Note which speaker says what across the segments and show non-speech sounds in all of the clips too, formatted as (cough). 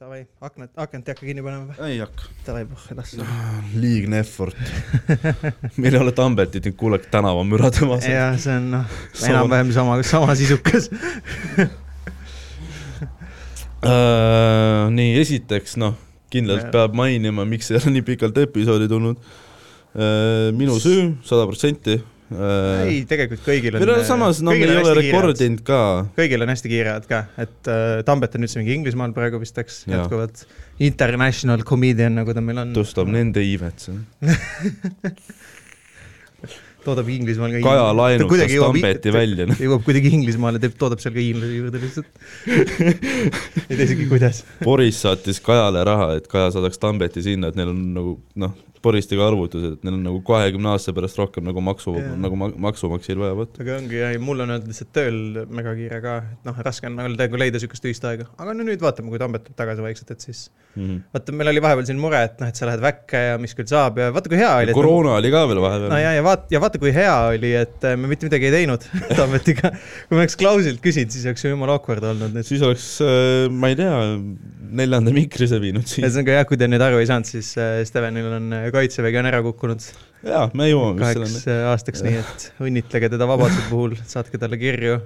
Speaker 1: Davai , aknad , akent ei hakka kinni panema või ?
Speaker 2: ei hakka .
Speaker 1: Davai , puh , edasi .
Speaker 3: liigne
Speaker 1: (laughs)
Speaker 3: effort . meil ei ole Tambetit , nüüd kuulake tänavamüra temas .
Speaker 1: jah , see on noh ,
Speaker 3: (laughs) Sama-
Speaker 1: enam-vähem sama , sama sisukas .
Speaker 3: Äh, nii , esiteks noh , kindlalt
Speaker 1: Jah.
Speaker 3: peab mainima , miks ei ole nii pikalt episoodi tulnud . minu süü , sada protsenti .
Speaker 1: ei
Speaker 3: meil ,
Speaker 1: tegelikult kõigil on .
Speaker 3: on samas , no me ei ole . rekordinud ka .
Speaker 1: kõigil on hästi kiired ka , et äh, Tambet on üldse mingi Inglismaal praegu vist , eks ,
Speaker 3: Jaa.
Speaker 1: jätkuvalt . International comedian , nagu ta meil on .
Speaker 3: tõstab nende iivet siin .
Speaker 1: toodab Inglismaal ka .
Speaker 3: Kaja laenutas Tambeti . välja .
Speaker 1: jõuab kuidagi Inglismaale , teeb , toodab seal ka hiinlase juurde
Speaker 3: (laughs)
Speaker 1: lihtsalt . ei tea isegi , kuidas .
Speaker 3: Boris saatis Kajale raha , et Kaja saadaks Tambeti sinna , et neil on nagu noh , Boris tegi arvutused , et neil on nagu kahekümne aasta pärast rohkem nagu maksu
Speaker 1: Jaa. ,
Speaker 3: nagu ma- maksumaksjaid vaja võtta .
Speaker 1: aga ongi jah , ja mul on öeldud lihtsalt tööl mega kiire ka , et noh , raske on nagu nagu leida niisugust ühist aega , aga no nüüd vaatame , kui Tambet tuleb tagasi vaikselt , et siis
Speaker 3: Mhm.
Speaker 1: vaata , meil oli vahepeal siin mure , et noh , et sa lähed väkke ja mis küll saab ja vaata , kui hea oli .
Speaker 3: koroona oli ka veel
Speaker 1: no
Speaker 3: vahepeal .
Speaker 1: ja , ja vaata , ja vaata , kui hea oli , et äh, me mitte midagi ei teinud (laughs) Tammetiga . kui me oleks Klausilt küsinud , siis oleks ju jumala awkward olnud nüüd .
Speaker 3: siis oleks , ma ei tea , neljanda mikrise viinud siis .
Speaker 1: ühesõnaga jah , kui te nüüd aru ei saanud , siis äh, Stevenil on äh, kaitsevägi on ära kukkunud
Speaker 3: jaa , me jõuame vist
Speaker 1: kaheks
Speaker 3: selleni .
Speaker 1: äh, aastaks , nii et õnnitlege teda vabaduse puhul , saatke talle kirju .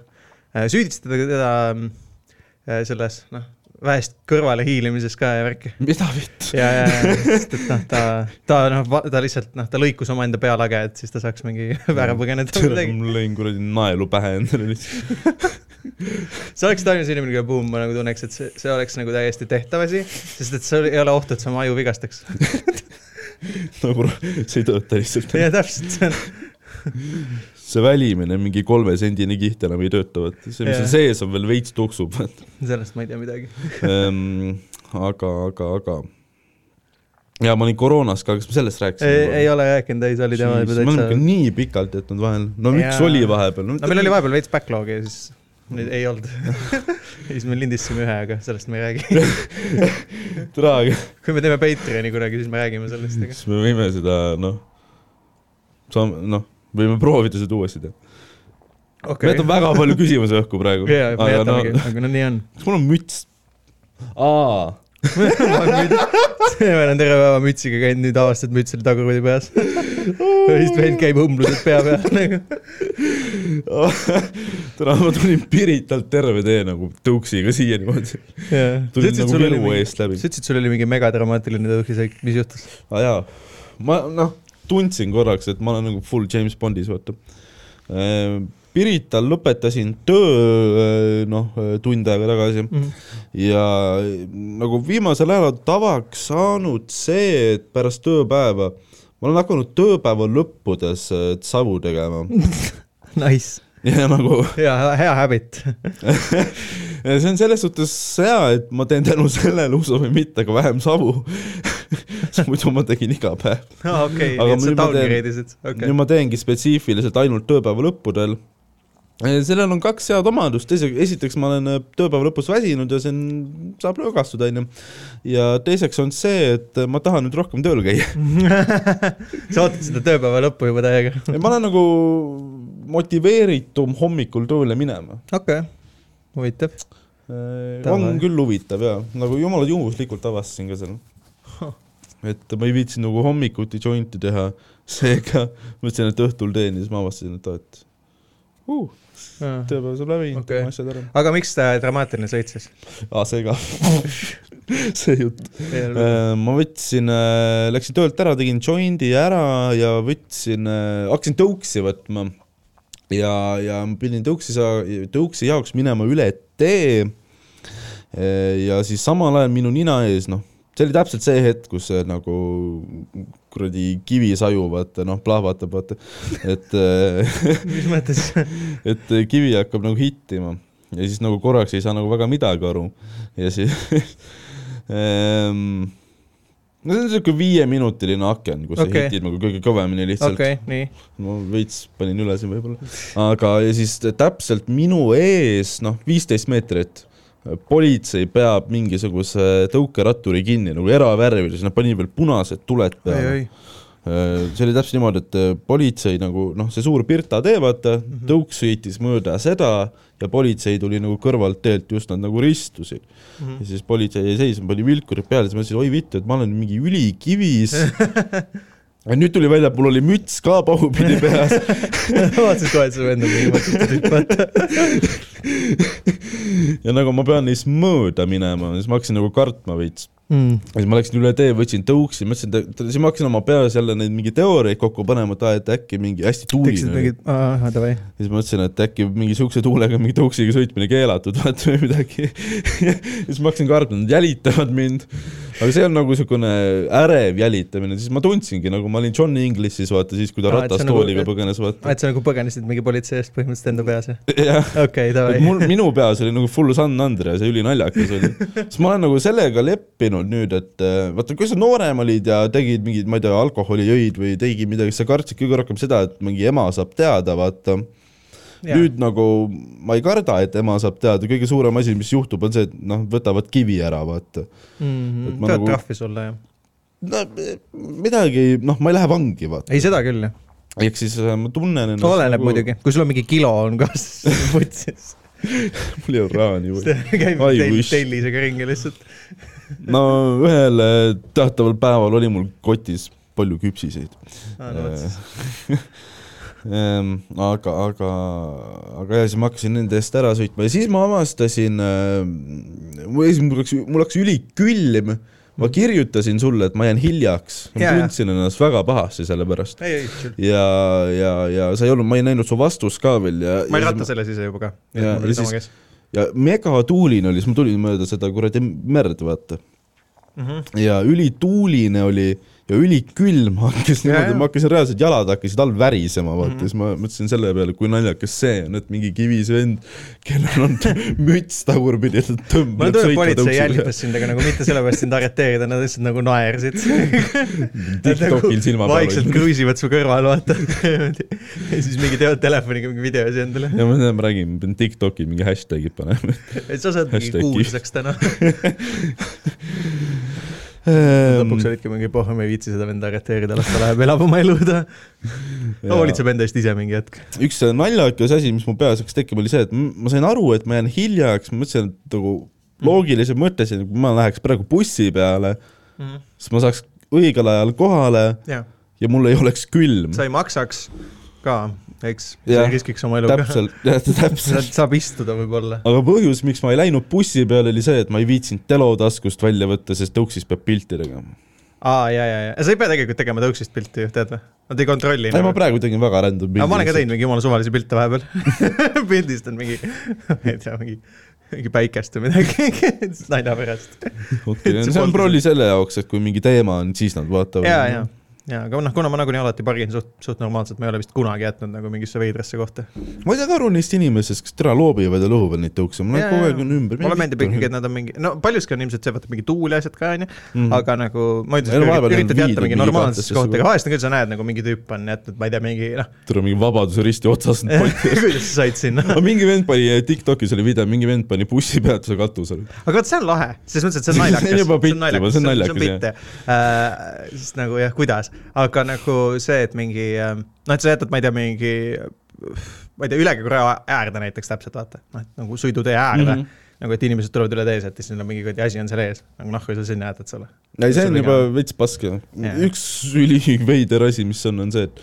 Speaker 1: süüdistage teda mm, äh, selles , noh , väest kõrvale hiilimises ka ja värki .
Speaker 3: mida
Speaker 1: (laughs)
Speaker 3: vitt ?
Speaker 1: ja , ja , ja , sest et noh , ta , ta noh , ta lihtsalt noh , ta lõikus omaenda pealage , et siis ta saaks mingi (laughs) ära põgeneda või midagi .
Speaker 3: ma lõin kuradi naelu pähe endale lihtsalt .
Speaker 1: sa oleksid ainus inimene , kelle puhul ma nagu tunneks , et see , see oleks nagu täiesti tehtav asi , sest et sul ei ole ohtu , et sa oma aju vigastaks .
Speaker 3: nagu (laughs) see ei tööta lihtsalt .
Speaker 1: ja täpselt , (laughs) see on ,
Speaker 3: see välimine , mingi kolmesendine kiht enam ei tööta , vaata . see , mis
Speaker 1: Jaa.
Speaker 3: seal sees on , veel veits tuksub , (laughs) vaata .
Speaker 1: sellest ma ei tea midagi .
Speaker 3: Ehm, aga , aga , aga . ja ma olin koroonas ka , kas me sellest
Speaker 1: ei,
Speaker 3: rääkisime ?
Speaker 1: ei ole rääkinud , ei , see oli tema juba
Speaker 3: me oleme ikka
Speaker 1: täitsa .
Speaker 3: nii pikalt jätnud vahele , no miks
Speaker 1: Jaa.
Speaker 3: oli vahepeal ?
Speaker 1: no meil oli vahepeal veits backlog'i ja siis nüüd ei olnud . (laughs) siis me lindistasime ühe , aga sellest me ei räägi . (laughs)
Speaker 3: vahepeal .
Speaker 1: kui me teeme Patreon'i kunagi , siis me räägime sellest , aga
Speaker 3: siis me võime seda , noh , saame , noh , võime proovida seda uuesti teha okay. .
Speaker 1: okei
Speaker 3: meil on . väga palju küsimusi õhku praegu .
Speaker 1: ja , ja me
Speaker 3: aga no ,
Speaker 1: jätamegi , aga no nii on . (laughs)
Speaker 3: kas (laughs) mul on müts ? aa ,
Speaker 1: Steven on terve päeva mütsiga käinud , nüüd avastad müts oli tagurpidi
Speaker 3: (laughs)
Speaker 1: peas . vist vend käib õmblused pea peal (laughs) nagu .
Speaker 3: täna ma tulin Piritalt terve tee nagu tõuksiga siia niimoodi . tulin nagu elu eest läbi .
Speaker 1: sa ütlesid , sul oli mingi megadramaatiline tõukiseik , mis juhtus ?
Speaker 3: aa jaa , ma noh , tundsin korraks , et ma olen nagu full James Bondis , vaata . Pirital lõpetasin töö noh , tund aega tagasi ja nagu viimasel ajal on tavaks saanud see , et pärast tööpäeva ma olen hakanud tööpäeva lõppudes äh, tsavu tegema
Speaker 1: Nice ,
Speaker 3: ja nagu
Speaker 1: hea , hea habit . (laughs)
Speaker 3: ja see on selles suhtes hea , et ma teen tänu sellele , usume mitte , aga vähem savu . (laughs) sest muidu ma tegin iga päev .
Speaker 1: okei ,
Speaker 3: Aga
Speaker 1: nii et sa
Speaker 3: nüüd ma teen-
Speaker 1: downgrade isid ,
Speaker 3: okay. . nüüd
Speaker 1: okei .
Speaker 3: ma teengi spetsiifiliselt ainult tööpäeva lõppudel . sellel on kaks head omadust , esiteks ma olen eh, tööpäeva lõpus väsinud ja see on , saab rõõgastuda , onju . ja teiseks on see , et eh, ma tahan nüüd rohkem tööl käia . (laughs)
Speaker 1: sa ootad seda tööpäeva lõppu juba täiega .
Speaker 3: ma olen nagu motiveeritum hommikul tööle minema .
Speaker 1: okei , huvitav .
Speaker 3: on
Speaker 1: Tavaline.
Speaker 3: küll huvitav ja nagu jumala juhuslikult avastasin ka selle . et ma ei viitsinud nagu hommikuti jointi teha , seega mõtlesin , et õhtul teen ja siis ma avastasin , et aa , et uh, tööpäev saab läbi
Speaker 1: Okei.
Speaker 3: okay. , teeme asjad ära .
Speaker 1: aga miks ta dramaatiline sõit siis ?
Speaker 3: aa , see ka . (laughs) see jutt .
Speaker 1: Äh,
Speaker 3: ma võtsin , läksin töölt ära , tegin joindi ära ja võtsin , hakkasin tõuksi võtma . ja , ja ma pidin tõuksi , tõuksi jaoks minema üle tee . ja siis samal ajal minu nina ees , noh , see oli täpselt see hetk , kus see nagu kuradi kivi saju , vaata , noh , plahvatab , vaata , et äh, (laughs)
Speaker 1: mis mõttes ?
Speaker 3: et kivi hakkab nagu hittima ja siis nagu korraks ei saa nagu väga midagi aru ja siis (laughs) ehm, no see on niisugune viieminutiline aken , kus okay.
Speaker 1: Okei.
Speaker 3: sa hitid nagu kõige kõvemini lihtsalt okay. ,
Speaker 1: okei , nii .
Speaker 3: ma veits panin üle siin võib-olla , aga ja siis täpselt minu ees , noh , viisteist meetrit , politsei peab mingisuguse tõukeratturi kinni nagu eravärvides , nad panid veel punased tuled peale
Speaker 1: oi-oi ,
Speaker 3: see oli täpselt niimoodi, et äh, politsei nagu noh, see suur Pirta tee, vaata mm -hmm., tõuks sõitis mööda seda ja politsei tuli nagu kõrvalt teelt, just nad nagu ristusid mm. -hmm. ja siis politsei jäi seisma, pani vilkurid peale, siis ma ütlesin, oi vittu, et ma olen mingi ülikivis ja nüüd tuli välja, et mul oli müts ka pahupidi peas
Speaker 1: (laughs) vaatasid kohe, et sa enda niimoodi tüüpad.
Speaker 3: ja nagu ma pean neist mööda minema, siis ma hakkasin nagu kartma veits mm.. ja siis ma läksin üle tee, võtsin tõuksi, mõtlesin, et siis ma hakkasin oma peas jälle neid mingeid teooriaid kokku panema, et aa, et äkki mingi hästi tuuline oli.
Speaker 1: ahah, davai.
Speaker 3: ja siis mõtlesin, et äkki mingi siukse tuulega mingi tõuksiga sõitmine keelatud, (laughs) vaata või midagi ja siis ma hakkasin kartma, nad jälitavad mind aga see on nagu niisugune ärev jälitamine, siis ma tundsingi nagu ma olin John Inglissis vaata siis, kui ta
Speaker 1: Aa, et sa nagu-
Speaker 3: ratastooliga nagu, põgenes vaata . (laughs)
Speaker 1: et sa nagu põgenesid mingi politsei eest põhimõtteliselt enda peas või ?
Speaker 3: jah ,
Speaker 1: okei ,
Speaker 3: et
Speaker 1: davai .
Speaker 3: mul , minu peas oli nagu full San Andreas ja ülinaljakas oli . siis ma olen nagu sellega leppinud nüüd , et äh, vaata , kui sa noorem olid ja tegid mingeid , ma ei tea , alkoholi jõid või tegid midagi , sa kartsid kõige rohkem seda , et mingi ema saab teada , vaata . nüüd nagu ma ei karda , et ema saab teada , kõige suurem asi , mis juhtub , on see , et noh , võtavad kivi ära , vaata et ma
Speaker 1: pead
Speaker 3: nagu-
Speaker 1: Mhm. trahvi sulle , jah .
Speaker 3: no midagi , noh , ma ei lähe vangi , vaata .
Speaker 1: ei , seda küll , jah .
Speaker 3: ehk siis äh, ma tunnen ennast . nagu-
Speaker 1: oleneb . muidugi , kui sul on mingi kilo on ka (laughs) vutsis ,
Speaker 3: (laughs) mul ei ole raani
Speaker 1: (laughs)
Speaker 3: või .
Speaker 1: siis käib
Speaker 3: I
Speaker 1: tell-
Speaker 3: wish.
Speaker 1: tellisega ringi lihtsalt .
Speaker 3: no ühel äh, teataval päeval oli mul kotis palju küpsiseid .
Speaker 1: Aa, no vot siis.
Speaker 3: Ehm, aga , aga , aga ja siis ma hakkasin nende eest ära sõitma ja siis ma avastasin , mul läks , mul läks ülikülm , ma kirjutasin sulle , et ma jään hiljaks , ma
Speaker 1: Mhm. Jaa, jaa.
Speaker 3: tundsin ennast väga pahasti selle pärast .
Speaker 1: ei , ei , chill .
Speaker 3: ja , ja , ja sa ei olnud , ma ei näinud su vastust ka veel ja .
Speaker 1: ma ei ratta selle sise juba ka .
Speaker 3: Ja- ja siis- ja megatuuline oli , siis ma tulin mööda seda kuradi merd , vaata .
Speaker 1: Mhm.
Speaker 3: ja ülituuline oli ja ülikülm (laughs) hakkas
Speaker 1: Ja,
Speaker 3: niimoodi
Speaker 1: ja. ,
Speaker 3: ma hakkasin reaalselt , jalad hakkasid all värisema ,
Speaker 1: Mhm.
Speaker 3: vaata mm , -hmm. siis ma mõtlesin selle peale , kui naljakas see on , et mingi kivis vend , kellel on (laughs) müts tagurpidi , ta
Speaker 1: mulle
Speaker 3: tõmbab
Speaker 1: tundub , politsei jälgitas sind , aga nagu mitte sellepärast sind arreteerida , nad lihtsalt nagu
Speaker 3: (laughs)
Speaker 1: naersid .
Speaker 3: TikTokil nagu silma peal
Speaker 1: Nagu (laughs) vaikselt
Speaker 3: hoidnud.
Speaker 1: kruiisivad su kõrval , vaata . ja siis mingi teevad telefoniga mingi videosi endale .
Speaker 3: ja ma tean , ma räägin , pean Tiktoki mingi hashtag'id panema .
Speaker 1: et sa saad mingi
Speaker 3: Hashtag
Speaker 1: kuulsaks täna . lõpuks olidki mingi pohh , ma ei viitsi seda venda arreteerida , las ta
Speaker 3: (laughs)
Speaker 1: läheb , elab oma elu ta . hoolitseb enda eest ise mingi hetk .
Speaker 3: Ehm, üks naljakas asi , mis mu peas hakkas tekkima , oli see , et m- ma sain aru , et ma jään hiljaks , ma mõtlesin , et nagu loogiliselt mõtlesin , et kui ma läheks praegu bussi peale ,
Speaker 1: Mhm.
Speaker 3: siis ma saaks õigel ajal kohale
Speaker 1: jah ,
Speaker 3: ja mul ei oleks külm .
Speaker 1: sa ei maksaks ka , eks , sa
Speaker 3: Jah,
Speaker 1: ei riskiks oma eluga .
Speaker 3: täpselt , (laughs) täpselt .
Speaker 1: saab istuda võib-olla .
Speaker 3: aga põhjus , miks ma ei läinud bussi peale , oli see , et ma ei viitsinud telo taskust välja võtta , sest tõuksis peab pilti tegema .
Speaker 1: aa , ja , ja , ja sa ei pea tegelikult tegema tõuksist pilti ju , tead või ? Nad ei kontrolli . nagu
Speaker 3: ei , ma praegu tegin väga random pildi .
Speaker 1: aga ma olen ka . teinud mingi jumala suvalisi pilte vahepeal . (laughs) pildistan mingi , ma ei tea , mingi , mingi päikest või midagi (laughs) nalja pärast . (laughs)
Speaker 3: see on prolli selle jaoks , et kui mingi teema on , siis nad vaatavad .
Speaker 1: ja , ja , ja , aga noh , kuna ma nagunii alati pargin suht , suht normaalselt , ma ei ole vist kunagi jätnud nagu mingisse veidrasse kohta .
Speaker 3: ma ei saa ka aru neist inimestest , kes täna loobivad ja lõhuvad neid tõukse , ma
Speaker 1: Jaa,
Speaker 3: olen kogu aeg
Speaker 1: jaa.
Speaker 3: on ümber .
Speaker 1: mulle meeldib ikkagi , et nad on mingi , no paljuski on ilmselt see , vaata mingi tuul ja asjad ka onju , aga nagu ma
Speaker 3: Ei, no
Speaker 1: ütlen ,
Speaker 3: vahepeal Mhm. on
Speaker 1: üritad
Speaker 3: viidud
Speaker 1: jätta mingi
Speaker 3: mingi
Speaker 1: normaalsesse
Speaker 3: katesse
Speaker 1: kohta ,
Speaker 3: sugu.
Speaker 1: aga vahest on küll , sa näed nagu mingi tüüp on jätnud , ma ei tea , mingi
Speaker 3: (laughs)
Speaker 1: noh ,
Speaker 3: tule mingi Vabaduse risti otsast .
Speaker 1: (laughs) kuidas sa said sinna
Speaker 3: aga mingi vend pani , TikTokis oli video , mingi vend pani bussipeatuse katusele .
Speaker 1: aga vot see on lahe , selles mõttes , et
Speaker 3: (laughs)
Speaker 1: see on naljakas .
Speaker 3: See on juba pitt juba, see on naljakas,
Speaker 1: pitt jah . sest nagu jah , kuidas , aga nagu see , et mingi äh, noh , et sa jätad , ma ei tea , mingi ma ei tea , ülekäigurea äärde näiteks täpselt vaata , noh , et nagu sõidutee äärde mm .
Speaker 3: Mhm.
Speaker 1: -hmm. nagu , et inimesed tulevad üle tees , et siis neil on mingi kuradi asi on seal ees , nagu nahku sa sinna jätad selle .
Speaker 3: ei , see on juba veits paske .
Speaker 1: Jaa.
Speaker 3: üks üliveider asi , mis on , on see , et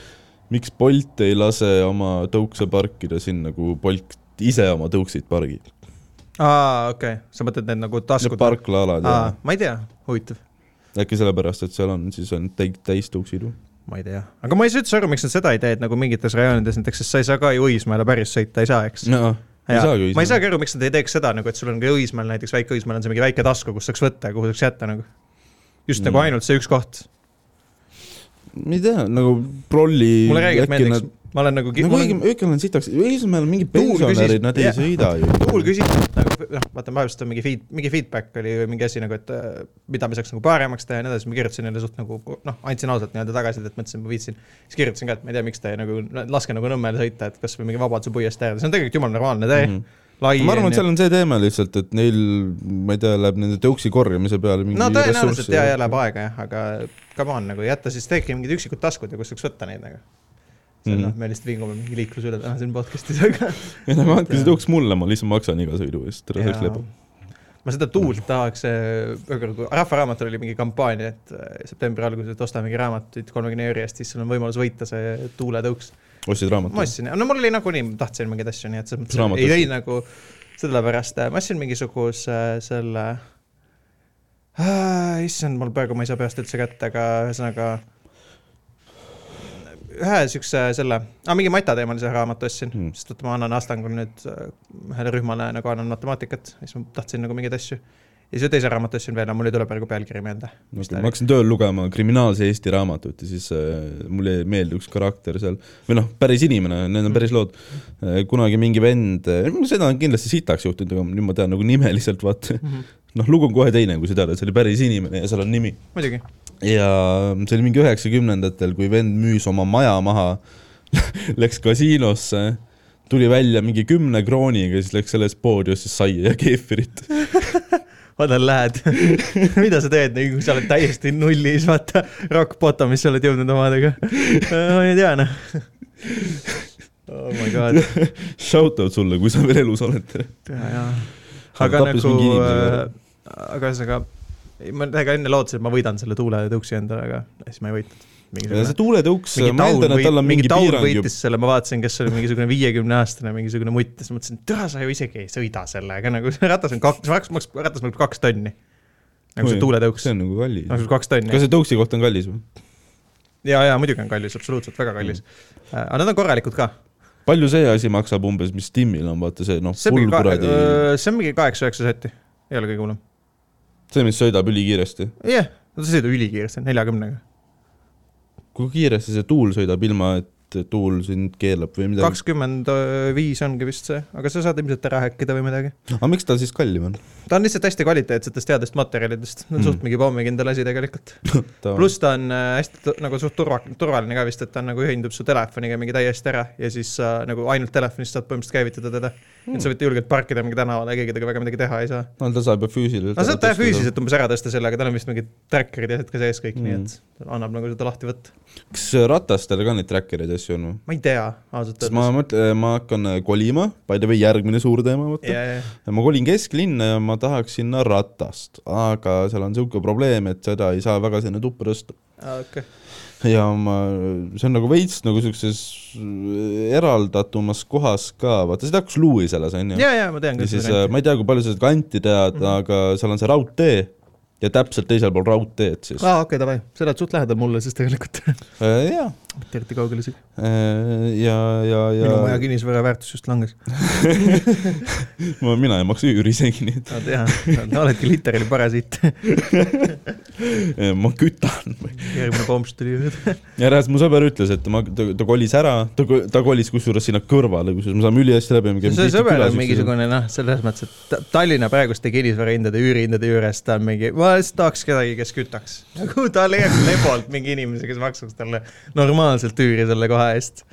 Speaker 3: miks Bolt ei lase oma tõukse parkida sinna , kuhu Bolt ise oma tõukseid pargib .
Speaker 1: aa , okei okay. , sa mõtled need nagu
Speaker 3: Need
Speaker 1: taskud ?
Speaker 3: parklaalad ja
Speaker 1: aa , ma ei tea , huvitav
Speaker 3: äkki sellepärast , et seal on siis on täi- , täistouksid või ?
Speaker 1: ma ei tea , aga ma ei saa üldse aru , miks nad seda ei tee , et nagu mingites rajoonides näiteks , sest sa ei saa ka ju Õismäele päris sõita ei saa , eks .
Speaker 3: jaa , ei
Speaker 1: Jaa.
Speaker 3: saagi
Speaker 1: ma ei saagi aru , miks nad ei teeks seda nagu , et sul on ka Õismäel näiteks väike Õismäel on see mingi väike tasku , kus saaks võtta ja kuhu saaks jätta nagu . just mm. nagu
Speaker 3: Mm.
Speaker 1: ainult see üks koht .
Speaker 3: ma ei tea , nagu prolli
Speaker 1: mulle räägib meeldiks , ma olen nagu,
Speaker 3: nagu
Speaker 1: mul on-
Speaker 3: õige , õige on sitaks , Õismäel mingi
Speaker 1: Tuul küsis-
Speaker 3: pensionärid , nad ei
Speaker 1: jaa.
Speaker 3: sõida ju .
Speaker 1: kuul küsitud nagu noh , vaata vahepeal seda mingi feed , mingi feedback oli või mingi asi nagu , et äh, mida me saaks nagu paremaks teha ja nii edasi , ma kirjutasin neile suht nagu noh , andsin ausalt nii-öelda tagasisidet , mõtlesin , ma viitsin . siis kirjutasin ka , et ma ei tea , miks te nagu laske nagu Nõmmele sõita , et kasvõi mingi Vabaduse puiestee äärde , see on tegelikult jumala normaalne tee mm . -hmm.
Speaker 3: Mhm. ma arvan , et seal on see teema lihtsalt , et neil , ma ei tea , läheb nende tõuksi korjamise peale mingi
Speaker 1: no tõenäoliselt
Speaker 3: ressurss
Speaker 1: jaa , jaa , läheb aega jah , aga come on nagu jäta siis , tehke mingid üksikud taskud ja kus saaks võtta neid nagu . see on
Speaker 3: Mhm.
Speaker 1: mm. noh , me lihtsalt vingume mingi liikluse üle täna siin podcast'is , aga
Speaker 3: (laughs) ei no andke see tõuks mulle , ma lihtsalt maksan iga sõidu eest , tere sõiks
Speaker 1: Jaa.
Speaker 3: läbi .
Speaker 1: ma seda tuult tahaks , Rahvaraamatul oli mingi kampaania , et äh, septembri alguses , et ostamegi raamatuid kolmekümne euri eest , siis sul on võimalus võita see tuuletõuks .
Speaker 3: ostsid
Speaker 1: ma
Speaker 3: raamatu ?
Speaker 1: ostsin , no mul oli nagunii , ma tahtsin mingeid asju , nii et selles
Speaker 3: Mis raamat
Speaker 1: mõttes ei
Speaker 3: ostsid?
Speaker 1: teinud nagu sellepärast , ma ostsin mingisuguse selle äh, , issand , mul praegu ma ei saa peast üldse kätte , aga ühesõnaga ühe siukse selle ah, , mingi matateemalise raamatu ostsin
Speaker 3: Hmm.
Speaker 1: hmm. , sest et ma annan Astangul nüüd äh, ühele rühmale nagu annan matemaatikat , siis ma tahtsin nagu mingeid asju . ja siis ühe teise raamatu ostsin veel , aga mul ei tule praegu pealkiri meelde .
Speaker 3: ma hakkasin tööl lugema kriminaalse Eesti raamatut ja siis äh, mulle jäi meelde üks karakter seal , või noh , päris inimene , need
Speaker 1: Mm.
Speaker 3: on päris lood äh, . kunagi mingi vend , seda on kindlasti sitaks juhtunud , aga nüüd ma tean nagu nime lihtsalt , vaata .
Speaker 1: Mhm.
Speaker 3: noh , lugu on kohe teine , kui sa tead , et see oli päris inimene ja seal on nimi .
Speaker 1: muidugi ,
Speaker 3: ja see oli mingi üheksakümnendatel , kui vend müüs oma maja maha , (laughs) läks kasiinosse , tuli välja mingi kümne krooniga , siis läks selles poodi , ostis saia ja keefirit .
Speaker 1: vaata lähed , (laughs) mida sa teed , kui sa oled täiesti nullis , vaata , rock bottom'is sa oled jõudnud omadega . ma ei tea noh . Oh my god ,
Speaker 3: Shout out sulle , kui sa veel elus oled .
Speaker 1: ja , ja . aga
Speaker 3: Tappis
Speaker 1: nagu
Speaker 3: mingi inimese ära. ,
Speaker 1: aga ühesõnaga , ma ega enne lootsin , et ma võidan selle tuuletõuksi endale , aga siis ma ei võitnud .
Speaker 3: see tuuletõuks ,
Speaker 1: mingi
Speaker 3: ma
Speaker 1: taun
Speaker 3: eeldan , et tal
Speaker 1: võit-
Speaker 3: on
Speaker 1: mingi
Speaker 3: mingi
Speaker 1: taun
Speaker 3: piirang juba .
Speaker 1: võitis selle , ma vaatasin , kes oli mingisugune viiekümne aastane mingisugune mutt , siis mõtlesin , et türa sa ju isegi ei sõida sellega , nagu see ratas on kaks , ratas maksab kaks tonni . nagu see tuuletõuks
Speaker 3: see , on nagu kallis .
Speaker 1: maksab Noh, kaks tonni .
Speaker 3: kas see tõuksi koht on kallis või ?
Speaker 1: ja , ja muidugi on kallis , absoluutselt väga kallis mm. . aga nad on korralikud ka .
Speaker 3: palju see asi maksab umbes , mis Timmil on , vaata see noh ,
Speaker 1: see on
Speaker 3: hull
Speaker 1: mingi
Speaker 3: kuradi ,
Speaker 1: ka- , see on mingi kaheksa-üheksa sotti , ei ole kõige hullem .
Speaker 3: see , mis sõidab ülikiiresti .
Speaker 1: jah yeah. , nad sõidavad ülikiiresti , neljakümnega ,
Speaker 3: kui kiiresti see tuul sõidab , ilma et tuul sind keelab või midagi ?
Speaker 1: kakskümmend äh, viis ongi vist see , aga sa saad ilmselt ära häkkida või midagi .
Speaker 3: aga miks ta siis kallim on ?
Speaker 1: ta on lihtsalt hästi kvaliteetsetest headest materjalidest , see on
Speaker 3: Mm.
Speaker 1: mm. suht mingi pommikindel asi tegelikult . pluss ta on äh, hästi tu- nagu suht turva , turvaline ka vist , et ta nagu ühendub su telefoniga mingi täiesti ära ja siis sa nagu ainult telefonist saad põhimõtteliselt käivitada teda mm. . et sa võid julgelt parkida mingi tänavale , keegi temaga väga midagi teha ei saa .
Speaker 3: no ta saab ju füüsiliselt .
Speaker 1: no saab teha . füüsiliselt umbes ära tõsta sellega , tal on vist mingid tracker'id ja asjad ka sees kõik mm. , nii et annab nagu seda lahti võtta .
Speaker 3: kas ratastel ka neid tracker'id ja asju on või ?
Speaker 1: ma ei tea , ausalt
Speaker 3: sest ma
Speaker 1: öeldes .
Speaker 3: mõtlen , ma hakkan äh, kolima , by the way , järgmine suur teema , vaata .
Speaker 1: ja , ja ,
Speaker 3: ma kolin kesklinna ja ma tahaks sinna ratast , aga seal on niisugune probleem , et seda ei saa väga sinna tuppa tõsta .
Speaker 1: Ah, okei .
Speaker 3: ja ma , see on nagu veits nagu niisuguses eraldatumas kohas ka , vaata , sa tead , kus Lewis elas , on ju ?
Speaker 1: ja , ja ma tean
Speaker 3: ja
Speaker 1: küll
Speaker 3: siis
Speaker 1: seda
Speaker 3: äh, . ma ei tea , kui palju sa seda kanti
Speaker 1: Mhm.
Speaker 3: tead mm , -hmm. aga seal on see raudtee ja täpselt teisel pool raudteed siis .
Speaker 1: aa , Ah, okei , davai , sa elad suht lähedal mulle siis tegelikult . (laughs)
Speaker 3: jaa ,
Speaker 1: mitte eriti kaugel isegi .
Speaker 3: ja , ja , ja
Speaker 1: minu maja kinnisvara väärtus just langes .
Speaker 3: ma , mina ei maksa üüri isegi , nii
Speaker 1: no tea , oledki literaali
Speaker 3: (laughs)
Speaker 1: parasiit .
Speaker 3: et äh, ma kütan .
Speaker 1: järgmine pomps tuli juurde .
Speaker 3: järjest mu sõber ütles , et ma , ta ta kolis ära , ta , ta kolis kusjuures sinna kõrvale , kusjuures me saame ülihästi läbi .
Speaker 1: see sõber on mingisugune noh , selles mõttes , et Ta- Tallinna praeguste kinnisvarahindade , üürihindade juures ta on mingi , ma lihtsalt tahaks kedagi , kes kütaks . (laughs) nagu ta leiab Lebolt mingi inimese , kes maksaks talle normaalselt üüri selle koha eest .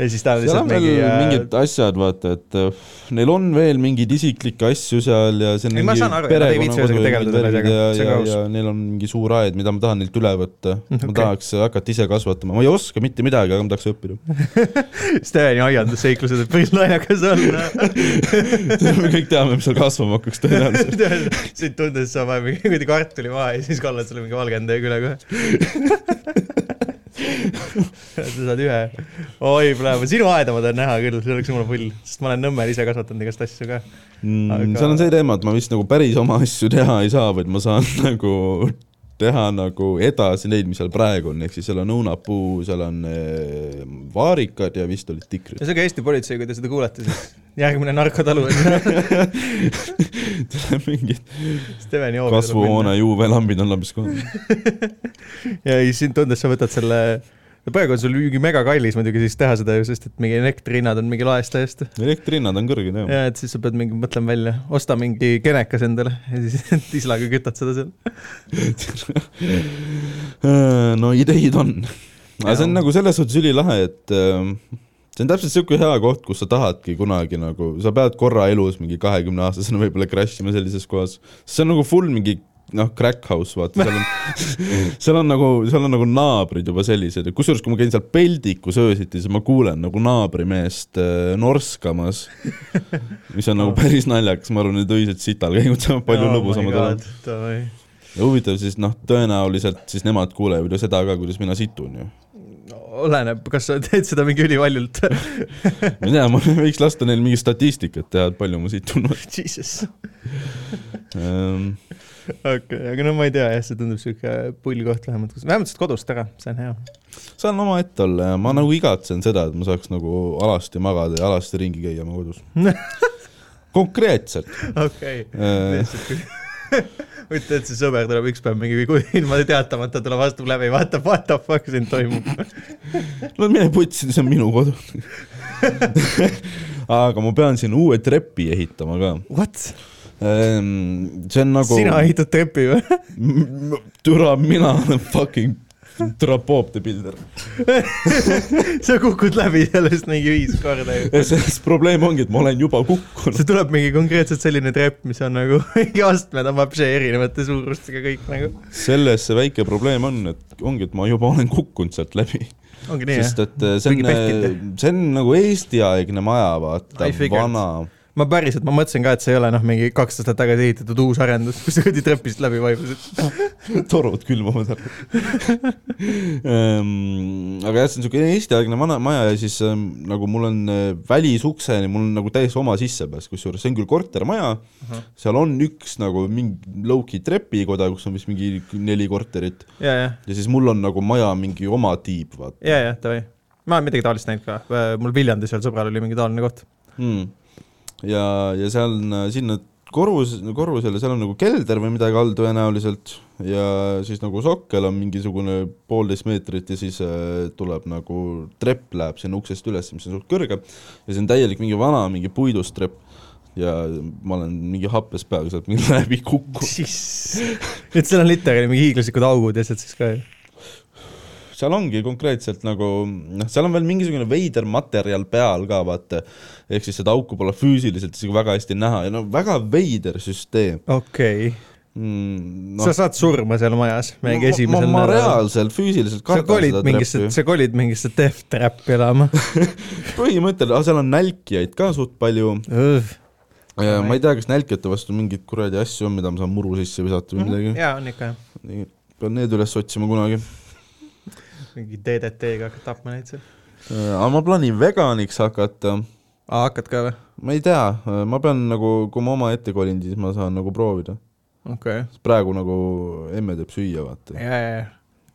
Speaker 1: ja siis ta on
Speaker 3: seal
Speaker 1: lihtsalt
Speaker 3: on veel
Speaker 1: mingi äh,
Speaker 3: mingid asjad , vaata , et äh, neil on veel mingeid isiklikke asju seal ja see on
Speaker 1: Ei, ma
Speaker 3: mingi
Speaker 1: saan aru, et nad ei viitsi
Speaker 3: perekonnakodu
Speaker 1: ühesõnaga
Speaker 3: ja
Speaker 1: tegeleda selle asjaga,
Speaker 3: värgid ja-
Speaker 1: see on
Speaker 3: ja-
Speaker 1: ka aus.
Speaker 3: ja neil on mingi suur aed , mida ma tahan neilt üle võtta . ma
Speaker 1: Okei.
Speaker 3: tahaks hakata ise kasvatama , ma ei oska mitte midagi , aga ma tahaks õppida . (laughs)
Speaker 1: Steveni aiandusseiklused võib päris naljakas äh. olla .
Speaker 3: me kõik teame , mis seal kasvama hakkaks
Speaker 1: (laughs)
Speaker 3: tõenäoliselt .
Speaker 1: sind tundes sa paned mingi kuradi kartuli maha ja siis kallad sulle mingi valgendaja küle kohe . (laughs) sa saad ühe , oi praegu , sinu aeda ma tahan näha küll , see oleks jumala pull , sest ma olen Nõmmel ise kasvatanud igast asju ka .
Speaker 3: aga...
Speaker 1: Aga-
Speaker 3: Mm, seal on see teema , et ma vist nagu päris oma asju teha ei saa , vaid ma saan (laughs) nagu teha nagu edasi neid , mis seal praegu on , ehk siis seal on õunapuu , seal on eh, vaarikad ja vist olid
Speaker 1: (laughs)
Speaker 3: tikrid (laughs)
Speaker 1: ja . see on ka Eesti politsei , kui te seda kuulete , siis (laughs) järgmine narkotalu on
Speaker 3: mingid
Speaker 1: Steveni hoovi .
Speaker 3: kasvuhoone . juuvelambid on lambis kohal .
Speaker 1: ja siis sind tundes sa võtad selle , no praegu on sul mingi megakallis muidugi siis teha seda ju , sest et mingi elektrihinnad on mingi laest täiesti .
Speaker 3: elektrihinnad on kõrged jah .
Speaker 1: ja et siis sa pead mingi mõtlema välja , osta mingi kenekas endale (laughs) ja siis tislaga kütad seda seal .
Speaker 3: Äh, no ideid on . aga see on
Speaker 1: Jaa.
Speaker 3: nagu selles suhtes ülilahe , et ähm, see on täpselt niisugune hea koht, kus sa tahadki kunagi nagu, sa pead korra elus mingi kahekümne aastasena võib-olla crash ima sellises kohas, see on nagu full mingi noh, crack house, vaata, seal on seal on nagu, seal on nagu naabrid juba sellised, kusjuures kui ma käin seal peldikus öösiti, siis ma kuulen nagu naabrimeest äh, norskamas, mis on nagu päris naljakas, ma arvan, need öised sitalkäigud saavad
Speaker 1: Oh
Speaker 3: palju lõbusamad olema
Speaker 1: olema .
Speaker 3: ja huvitav siis noh , tõenäoliselt siis nemad kuulevad ju seda ka , kuidas mina situn ju .
Speaker 1: oleneb , kas sa teed seda mingi (laughs) ülivaljult .
Speaker 3: ma ei tea , ma (laughs) võiks lasta neil mingit statistikat teha , et palju ma situn
Speaker 1: Jesus ,
Speaker 3: ähm, .
Speaker 1: okei , aga no ma ei tea jah , see tundub siuke pull koht vähemalt , vähemalt saad kodust ära , see on hea .
Speaker 3: saan omaette olla ja ma nagu igatsen seda , et ma saaks nagu alasti magada ja alasti ringi käia oma kodus . konkreetselt . Ehm,
Speaker 1: okei , (laughs) ütle , et see sõber tuleb üks päev mingi kui (laughs) ilma teatamata tuleb , astub läbi , vaatab , what the fuck siin toimub .
Speaker 3: no mine putsi , see on minu kodu . aga ma pean siin uue trepi ehitama ka .
Speaker 1: (laughs) What ?
Speaker 3: see on nagu .
Speaker 1: sina ehitad trepi või ?
Speaker 3: M- m- türa , mina olen fucking türa Bob the Builder .
Speaker 1: (laughs) sa kukud läbi sellest mingi viis korda
Speaker 3: (laughs)
Speaker 1: ju .
Speaker 3: ja selles probleem ongi , et ma olen juba kukkunud .
Speaker 1: see tuleb mingi konkreetselt selline trepp , mis on nagu (laughs) mingi astmed omab see erinevate suurustega kõik nagu .
Speaker 3: (laughs) selles see väike probleem on , et ongi , et ma juba olen kukkunud sealt läbi .
Speaker 1: ongi nii
Speaker 3: sest
Speaker 1: jah ?
Speaker 3: et äh, see
Speaker 1: Mingi
Speaker 3: on
Speaker 1: pehkinud. ,
Speaker 3: see on nagu Eesti-aegne maja , vaata
Speaker 1: I , figured.
Speaker 3: vana . (laughs)
Speaker 1: ma päriselt , ma mõtlesin ka , et see ei ole noh , mingi kaks aastat tagasi ehitatud uus arendus , kus (laughs) sa kuradi trepist läbi vaibusid .
Speaker 3: torud (laughs) külmavad ära . Ehm, aga jah , see on niisugune Eesti-aegne vana maja ja siis ähm, nagu mul on äh, välisukseni , mul on nagu täiesti oma sissepääs , kusjuures see on küll kortermaja , seal on üks nagu mingi low-key trepikoda , kus on vist mingi neli korterit
Speaker 1: ja , ja ,
Speaker 3: ja siis mul on nagu maja mingi oma tiib , vaata
Speaker 1: ja , ja davai . ma olen midagi taolist näinud ka , mul Viljandis ühel sõbral oli mingi taoline koht .
Speaker 3: hmm. . ja , ja seal on äh, sinna korrus , korrusele , seal on nagu kelder või midagi all tõenäoliselt ja siis nagu sokkel on mingisugune poolteist meetrit ja siis äh, tuleb nagu trepp läheb sinna uksest üles , mis on suht kõrge ja see on täielik mingi vana mingi puidust trepp ja ma olen mingi happes peaga sealt mingi (laughs) läbi kukkunud .
Speaker 1: (laughs) et seal on literaali mingi hiiglaslikud augud ja asjad siis ka ju .
Speaker 3: seal ongi konkreetselt nagu noh , seal on veel mingisugune veider materjal peal ka vaata , ehk siis seda auku pole füüsiliselt isegi väga hästi näha ja no väga veider süsteem
Speaker 1: okei okay.
Speaker 3: mm, .
Speaker 1: no. , sa saad surma seal majas , mingi
Speaker 3: ma,
Speaker 1: esimesel
Speaker 3: ma, ma reaalselt füüsiliselt
Speaker 1: sa
Speaker 3: kardan
Speaker 1: kolid
Speaker 3: seda
Speaker 1: mingisse ,
Speaker 3: treppi ,
Speaker 1: sa kolid mingisse death trap'i
Speaker 3: (laughs)
Speaker 1: elama .
Speaker 3: põhimõtteliselt , aga seal on nälkijaid ka suht palju ,
Speaker 1: jaa ,
Speaker 3: ma ei tea , kas nälkijate vastu mingeid kuradi asju on , mida ma saan muru sisse visata või midagi ,
Speaker 1: on ikka jah .
Speaker 3: pean need üles otsima kunagi .
Speaker 1: mingi DDT-ga hakkad tapma neid seal .
Speaker 3: aga ma plaanin veganiks hakata
Speaker 1: aa ,
Speaker 3: Ah,
Speaker 1: hakkad ka või ?
Speaker 3: ma ei tea , ma pean nagu , kui ma omaette kolin , siis ma saan nagu proovida .
Speaker 1: okei okay. ,
Speaker 3: sest praegu nagu emme teeb süüa , vaata .
Speaker 1: ja , ja , ja .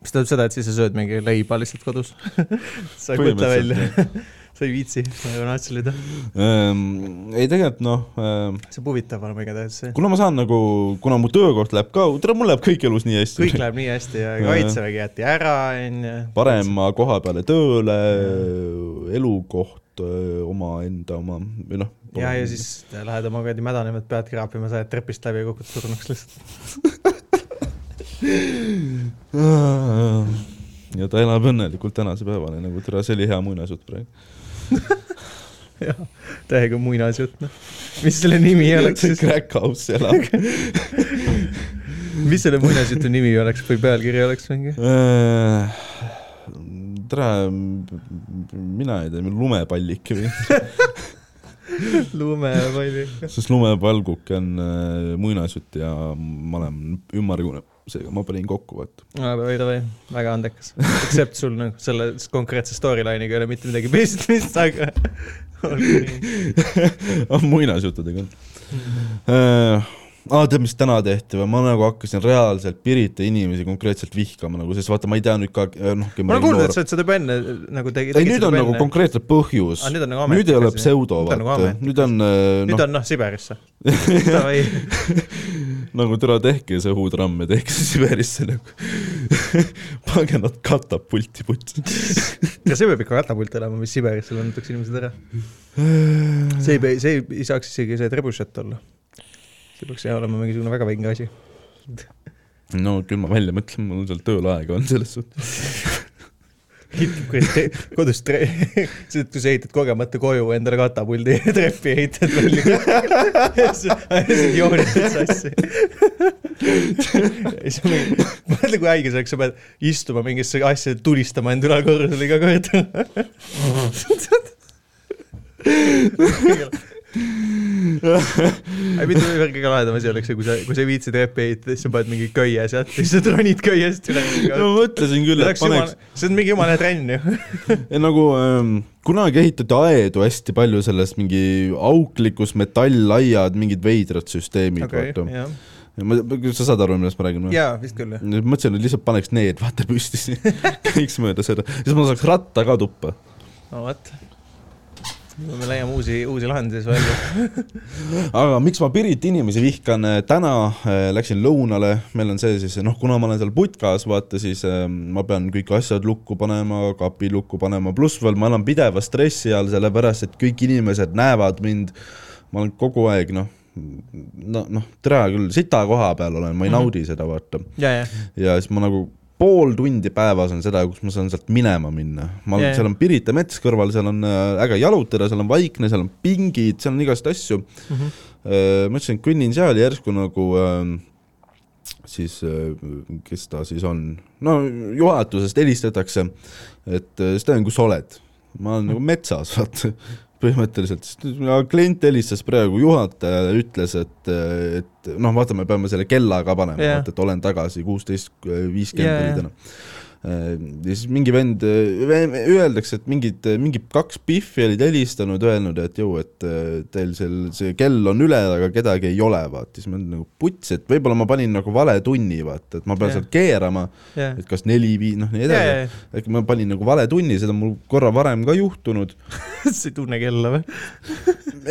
Speaker 1: mis tähendab seda , et siis sa sööd mingi leiba lihtsalt kodus ? (laughs) sa ei kujuta välja , (laughs) sa ei viitsi , sa ei natsilida .
Speaker 3: Ehm, ei , tegelikult noh ,
Speaker 1: see peab huvitav olema igatahes ,
Speaker 3: kuna ma saan nagu , kuna mu töökoht läheb ka , tere , mul läheb kõik elus nii hästi .
Speaker 1: kõik läheb nii hästi ja
Speaker 3: Jajah.
Speaker 1: kaitsevägi jäeti ära , onju .
Speaker 3: parema koha peale tööle , elukoht , omaenda oma või noh .
Speaker 1: ja , ja siis lähed oma kuradi mädanevad pead kraapima , sa jääd trepist läbi ja kukud surnuks lihtsalt .
Speaker 3: (sighs)
Speaker 1: (laughs)
Speaker 3: ja ta elab õnnelikult tänase päevani , nagu tere , see oli hea muinasjutt praegu .
Speaker 1: jah , täiega muinasjutt , noh . mis selle nimi oleks
Speaker 3: (laughs)
Speaker 1: siis ?
Speaker 3: Crack House elab .
Speaker 1: mis selle muinasjutu nimi oleks või pealkiri oleks mingi ? (laughs)
Speaker 3: tere , mina ei tea , lumepallik
Speaker 1: (laughs)
Speaker 3: või ,
Speaker 1: lumepalli .
Speaker 3: sest lumepalguke on äh, muinasjutt ja ma olen ümmargune , seega ma panin kokku , vaata .
Speaker 1: davai , davai , väga andekas . Except sul nagu selle konkreetse storyline'iga ei ole mitte midagi pistmist , aga olgu nii .
Speaker 3: muinasjuttudega (laughs) on . Äh, aa , tead , mis täna tehti või , ma nagu hakkasin reaalselt Pirita inimesi konkreetselt vihkama nagu , sest vaata , ma ei tea nüüd ka , noh .
Speaker 1: ma olen kuulnud , et sa oled seda juba enne nagu tegid .
Speaker 3: ei , nüüd on nagu . konkreetne põhjus
Speaker 1: Aa, nüüd on nagu . ametlik
Speaker 3: nüüd ei ole
Speaker 1: asi.
Speaker 3: pseudo ,
Speaker 1: Nüüd on nagu
Speaker 3: vaata ,
Speaker 1: ametlik
Speaker 3: nüüd on ,
Speaker 1: nüüd
Speaker 3: noh ,
Speaker 1: on noh ,
Speaker 3: (laughs)
Speaker 1: Siberisse . davai ,
Speaker 3: nagu türa tehke see õhutramm ja tehke see Siberisse nagu . pange nad katapulti putsi .
Speaker 1: ja see peab ikka katapult olema , mis Siberisse lennatakse inimesed ära . see ei pea , see ei, ei saaks isegi see trebušet olla . see peaks jah olema mingisugune väga vinge asi .
Speaker 3: no küll ma välja mõtlen , mul seal tööl aega on selles suhtes .
Speaker 1: hitib kuradi kodus tre- , (laughs) see , kui sa ehitad kogemata koju endale katapuldi (laughs) trepi ehitad välja . ja (laughs) siis joonitad sassi . (laughs) ja siis mingi , mõtle kui haige see oleks , sa pead istuma mingisse asja , tulistama end ülakorrusel iga kord . ei , mitte midagi kõige lahedam asi oleks see , kui sa , kui sa ei viitsi trepi ehitada , siis sa paned mingi köie sealt , siis sa tronid köiest
Speaker 3: no
Speaker 1: üle
Speaker 3: ma mõtlesin küll , et
Speaker 1: Läks
Speaker 3: paneks
Speaker 1: jumala , see on mingi jumala trenn ju .
Speaker 3: Ja nagu ähm, kunagi ehitati aedu hästi palju sellest mingi auklikus metallaiad , mingid veidrad süsteemid
Speaker 1: okei
Speaker 3: okay, , vaata .
Speaker 1: jah .
Speaker 3: ma , sa saad aru , millest ma räägin või ?
Speaker 1: jaa , vist küll jah .
Speaker 3: mõtlesin , et lihtsalt paneks need , vaata , püsti (laughs) siin , käiks mööda seda , siis ma saaks ratta ka tuppa .
Speaker 1: no vot . me leiame uusi , uusi lahendusi siis (laughs) välja .
Speaker 3: aga miks ma Pirita inimesi vihkan , täna äh, läksin lõunale , meil on see siis , noh , kuna ma olen seal putkas , vaata siis ähm, ma pean kõik asjad lukku panema , kapi lukku panema , pluss veel ma elan pideva stressi all , sellepärast et kõik inimesed näevad mind . ma olen kogu aeg noh , no noh , tere küll , sita koha peal olen , ma ei mm -hmm. naudi seda , vaata
Speaker 1: ja , ja ,
Speaker 3: ja siis ma nagu pool tundi päevas on seda , kus ma saan sealt minema minna . ma olen
Speaker 1: Jajah. ,
Speaker 3: seal on Pirita mets kõrval , seal on äh, äge jalutada , seal on vaikne , seal on pingid , seal on igast asju mm .
Speaker 1: Mhm.
Speaker 3: -hmm. ma ütlesin , et kõnnin seal järsku nagu äh, siis , kes ta siis on , no juhatusest helistatakse , et äh, Sten , kus sa oled ? ma olen nagu metsas , (laughs) vaata , põhimõtteliselt , sest klient helistas praegu , juhataja ütles , et , et noh , vaata , me peame selle kella ka panema
Speaker 1: Jah.
Speaker 3: yeah. , et olen tagasi kuusteist
Speaker 1: Jaa,
Speaker 3: viiskümmend
Speaker 1: jaa.
Speaker 3: oli täna . ja siis mingi vend , öeldakse , et mingid , mingi kaks pihvi olid helistanud , öelnud , et jõu , et eh, teil seal see kell on üle , aga kedagi ei ole , vaata , siis ma olin nagu puts , et võib-olla ma panin nagu vale tunni , vaata , et ma pean
Speaker 1: Jah.
Speaker 3: yeah. sealt keerama ,
Speaker 1: ja ,
Speaker 3: et kas neli-viis , noh , nii
Speaker 1: ja ,
Speaker 3: edasi
Speaker 1: ja ,
Speaker 3: äkki ma panin nagu vale tunni , seda on mul korra varem ka juhtunud .
Speaker 1: (laughs) sa ei tunne kella või ?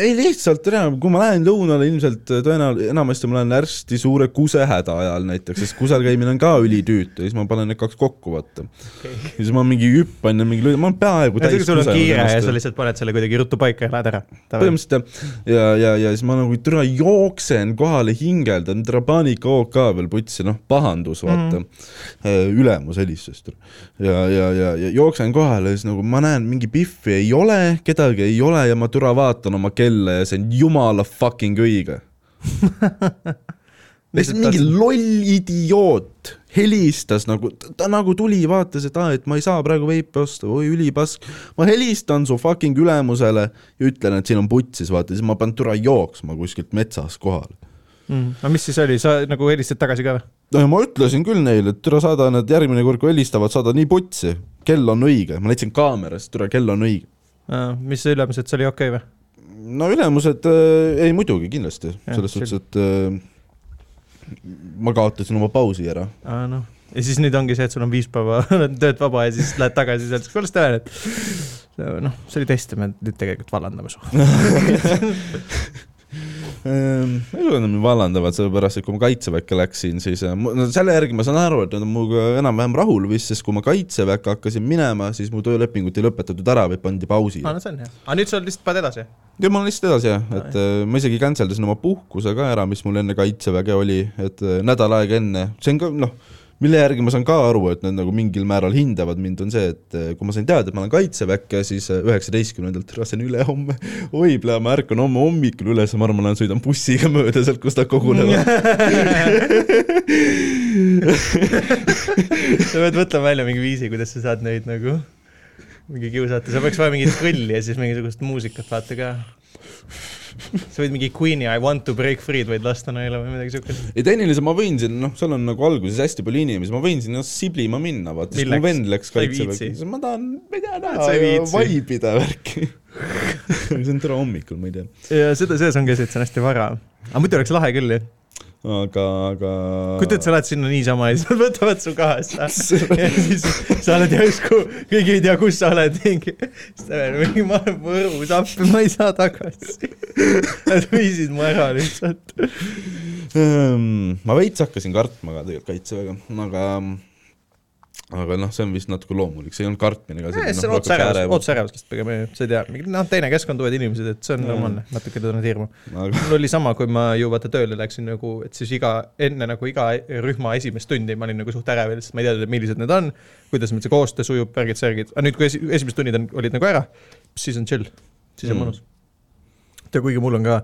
Speaker 3: ei lihtsalt , kui ma lähen lõunale ilmselt tõenäoliselt , enamasti ma lähen hästi suure kusehäda ajal näiteks , sest kusel käimine on ka ülitüütu ja siis ma panen need kaks kokku , vaata . ja siis ma mingi hüppan ja mingi , ma olen peaaegu täis
Speaker 1: sul on
Speaker 3: kusagil
Speaker 1: kiire ja
Speaker 3: ennast.
Speaker 1: sa lihtsalt paned selle kuidagi ruttu paika ja lähed ära .
Speaker 3: põhimõtteliselt jah. ja , ja , ja siis ma nagu türa jooksen kohale , hingeldan , türa paanikahoog ka veel putsi , noh , pahandus , vaata mm. , ülemus helistas türa . ja , ja , ja , ja jooksen kohale ja siis nagu ma näen , mingi pihvi ei ole , kedagi ei ole ja ma türa vaatan oma kella ja see on jumala fucking õige . lihtsalt mingi loll idioot helistas nagu , ta nagu tuli , vaatas , et aa , et ma ei saa praegu veipi osta , oi ülipask . ma helistan su fucking ülemusele ja ütlen , et siin on putsis , vaata , siis ma pean türa jooksma kuskilt metsas kohale .
Speaker 1: no mis siis oli , sa nagu helistad tagasi ka või ?
Speaker 3: no ja ma ütlesin küll neile , et türa saada nad järgmine kord , kui helistavad , saada nii putsi , kell on õige , ma leidsin kaamerast , türa kell on õige .
Speaker 1: mis see ülemus , et see oli okei okay, või ?
Speaker 3: no ülemused äh, , ei muidugi kindlasti ,
Speaker 1: Jah,
Speaker 3: selles
Speaker 1: selge.
Speaker 3: suhtes , et äh, ma kaotasin oma pausi ära
Speaker 1: aa noh , ja siis nüüd ongi see , et sul on viis päeva (laughs) tööd vaba ja siis lähed tagasi sealt , kuidas ta on , et noh , see oli test ja me nüüd tegelikult vallandame su .
Speaker 3: Ehm, elu on mind vallandavad , sellepärast et kui ma kaitseväkke läksin , siis äh, mu- no selle järgi ma saan aru , et nad on minuga enam-vähem rahul vist , sest kui ma kaitseväkke hakkasin minema , siis mu töölepingut ei lõpetatud ära , vaid pandi pausi .
Speaker 1: aa no see on hea , aga nüüd sa lihtsalt paned edasi ?
Speaker 3: ja ma olen lihtsalt edasi jah , et äh, ma isegi cancel dasin oma puhkuse ka ära , mis mul enne kaitseväge oli , et äh, nädal aega enne , see on ka noh , mille järgi ma saan ka aru , et nad nagu mingil määral hindavad mind , on see , et äh, kui ma sain teada , et ma olen kaitseväkke , siis äh, üheksateistkümnendalt rasen ülehomme , oi , ma ärkan homme hommikul üles , ma arvan , ma lähen sõidan bussiga mööda sealt , kus
Speaker 1: (laughs)
Speaker 3: nad kogunevad .
Speaker 1: sa pead mõtlema välja mingi viisi , kuidas sa saad neid nagu mingi kiusata , seal oleks vaja mingit kõlli ja siis mingisugust muusikat vaata ka . sa võid mingi Queen'i I want to break free'd võid lasta neile või midagi siukest .
Speaker 3: ei tehniliselt ma võin siin , noh , seal on nagu alguses hästi palju inimesi , ma võin sinna siblima minna , vaata , siis mu
Speaker 1: Milleks?
Speaker 3: vend läks
Speaker 1: Sa ei
Speaker 3: kaitseväkke
Speaker 1: viitsi. ,
Speaker 3: siis ma tahan , ma ei tea ,
Speaker 1: sa ei
Speaker 3: näha ,
Speaker 1: viitsi.
Speaker 3: vaibida värki . (laughs) see on täna hommikul , ma ei tea ,
Speaker 1: ja seda , selles ongi see , et see on hästi vara . aga muidu oleks lahe küll ju .
Speaker 3: aga , aga .
Speaker 1: kujuta ette , sa lähed sinna niisama ja siis nad võtavad su kaasa . ja siis sa oled järsku , keegi ei tea , kus sa oled , mingi , siis ta veel mingi , ma olen Võrus appi , ma ei saa tagasi . Nad viisid mu ära lihtsalt .
Speaker 3: Ehm, ma veits hakkasin kartma ka tegelikult kaitseväega , aga aga noh , see on vist natuke loomulik , see ei olnud kartmine ka .
Speaker 1: Eh,
Speaker 3: noh,
Speaker 1: see on otseärevus , otseärevus lihtsalt pigem , sa ei tea , noh , teine keskkond , uued inimesed , et see on
Speaker 3: Jaa.
Speaker 1: normaalne , natuke nagu tunned hirmu .
Speaker 3: aga
Speaker 1: mul oli sama , kui ma ju vaata tööle läksin nagu , et siis iga , enne nagu iga rühma esimest tundi ma olin nagu suht ärevil , sest ma ei teadnud , et millised need on , kuidas meil see koostöö sujub , värgid-särgid , aga nüüd , kui esi- , esimesed tunnid on , olid nagu ära , siis on chill , siis on
Speaker 3: Mm.
Speaker 1: mõnus . ja kuigi mul on ka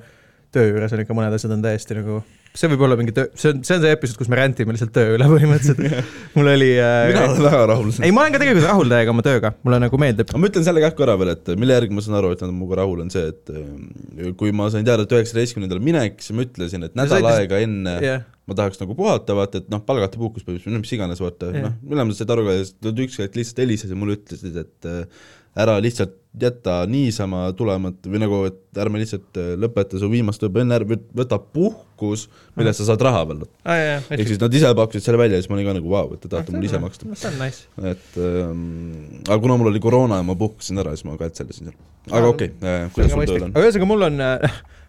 Speaker 1: töö juures on ikka mõned asjad on täiesti nagu , see võib olla mingi töö , see on , see on see episood , kus me rändime lihtsalt töö üle (laughs)
Speaker 3: (laughs)
Speaker 1: põhimõtteliselt . mul oli
Speaker 3: mina
Speaker 1: äh, ,
Speaker 3: olen väga rahul .
Speaker 1: ei , ma olen ka tegelikult rahul täiega oma tööga , mulle nagu meeldib .
Speaker 3: aga ma ütlen selle kähku ära veel , et mille järgi ma saan aru , et nad on minuga rahul , on see , et ähm, kui ma sain teada , et üheksateistkümnendal minek , siis ma ütlesin , et nädal
Speaker 1: said
Speaker 3: aega enne
Speaker 1: jah ,
Speaker 3: ma tahaks nagu puhata , vaata , et noh , palgata puhkus või mis- mis iganes , vaata ,
Speaker 1: Jah.
Speaker 3: noh , mõlemad said aru ka , nad ükskord lihtsalt helistasid mulle , ütlesid , et äh, ära lihtsalt jäta niisama tulemata või nagu , et ärme lihtsalt äh, lõpeta su viimast õppu enne , võta puhkus , millest sa saad raha veel .
Speaker 1: aa Ah, jaa , jaa
Speaker 3: ehk . siis nad ise pakkusid selle välja ja siis ma olin ka nagu vau , et te tahate mul ise maksta .
Speaker 1: see on nice .
Speaker 3: et ähm, aga kuna mul oli koroona ja ma puhkasin ära , siis ma katselisin seal . aga okei okay, , kuidas sul tööl on ?
Speaker 1: aga ühesõnaga , mul on ,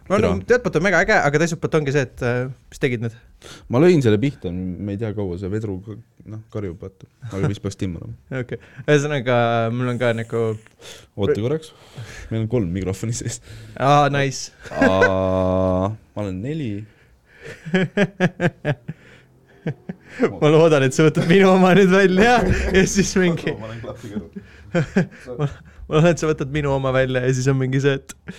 Speaker 1: mul
Speaker 3: Türa.
Speaker 1: on teatud poolt on mega äge , aga teiselt poolt ongi see , et äh, mis tegid need ,
Speaker 3: ma lõin selle pihta , me ei tea , kaua see vedru ka- noh , karjub , vaata . aga vist peaks timma olema .
Speaker 1: okei okay. , ühesõnaga mul on ka nagu ,
Speaker 3: oota korraks , meil on kolm mikrofoni sees .
Speaker 1: aa nice , (laughs)
Speaker 3: ma olen neli .
Speaker 1: ma loodan , et sa võtad minu oma nüüd välja ja siis mingi ,
Speaker 3: ma olen klapi kõrval .
Speaker 1: ma loodan , et sa võtad minu oma välja ja siis on mingi see , et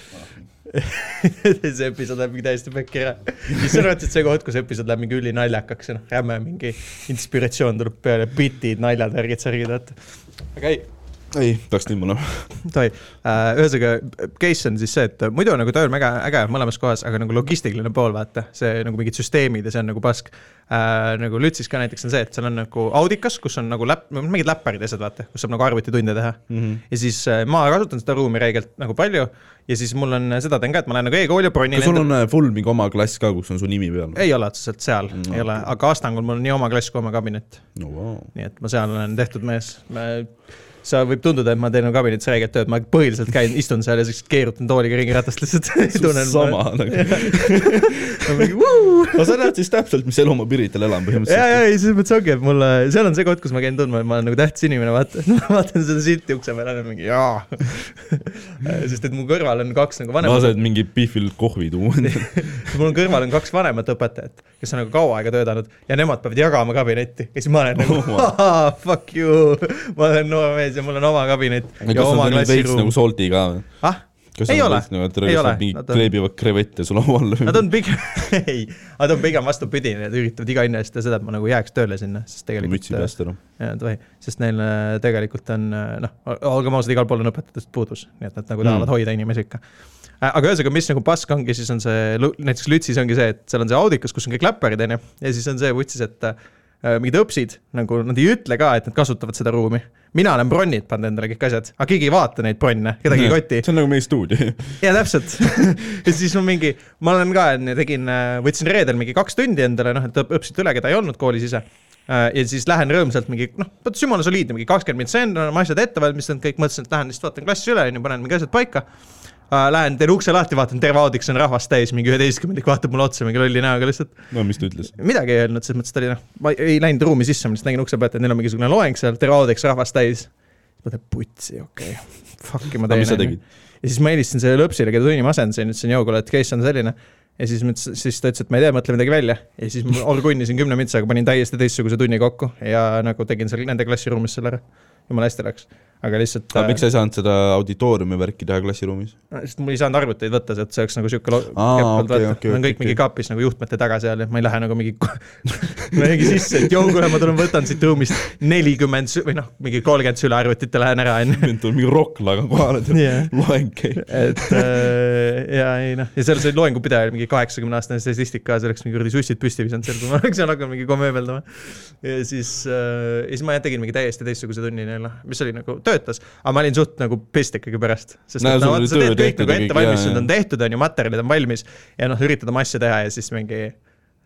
Speaker 1: (laughs) see episood läheb mingi täiesti pekki ära . siis sa arvad , et see koht , kus episood läheb mingi ülinaljakaks ja noh , räme mingi inspiratsioon tuleb peale , bitid , naljad , värgid , särgid , vaata . aga ei ,
Speaker 3: ei , peaks timma olema .
Speaker 1: tohi , ühesõnaga case on siis see , et muidu nagu töö on väga äge mõlemas kohas , aga nagu logistiline pool , vaata , see nagu mingid süsteemid ja see on nagu pask . nagu Lütsis ka näiteks on see , et seal on nagu audikas , kus on nagu läp- , mingid läpparid ja asjad , vaata , kus saab nagu arvutitunde teha
Speaker 3: Mhm.
Speaker 1: ja siis äh, ma kasutan seda ruumi reegelt nagu palju ja siis mul on , seda teen ka , et ma lähen nagu e-kooli , bronin
Speaker 3: kas sul on äh, full mingi oma klass ka , kus on su nimi peal ?
Speaker 1: ei ole otseselt seal
Speaker 3: Mm,
Speaker 1: mm, , ei ole , aga Astangul mul on nii oma klass kui oma kabinet ,
Speaker 3: no vau .
Speaker 1: nii et ma seal olen tehtud mees . sa , võib tunduda , et ma teen oma kabinetis räiget tööd , ma põhiliselt käin , istun seal ja siis keerutan tooliga ringi ratast
Speaker 3: (laughs)
Speaker 1: lihtsalt tunnen ma-
Speaker 3: sama nagu .
Speaker 1: (laughs) ma mingi
Speaker 3: (laughs)
Speaker 1: vuu .
Speaker 3: aga sa näed siis täpselt , mis elu ma Pirital
Speaker 1: ja ,
Speaker 3: elan
Speaker 1: ja
Speaker 3: põhimõtteliselt .
Speaker 1: ei , selles mõttes ongi , et mulle , seal on see koht , kus ma käin tundma , et ma olen nagu tähtis inimene , (laughs) vaatan , vaatan seda silti ukse peal ja olen mingi jaa . (laughs) sest et mu kõrval on kaks nagu
Speaker 3: no sa
Speaker 1: vanemat ,
Speaker 3: oled mingi pihvil kohvi tuua .
Speaker 1: mul kõrval on kaks vanemat õpetajat , kes on nagu kaua aega töötanud ja nemad peavad jagama kabinetti ja siis ma olen nagu
Speaker 3: Oh,
Speaker 1: oh, fuck you , (laughs) ma olen noor mees ja mul on oma kabinet
Speaker 3: kas
Speaker 1: ja oma
Speaker 3: nad olid veits
Speaker 1: klassiruum
Speaker 3: nagu . soldi ka või ?
Speaker 1: ah ,
Speaker 3: kas
Speaker 1: Ei
Speaker 3: nad
Speaker 1: ole.
Speaker 3: olid nagu , et tere,
Speaker 1: Ei
Speaker 3: kas
Speaker 1: ole.
Speaker 3: nad mingi
Speaker 1: Nad on-
Speaker 3: kleebivad krevette su laua alla
Speaker 1: nad
Speaker 3: või ?
Speaker 1: on pigem , (laughs) ei , nad on pigem vastupidi , nad üritavad iga hinna eest ja seda , et ma nagu jääks tööle sinna , sest tegelikult äh,
Speaker 3: mütsi peast ära .
Speaker 1: ja tohi , sest neil äh, tegelikult on äh, noh , olgem ausad , igal pool on õpetajatest puudus , nii et nad nagu
Speaker 3: Mm.
Speaker 1: tahavad mm. hoida inimesi ikka . aga ühesõnaga , mis nagu pask ongi , siis on see , näiteks Lütsis ongi see , et seal on see audikas , kus on kõik läpparid , onju , ja siis on see vutsis , et äh, mingid õpsid , nagu nad ei ütle ka , et nad kasutavad seda ruumi . mina olen bronnid pannud endale kõik asjad , aga keegi ei vaata neid bronne , kedagi ei koti .
Speaker 3: see on nagu meie stuudio . (laughs)
Speaker 1: ja täpselt . (laughs) ja siis ma mingi , ma olen ka , tegin , võtsin reedel mingi kaks tundi endale , noh , et õp- õppisid üle , keda ei olnud koolis ise . ja siis lähen rõõmsalt mingi , noh , vot jumala soliidne , mingi kakskümmend minutit sen , olen oma asjad ette valmistanud , kõik mõtlesin , et lähen lihtsalt vaatan klassi üle , onju , panen mingi asjad paika . Lähen , teen ukse lahti , vaatan , terve audiks on rahvast täis , mingi üheteistkümnendik vaatab mulle otsa mingi lolli näoga lihtsalt .
Speaker 3: no mis ta ütles ?
Speaker 1: midagi ei öelnud , selles mõttes , et oli noh , ma ei läinud ruumi sisse , ma lihtsalt nägin ukse pealt , et neil on mingisugune loeng seal , terve audiks rahvast täis . ma mõtlen , putsi , okei okay. , fuck'i ma
Speaker 3: aga mis sa
Speaker 1: teen .
Speaker 3: tegid ?
Speaker 1: ja siis ma helistasin sellele lõpsile , keda tunni ma asendasin , ütlesin , joo , kuule , et case on selline . ja siis ma ütlesin , siis ta ütles , et ma ei tea , mõtle midagi välja . ja siis ma orgunnisin kümne mintsaga , panin täiesti teistsuguse tunni kokku ja nagu tegin seal nende klassiruumis selle ära . jumala hästi läks , aga lihtsalt .
Speaker 3: aga miks sa ei saanud seda auditooriumi värki teha
Speaker 1: (laughs)
Speaker 3: klassiruumis ?
Speaker 1: sest mul ei saanud arvuteid võtta sealt , see oleks nagu siuke lo- .
Speaker 3: Aa,
Speaker 1: kepp olnud
Speaker 3: okei,
Speaker 1: võtta.
Speaker 3: okei,
Speaker 1: Nad on
Speaker 3: okei,
Speaker 1: kõik mingi
Speaker 3: okei.
Speaker 1: kapis nagu juhtmete taga seal ja ma ei lähe nagu mingi ,
Speaker 3: (laughs)
Speaker 1: (laughs) mingi sisse , et joo , kuule , ma tulen võtan siit ruumist nelikümmend või noh , mingi kolmkümmend sülearvutit ja lähen ära onju .
Speaker 3: mind tuleb mingi rokklaga kohale ,
Speaker 1: Jah.
Speaker 3: loeng käib .
Speaker 1: (laughs)
Speaker 3: (laughs)
Speaker 1: et äh, ja ei noh , ja seal see loengupidaja oli mingi kaheksakümne aastane statistik ka , see oleks mingi kuradi sussid püsti visanud seal , kui ma (laughs) oleks seal hakanud mingi komööbeldama . ja siis äh, , ja siis ma tegin mingi täiesti teistsuguse tunni neile , mis oli nagu , töötas , aga ma olin suht nagu pist ikkagi pärast . sest
Speaker 3: Näe,
Speaker 1: et
Speaker 3: sul
Speaker 1: no
Speaker 3: oli
Speaker 1: vaata , sa teed kõik
Speaker 3: töö tehtud
Speaker 1: nagu
Speaker 3: ja kõik, jaa,
Speaker 1: ettevalmistused
Speaker 3: jaa.
Speaker 1: on tehtud , on ju , materjalid on valmis ja noh , üritad oma asja teha ja siis mingi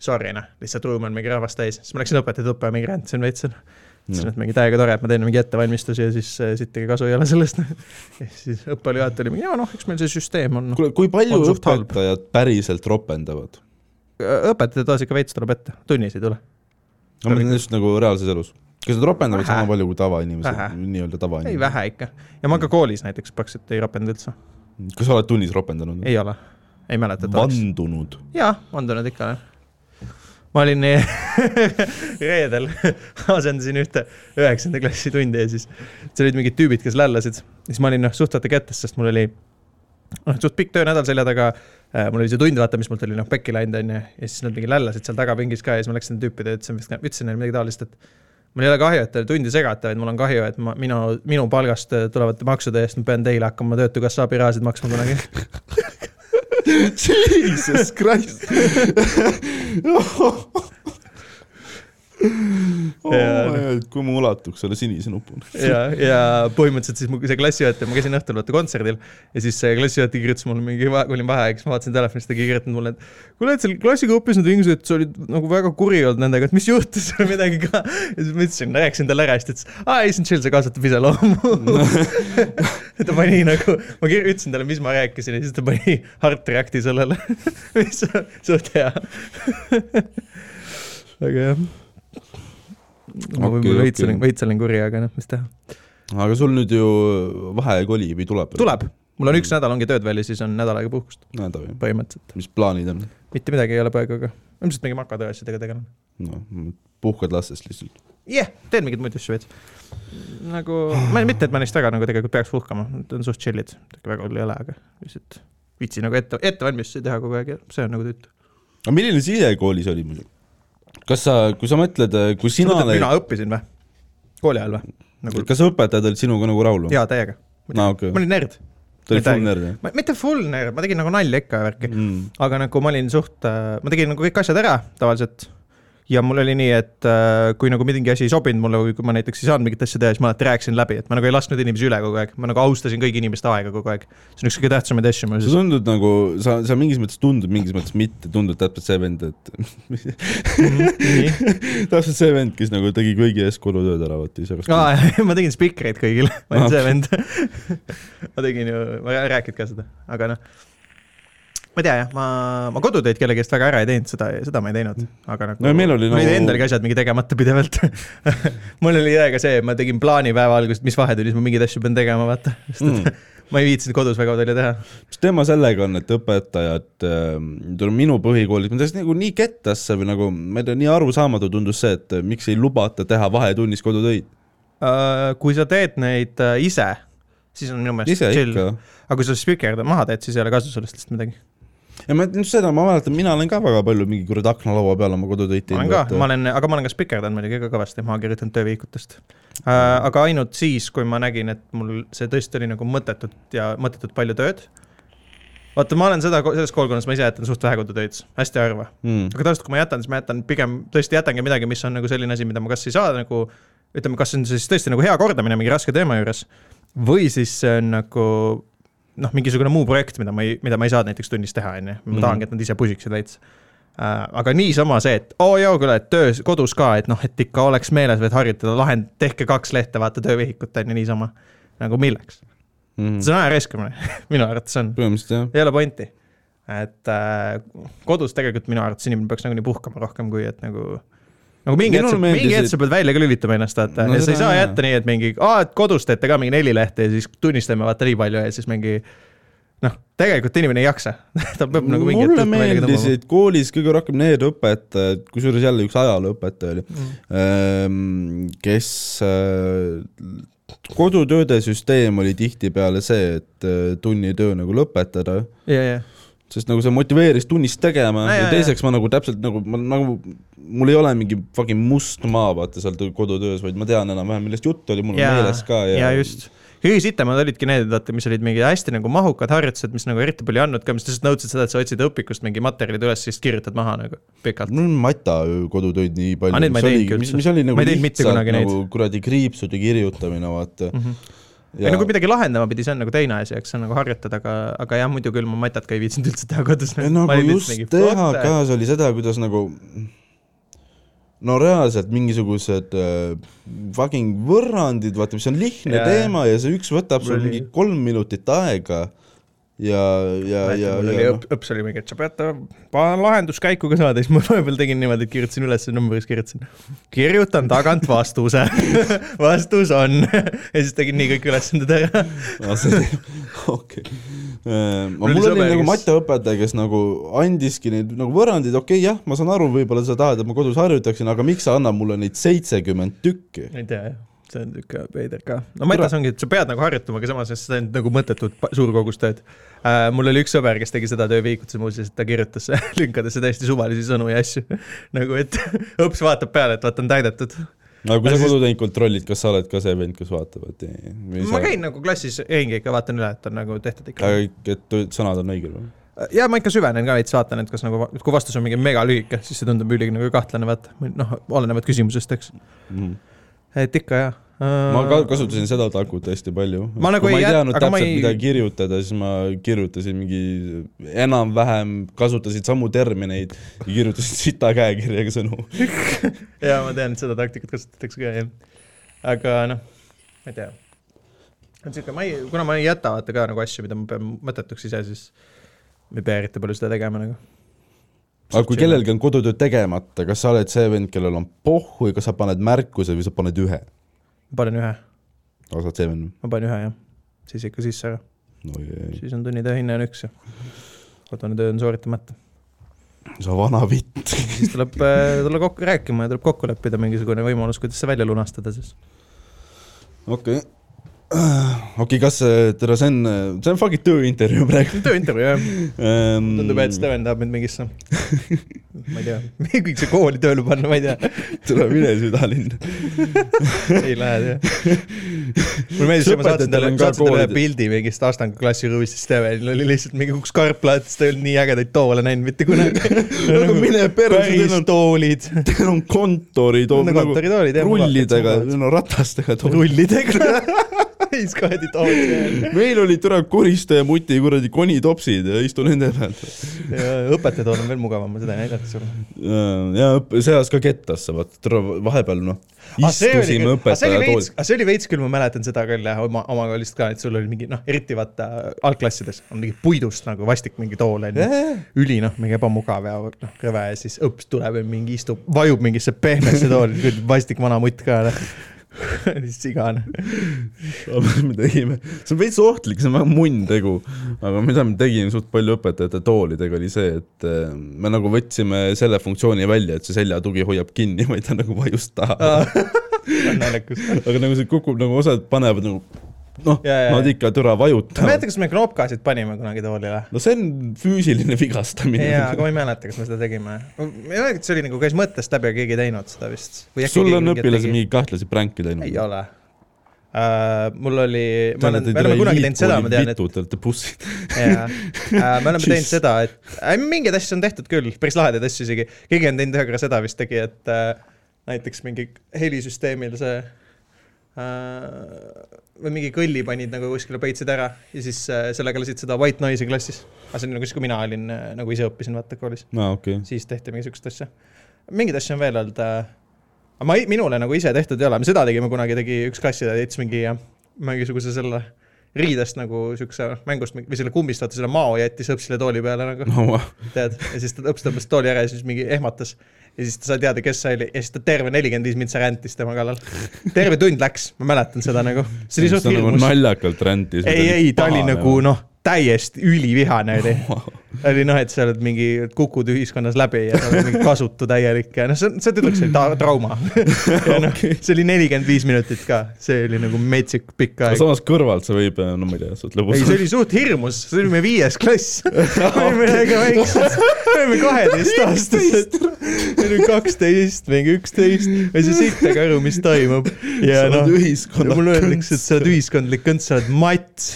Speaker 1: sorry noh , lihtsalt ruum on mingi rahvast täis , siis ma läksin õpetajate õppima , mingi rändsin veits noh. seal . ütlesin , et mingi täiega tore , et ma teen mingi ettevalmistusi ja siis äh, sittagi kasu ei ole sellest . (laughs) ja siis õppejuhataja oli mingi , jaa noh , eks meil see süsteem on .
Speaker 3: kuule , kui palju
Speaker 1: On suht halb.
Speaker 3: õpetajad päriselt ropendavad ?
Speaker 1: Äh, õpetajate toas ikka veits tuleb ette , tunnis ei tule .
Speaker 3: ma mõtlen just nagu reaalses elus . kas nad ropendavad
Speaker 1: Vähe.
Speaker 3: sama palju kui tavainimesed
Speaker 1: Vähe. ,
Speaker 3: nii-öelda
Speaker 1: ei ,
Speaker 3: tavainimesed ?
Speaker 1: vähe ikka . ja ma ka koolis näiteks praktiliselt ei ropenda üldse .
Speaker 3: kas sa oled tunnis ropendanud ?
Speaker 1: ei ole , ei mäleta , et oleks .
Speaker 3: vandunud .
Speaker 1: jaa , vandunud ikka olen . ma olin eh, (laughs) reedel , (laughs) asendasin ühte üheksanda klassi tundi ja siis seal olid mingid tüübid , kes lällasid . siis ma olin noh , suhteliselt kätes , sest mul oli noh , suht pikk töönädal selja taga . mul oli see tund , vaata , mis mult oli noh pekki läinud , onju . ja siis nad mingi lällasid seal tagapingis ka ja siis ma läksin tüüpide ja ütlesin , ütlesin neile midagi taolist , et mul ei ole kahju , et te tundi segate , vaid mul on kahju , et ma , minu , minu palgast äh, tulevate maksude eest ma pean teile hakkama Töötukassa abirahasid maksma kunagi .
Speaker 3: (laughs) Jesus Christ oh,
Speaker 1: Jaa.
Speaker 3: my God, kui ma ulatuks selle sinise nupuni .
Speaker 1: ja , ja põhimõtteliselt siis mu see klassijuhataja , ma käisin õhtul vaata kontserdil ja siis see klassijuhataja kirjutas mulle mingi , kui olin vaheaeg , siis ma vaatasin telefonist , ta kirjutas mulle , et kuule , et seal klassigrupis nad vingusid , sa olid nagu väga kuri olnud nendega , et mis juhtus või midagi ka . ja siis ma ütlesin , rääkisin talle ära ja siis ta ütles , aa ei , see on chill , see kasvatab iseloomu . (laughs) ta pani nagu , ma kir- ütlesin talle , mis ma rääkisin ja siis ta pani heart react'i sellele , (laughs) mis on suht hea . väga hea . ma
Speaker 3: Okei,
Speaker 1: võib-olla veits
Speaker 3: okei.
Speaker 1: olin , veits olin kuri , aga noh , mis teha .
Speaker 3: aga sul nüüd ju vaheaeg oli või tuleb ?
Speaker 1: tuleb , mul on üks nädal ongi tööd veel ja siis on nädal aega puhkust
Speaker 3: nädal jah .
Speaker 1: põhimõtteliselt .
Speaker 3: mis plaanid on ?
Speaker 1: mitte midagi ei ole praegu , aga ilmselt mingi makatöö asjadega tegelen .
Speaker 3: noh , puhkad lastest lihtsalt .
Speaker 1: jah yeah, , teen mingeid muid asju veits . nagu , ma ei- mitte , et ma neist väga nagu tegelikult peaks puhkama , nad on suht chill'id , väga hull ei ole , aga lihtsalt viitsi nagu ette , ettevalmistusi teha kogu aeg ja see on nagu tüütu .
Speaker 3: aga milline side koolis oli muidu ? kas sa , kui sa mõtled , kui sina
Speaker 1: mina
Speaker 3: olid ,
Speaker 1: õppisin või ? kooli ajal või ? nagu
Speaker 3: kas õpetajad olid sinuga nagu rahul või ?
Speaker 1: jaa , täiega .
Speaker 3: aa , okei
Speaker 1: ma , olin nerd ,
Speaker 3: ta oli
Speaker 1: midagi.
Speaker 3: full nerd jah ?
Speaker 1: ma , mitte full nerd , ma tegin nagu nalja ikka ja värki .
Speaker 3: Mm.
Speaker 1: aga nagu ma olin suht , ma tegin nagu kõik asjad ära tavaliselt . ja mul oli nii , et äh, kui nagu mingi asi ei sobinud mulle või kui ma näiteks ei saanud mingit asja teha , siis ma alati rääkisin läbi , et ma nagu ei lasknud inimesi üle kogu aeg , ma nagu austasin kõigi inimeste aega kogu aeg . see on üks kõige tähtsamaid asju mu
Speaker 3: sa
Speaker 1: elus .
Speaker 3: tundud nagu , sa , sa mingis mõttes tundud , mingis mõttes mitte , tundud täpselt see vend , et täpselt see vend , kes nagu tegi kõigi ees kodutööd ära , vaata ise kas
Speaker 1: aa , (laughs) ma tegin spikreid kõigile , (laughs) ma olin see vend . (laughs) ma tegin ju , ma ei rääkinud ka seda , aga noh . ma ei tea jah , ma , ma kodutöid kellegi eest väga ära ei teinud , seda , seda ma ei teinud , aga nagu
Speaker 3: No ja meil oli
Speaker 1: mul olid
Speaker 3: nagu-
Speaker 1: endalgi asjad mingi tegemata pidevalt . (laughs) mul oli täiega see , ma tegin plaani päeva alguses , mis vahetunnis ma mingeid asju pean tegema , vaata , (laughs) sest et
Speaker 3: Mm.
Speaker 1: mm. ma ei viitsinud kodus väga palju teha .
Speaker 3: mis teema sellega on , et õpetajad , ütleme minu põhikoolis , ma täiesti nagu nii kettasse või nagu , ma ei tea , nii arusaamatu tundus see , et äh, miks ei lubata teha vahetunnis kodutöid .
Speaker 1: Äh, kui sa teed neid äh, ise , siis on minu meelest
Speaker 3: ise
Speaker 1: chill ,
Speaker 3: ikka .
Speaker 1: aga kui sa spikerdad maha teed , siis ei ole kasu sellest lihtsalt midagi .
Speaker 3: ja ma ütlen seda , ma mäletan , mina olen ka väga palju mingi kuradi aknalaua peal oma kodutöid
Speaker 1: ma
Speaker 3: teinud . äh,
Speaker 1: olen ka , ma olen , aga ma olen ka spikerdanud muidugi ka kõvasti , ma olen kirjutanud töövihikutest äh, . aga ainult siis , kui ma nägin , et mul see tõesti oli nagu mõttetut ja mõttetut palju tööd . vaata , ma olen seda , selles koolkonnas ma ise jätan suht vähe kodutöid , hästi harva .
Speaker 3: mm. .
Speaker 1: aga tavaliselt , kui ma jätan , siis ma jätan pigem , tõesti jätangi midagi , mis on nagu selline asi , mida ma kas ei saa nagu , ütleme , kas see on siis tõesti nagu hea kordamine mingi raske teema juures või siis see on nagu noh , mingisugune muu projekt , mida ma ei , mida ma ei saa näiteks tunnis teha , on ju , ma
Speaker 3: Mhm.
Speaker 1: tahangi , et nad ise pusiksid veits . aga niisama see , et oo oh, joo küll , et töös , kodus ka , et noh , et ikka oleks meeles , et harjutada lahend , tehke kaks lehte , vaata töövihikut on ju niisama . nagu milleks ,
Speaker 3: Mm.
Speaker 1: see on aja raiskamine , (laughs) minu arvates on ,
Speaker 3: põhimõtteliselt jah .
Speaker 1: ei ole pointi . et äh, kodus tegelikult minu arvates inimene peaks nagunii puhkama rohkem , kui et nagu nagu mingi
Speaker 3: Minule
Speaker 1: hetk ,
Speaker 3: meeldis,
Speaker 1: mingi hetk
Speaker 3: et-
Speaker 1: sa pead välja ka lülitama ennast , vaata
Speaker 3: No
Speaker 1: no, , ja sa ei
Speaker 3: seda
Speaker 1: saa
Speaker 3: jaa.
Speaker 1: jätta nii , et mingi , aa , et kodus teete ka mingi neli lehte ja siis tunnistame vaata nii palju ja siis mingi noh , tegelikult inimene ei jaksa , (laughs) ta peab nagu mingi
Speaker 3: mulle meeldisid koolis kõige rohkem need õpetajad , kusjuures jälle üks ajalooõpetaja oli mm. , kes äh, kodutööde süsteem oli tihtipeale see , et äh, tunnitöö nagu lõpetada ,
Speaker 1: ja , ja ,
Speaker 3: sest nagu see motiveeris tunnis tegema
Speaker 1: Aa,
Speaker 3: ja,
Speaker 1: jaa,
Speaker 3: ja teiseks ma nagu täpselt nagu , ma nagu , mul ei ole mingi fucking must maa vaata seal tõ- kodutöös , vaid ma tean enam-vähem , millest juttu oli , mul on
Speaker 1: ja ,
Speaker 3: meeles ka ja,
Speaker 1: ja just . kõige sitemad olidki need , vaata , mis olid mingi hästi nagu mahukad harjutused , mis nagu eriti palju ei andnud ka , mis lihtsalt nõudsid seda , et sa otsid õpikust mingi materjalid üles , siis kirjutad maha nagu pikalt .
Speaker 3: mul on mata ju kodutöid nii palju
Speaker 1: Aa, , neid ma ei teinudki
Speaker 3: mis,
Speaker 1: üldse.
Speaker 3: mis oli nagu
Speaker 1: Ma ei teinud mitte
Speaker 3: lihtsalt
Speaker 1: kunagi neid.
Speaker 3: nagu kuradi kriipsude kirjutamine , vaata mm .
Speaker 1: Mhm.
Speaker 3: -hmm.
Speaker 1: ei no kui midagi lahendama pidi , see on nagu teine asi , eks see on nagu harjutada , aga , aga jah , muidu küll ma matat ka ei viitsinud üldse teha kodus .
Speaker 3: ei no aga just THK-s oli seda , kuidas nagu no reaalselt mingisugused äh, fucking võrrandid , vaata , mis on lihtne
Speaker 1: Jaa.
Speaker 3: teema ja see üks võtab sul
Speaker 1: Oli.
Speaker 3: mingi kolm minutit aega ja , ja , ja , noh.
Speaker 1: mul oli
Speaker 3: ja
Speaker 1: õp- , õps oli mingi , et sa pead ta pa- lahenduskäiku ka saada , (laughs) siis ma vahepeal tegin niimoodi , et kirjutasin üles , numbris kirjutasin . kirjutan tagant vastuse , (laughs) vastus on . (laughs) ja siis tegin nii kõik ülesanded ära .
Speaker 3: Ah, (laughs) okei . mul
Speaker 1: oli
Speaker 3: oli
Speaker 1: sõber,
Speaker 3: nagu
Speaker 1: kes-
Speaker 3: matjaõpetaja , kes nagu andiski neid nagu võrrandeid , okei okay, , jah , ma saan aru , võib-olla sa tahad , et ma kodus harjutaksin , aga miks sa annad mulle neid seitsekümmend tükki ?
Speaker 1: ei tea jah , see on niisugune veider ka . no matas ongi , et sa pead nagu harjutama , aga samas sa teed nagu mõttetut pa- suurkogust tööd äh, . mul oli üks sõber , kes tegi seda tööviikutuses muuseas , et ta kirjutas (laughs) lünkadesse täiesti suvalisi sõnu ja asju . (laughs) nagu et õps vaatab peale , et vaata on täidetud
Speaker 3: aga kui
Speaker 1: Aga
Speaker 3: sa
Speaker 1: siis-
Speaker 3: kodutöid kontrollid , kas sa oled ka see vend , kes vaatab , et ei, või
Speaker 1: ma
Speaker 3: sa-
Speaker 1: käin nagu klassis ringi ikka , vaatan üle , et on nagu tehtud ikka .
Speaker 3: aga et tu- sõnad on õiged või ?
Speaker 1: ja ma ikka süvenen ka veits , vaatan , et kas nagu , kui vastus on mingi megalühike , siis see tundub üligi nagu kahtlane , vaata . noh , olenevalt küsimusest , eks . et ikka jah .
Speaker 3: Mhm. ma ka kasutasin seda takut hästi palju .
Speaker 1: Äh. Ma nagu
Speaker 3: kui ma
Speaker 1: ei
Speaker 3: ei
Speaker 1: jät-
Speaker 3: teadnud
Speaker 1: aga ma
Speaker 3: täpselt ,
Speaker 1: ei-
Speaker 3: mida kirjutada , siis ma kirjutasin mingi enam-vähem , kasutasin samu termineid ja kirjutasin sita käekirjaga sõnu .
Speaker 1: (laughs) ja ma tean , et seda taktikat kasutatakse ka jah . aga noh , ma ei tea . on siuke , ma ei , kuna ma ei jäta vaata ka nagu asju , mida ma pean mõttetuks ise , siis ma ei pea eriti palju seda tegema nagu .
Speaker 3: aga kui kellelgi on kodutöö tegemata , kas sa oled see vend , kellel on pohhu ja kas sa paned märkuse või sa paned ühe ?
Speaker 1: panen ühe ,
Speaker 3: aga sa oled see vend ?
Speaker 1: ma panen ühe jah . siis ikka sisse ära ,
Speaker 3: oi ei ,
Speaker 1: siis on tunnitöö hinne on üks ja kodune töö on sooritamata .
Speaker 3: sa vana
Speaker 1: (laughs)
Speaker 3: vitt .
Speaker 1: siis tuleb , tuleb kokku rääkima ja tuleb kokku leppida mingisugune võimalus , kuidas see välja lunastada siis .
Speaker 3: okei . Äh, okei , kas , tere , see on , see on fucking tööintervjuu praegu . Ehm,
Speaker 1: tööintervjuu jah , tundub , et Steven tahab mind mingisse , ma ei tea , (laughs) kõik see kooli tööle panna , ma ei tea ,
Speaker 3: tuleb üle südalinna .
Speaker 1: (laughs) ei lähe jah . mulle meeldis , et ma saatsin talle ,
Speaker 3: Õpetajatel on ka
Speaker 1: saatsin talle ühe
Speaker 3: koolid-
Speaker 1: pildi mingist Astangu klassirõõmist , siis Stevenil oli lihtsalt mingi üks karplaat , sest ta ei olnud nii ägedaid toole näinud mitte
Speaker 3: (laughs)
Speaker 1: kunagi .
Speaker 3: aga Nagu mine perse , teil
Speaker 1: päris
Speaker 3: on ,
Speaker 1: toolid ,
Speaker 3: teil on kontoritool nagu
Speaker 1: kontoritoolid jah .
Speaker 3: rullidega , no ratastega tool .
Speaker 1: rullidega . (laughs) siis kohati toolid .
Speaker 3: (laughs) meil oli tore koristaja muti kuradi konitopsid ja istu nende peal .
Speaker 1: õpetajad on veel mugavam , ma seda ei näidanud sulle .
Speaker 3: Äh, ja õpp- see ajas ka kettasse , vaata , tore vahepeal noh ,
Speaker 1: Ah, see oli küll- ah, see oli
Speaker 3: istusime õpetaja
Speaker 1: veits-
Speaker 3: toolis .
Speaker 1: ah, see oli veits küll , ma mäletan seda küll jah , oma , oma koolist ka , et sul oli mingi noh , eriti vaata algklassides on mingi puidust nagu vastik mingi tool onju .
Speaker 3: (laughs)
Speaker 1: üli noh , mingi ebamugav ja noh , rõve ja siis õps tuleb ja mingi istub , vajub mingisse pehmesse tooli , küll vastik vana mutt ka noh . (laughs) mis igane .
Speaker 3: mis me tegime , see on veits ohtlik , see on väga munn tegu , aga mida me tegime suht palju õpetajate toolidega oli see , et äh, me nagu võtsime selle funktsiooni välja , et see seljatugi hoiab kinni , (laughs) ma ei tea nagu vajust
Speaker 1: Ah.
Speaker 3: taha .
Speaker 1: naljakas .
Speaker 3: aga nagu see kukub nagu osad panevad nagu noh ,
Speaker 1: Jaa, jaa,
Speaker 3: nad
Speaker 1: jaa.
Speaker 3: ikka türa vajutavad .
Speaker 1: mäleta , kas me knoopkaasid panime kunagi toolile ?
Speaker 3: no see on füüsiline vigastamine .
Speaker 1: jaa , aga ma ei mäleta , kas me seda tegime . ma ei mäleta , kas see oli nagu käis mõttest läbi , aga keegi ei teinud seda vist .
Speaker 3: sul on õpilased mingeid kahtlasi pränke teinud
Speaker 1: ei ? ole uh, . mul oli , ma olen , me oleme kunagi teinud seda , ma tean , et
Speaker 3: vitud , te olete bussid .
Speaker 1: (laughs) jaa uh, , me oleme
Speaker 3: Jeez.
Speaker 1: teinud seda , et äh, mingeid asju on tehtud küll , päris lahedaid asju isegi . keegi on teinud ühe korra seda vist tegi , et uh, näiteks mingi helisüsteemil see uh, või mingi kõlli panid nagu kuskile peitsid ära ja siis uh, sellega lasid seda white noise'i klassis . aga see on nagu siis , kui mina olin äh, nagu ise õppisin vaata koolis .
Speaker 3: aa , okei .
Speaker 1: siis tehti mingi sihukest asja . mingeid asju on veel olnud . aga ma ei , minule nagu ise tehtud ei ole , me seda tegime kunagi , tegi üks klassitädi , ütles mingi , mingisuguse selle riidest nagu sihukese mängust mingi- või selle kummist , vaata selle mao jättis õpsile tooli peale nagu ,
Speaker 3: no vau ,
Speaker 1: tead . ja siis ta õps tõmbas tooli ära ja siis mingi ehmatas . ja siis ta sai teada , kes see oli ja siis ta terve nelikümmend viis mintsa räntis tema kallal . terve tund läks , ma mäletan seda nagu , see oli suht
Speaker 3: ta nagu
Speaker 1: hirmus .
Speaker 3: naljakalt räntis .
Speaker 1: ei , ei , ta oli nagu . noh , täiesti ülivihane oli . ta oli noh , et sa oled mingi , kukud ühiskonnas läbi ja sa oled mingi kasutu täielik ja noh , see , see tüdruks oli ta- trauma . No, see oli nelikümmend viis minutit ka , see oli nagu metsik pikk
Speaker 3: aga
Speaker 1: aeg .
Speaker 3: samas kõrvalt see võib , no ma ei tea , suht
Speaker 1: ei ,
Speaker 3: lõbus (laughs)
Speaker 1: see . oli suht hirmus , see oli meie viies klass . me olime väga väiksed , me olime kaheteistaastased . me olime kaksteist , mingi üksteist , ma ei saa siit ega aru , mis toimub . ja noh , ja mulle öeldakse , et sa oled ühiskondlik kõnt , sa oled mats .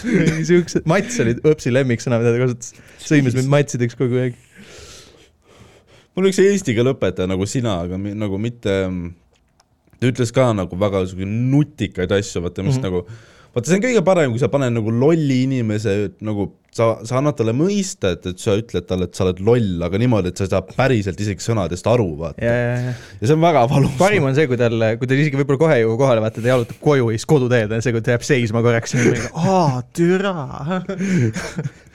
Speaker 1: siuksed , mats oli õpsi lemmiksõna , mida ta kasutas . sõimes mind matsideks kogu aeg .
Speaker 3: mul oli üks eesti keele õpetaja nagu sina , aga mi- nagu mitte , ta ütles ka nagu väga sihuke nutikaid asju , vaata ,
Speaker 1: Mhm.
Speaker 3: mis mm -hmm. nagu vaata , see on kõige parem , kui sa paned nagu lolli inimese nagu sa , sa annad talle mõista , et , et sa ütled talle , et sa oled loll , aga niimoodi , et sa ei saa päriselt isegi sõnadest aru , vaata .
Speaker 1: ja , ja , ja
Speaker 3: ja see on väga valus .
Speaker 1: parim on see , kui tal , kui ta isegi võib-olla kohe ei jõua kohale , vaata ta jalutab koju ja siis koduteed on see , kui ta jääb seisma korraks ja mingi (laughs) aa , türa .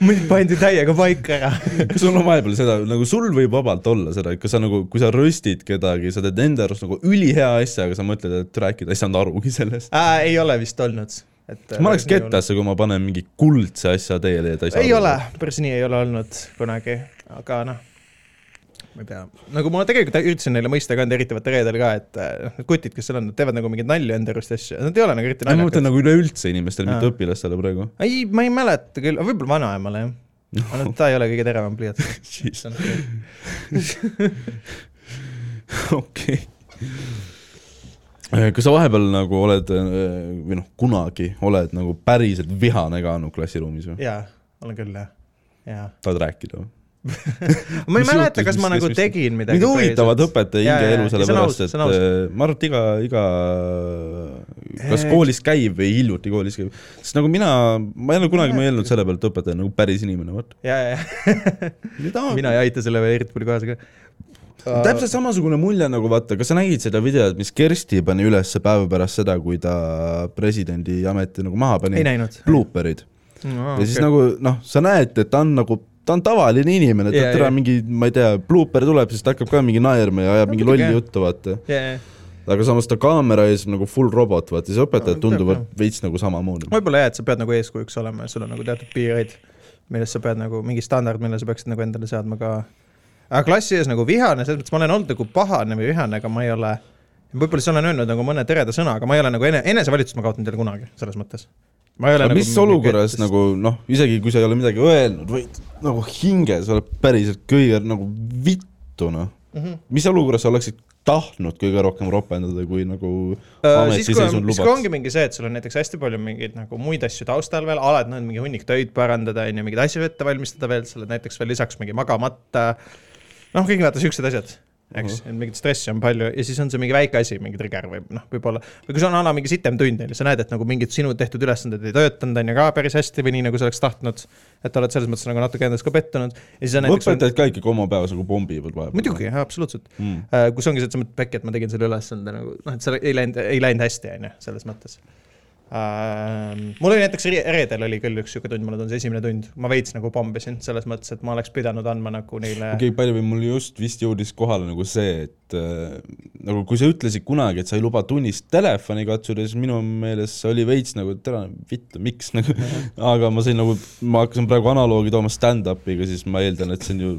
Speaker 1: mind pandi täiega paika ära .
Speaker 3: kas sul on vahepeal seda , nagu sul võib vabalt olla seda , et kas sa nagu , kui sa röstid kedagi , sa teed enda arust nagu ülihea asja , aga sa mõtled , et rääkida ei saanud arugi sellest .
Speaker 1: Äh, ei ole vist olnud , et . äh,
Speaker 3: ma oleks . kettasse , kui ma panen mingi kuldse asja teele ja ta ei saa
Speaker 1: ei ole , päris nii ei ole olnud kunagi , aga noh ma ei tea ,
Speaker 3: Noh.
Speaker 1: nagu ma tegelikult üritasin neile mõista ka nüüd eriti vaata reedel ka , et äh, need kutid , kes seal on , nad teevad nagu mingeid nalju enda arust ja asju , nad ei ole nagu eriti
Speaker 3: ma mõtlen
Speaker 1: naljakad .
Speaker 3: nagu üleüldse inimestele , mitte
Speaker 1: Aa.
Speaker 3: õpilastele
Speaker 1: (laughs)
Speaker 3: praegu .
Speaker 1: ei , ma ei mäleta küll , võib-olla vanaemale jah . aga no ta ei ole kõige teravam
Speaker 3: (laughs)
Speaker 1: pliiats .
Speaker 3: okei . kas sa vahepeal nagu oled äh, või noh , kunagi oled nagu päriselt vihane ka olnud klassiruumis või ?
Speaker 1: jaa , olen küll jah , jaa .
Speaker 3: tahad rääkida või ?
Speaker 1: ma ei
Speaker 3: Mis
Speaker 1: mäleta ,
Speaker 3: juhtus,
Speaker 1: kas ma
Speaker 3: mis-
Speaker 1: nagu
Speaker 3: mis- mis-
Speaker 1: tegin midagi .
Speaker 3: mind huvitavad õpetaja
Speaker 1: Jaa, jaa,
Speaker 3: hingeelu
Speaker 1: jaa, see on
Speaker 3: sellepärast ,
Speaker 1: aus,
Speaker 3: et
Speaker 1: see on aus.
Speaker 3: äh, ma arvan , et iga , iga kas
Speaker 1: Eh.
Speaker 3: koolis käiv või hiljuti koolis käiv , sest nagu mina , ma ei ole kunagi mõelnud selle peale , et õpetaja on nagu päris inimene , vaata .
Speaker 1: ja ,
Speaker 3: äh,
Speaker 1: ja , mina ei aita selle veel eriti palju kaasa ka . Äh,
Speaker 3: täpselt samasugune mulje nagu vaata , kas sa nägid seda videot , mis Kersti pani üles päev pärast seda , kui ta presidendi ameti nagu maha pani
Speaker 1: ei ? näinud . Ah,
Speaker 3: Blooperid . ja siis nagu noh , sa näed , et ta on nagu ta on tavaline inimene , ta
Speaker 1: Jaa,
Speaker 3: täna
Speaker 1: jaa.
Speaker 3: mingi , ma ei tea , blooper tuleb , siis ta hakkab ka mingi naerma ja ajab mingi
Speaker 1: muidugi,
Speaker 3: lolli
Speaker 1: jah.
Speaker 3: juttu , vaata .
Speaker 1: jaa ,
Speaker 3: aga samas ta kaamera ees on nagu full robot , vaata , siis õpetajad
Speaker 1: No,
Speaker 3: tunduvad
Speaker 1: peab,
Speaker 3: veits nagu samamoodi .
Speaker 1: võib-olla jah , et sa pead nagu eeskujuks olema ja sul on nagu teatud piirid , millest sa pead nagu mingi standard , mille sa peaksid nagu endale seadma ka . aga klassi ees nagu vihane , selles mõttes ma olen olnud nagu pahane või vihane , aga ma ei ole , võib-olla siis olen öelnud nagu mõne tereda sõna , aga ma ei ole nagu ene- , enesevalitsust ma kaotanud ei ole kunagi , selles mõttes . ma ei nagu
Speaker 3: aga mis
Speaker 1: mingi
Speaker 3: olukorras
Speaker 1: kettest-
Speaker 3: nagu noh , isegi kui sa ei ole midagi öelnud , vaid nagu hinges oled päriselt kõige nagu vittu noh mm -hmm. . mis olukorras sa oleksid tahtnud kõige rohkem ropendada , kui nagu
Speaker 1: Äh, siis kui on , siis
Speaker 3: ametiseisund
Speaker 1: kui
Speaker 3: lubaks
Speaker 1: ongi ? mingi see , et sul on näiteks hästi palju mingeid nagu muid asju taustal veel , alati on mingi hunnik töid parandada , on ju , mingeid asju ette valmistada veel , sa oled näiteks veel lisaks mingi magamata . noh , kõik vaata siuksed asjad , eks , et mingit stressi on palju ja siis on see mingi väike asi , mingi trigger või noh , võib-olla . või kui sul on ala mingi sitem tund , on ju , sa näed , et nagu mingid sinu tehtud ülesanded ei töötanud , on ju ka päris hästi või nii , nagu sa oleks tahtnud . et oled selles mõttes nagu natuke endas ka pettunud ja siis on näiteks .
Speaker 3: õpetajad ka ikkagi oma päevas nagu pommivad vahepeal .
Speaker 1: muidugi , absoluutselt
Speaker 3: mm. .
Speaker 1: Äh, kus ongi see , et sa mõtled , Beck , et ma tegin selle ülesande nagu noh , et seal ei läinud , ei läinud hästi , on ju , selles mõttes . mul oli näiteks re- reedel oli küll üks sihuke tund , mulle tundus esimene tund , ma veits nagu pommisin selles mõttes , et ma oleks pidanud andma nagu neile okay.
Speaker 3: okei , palju või mul just vist jõudis kohale nagu see , et äh, nagu kui sa ütlesid kunagi , et sa ei luba tunnis telefoni katsuda , siis minu meelest see oli veits nagu tere , vittu , miks
Speaker 1: (laughs)
Speaker 3: nagu , aga ma sain nagu , ma hakkasin praegu analoogi tooma stand-up'iga , siis ma eeldan , et see on ju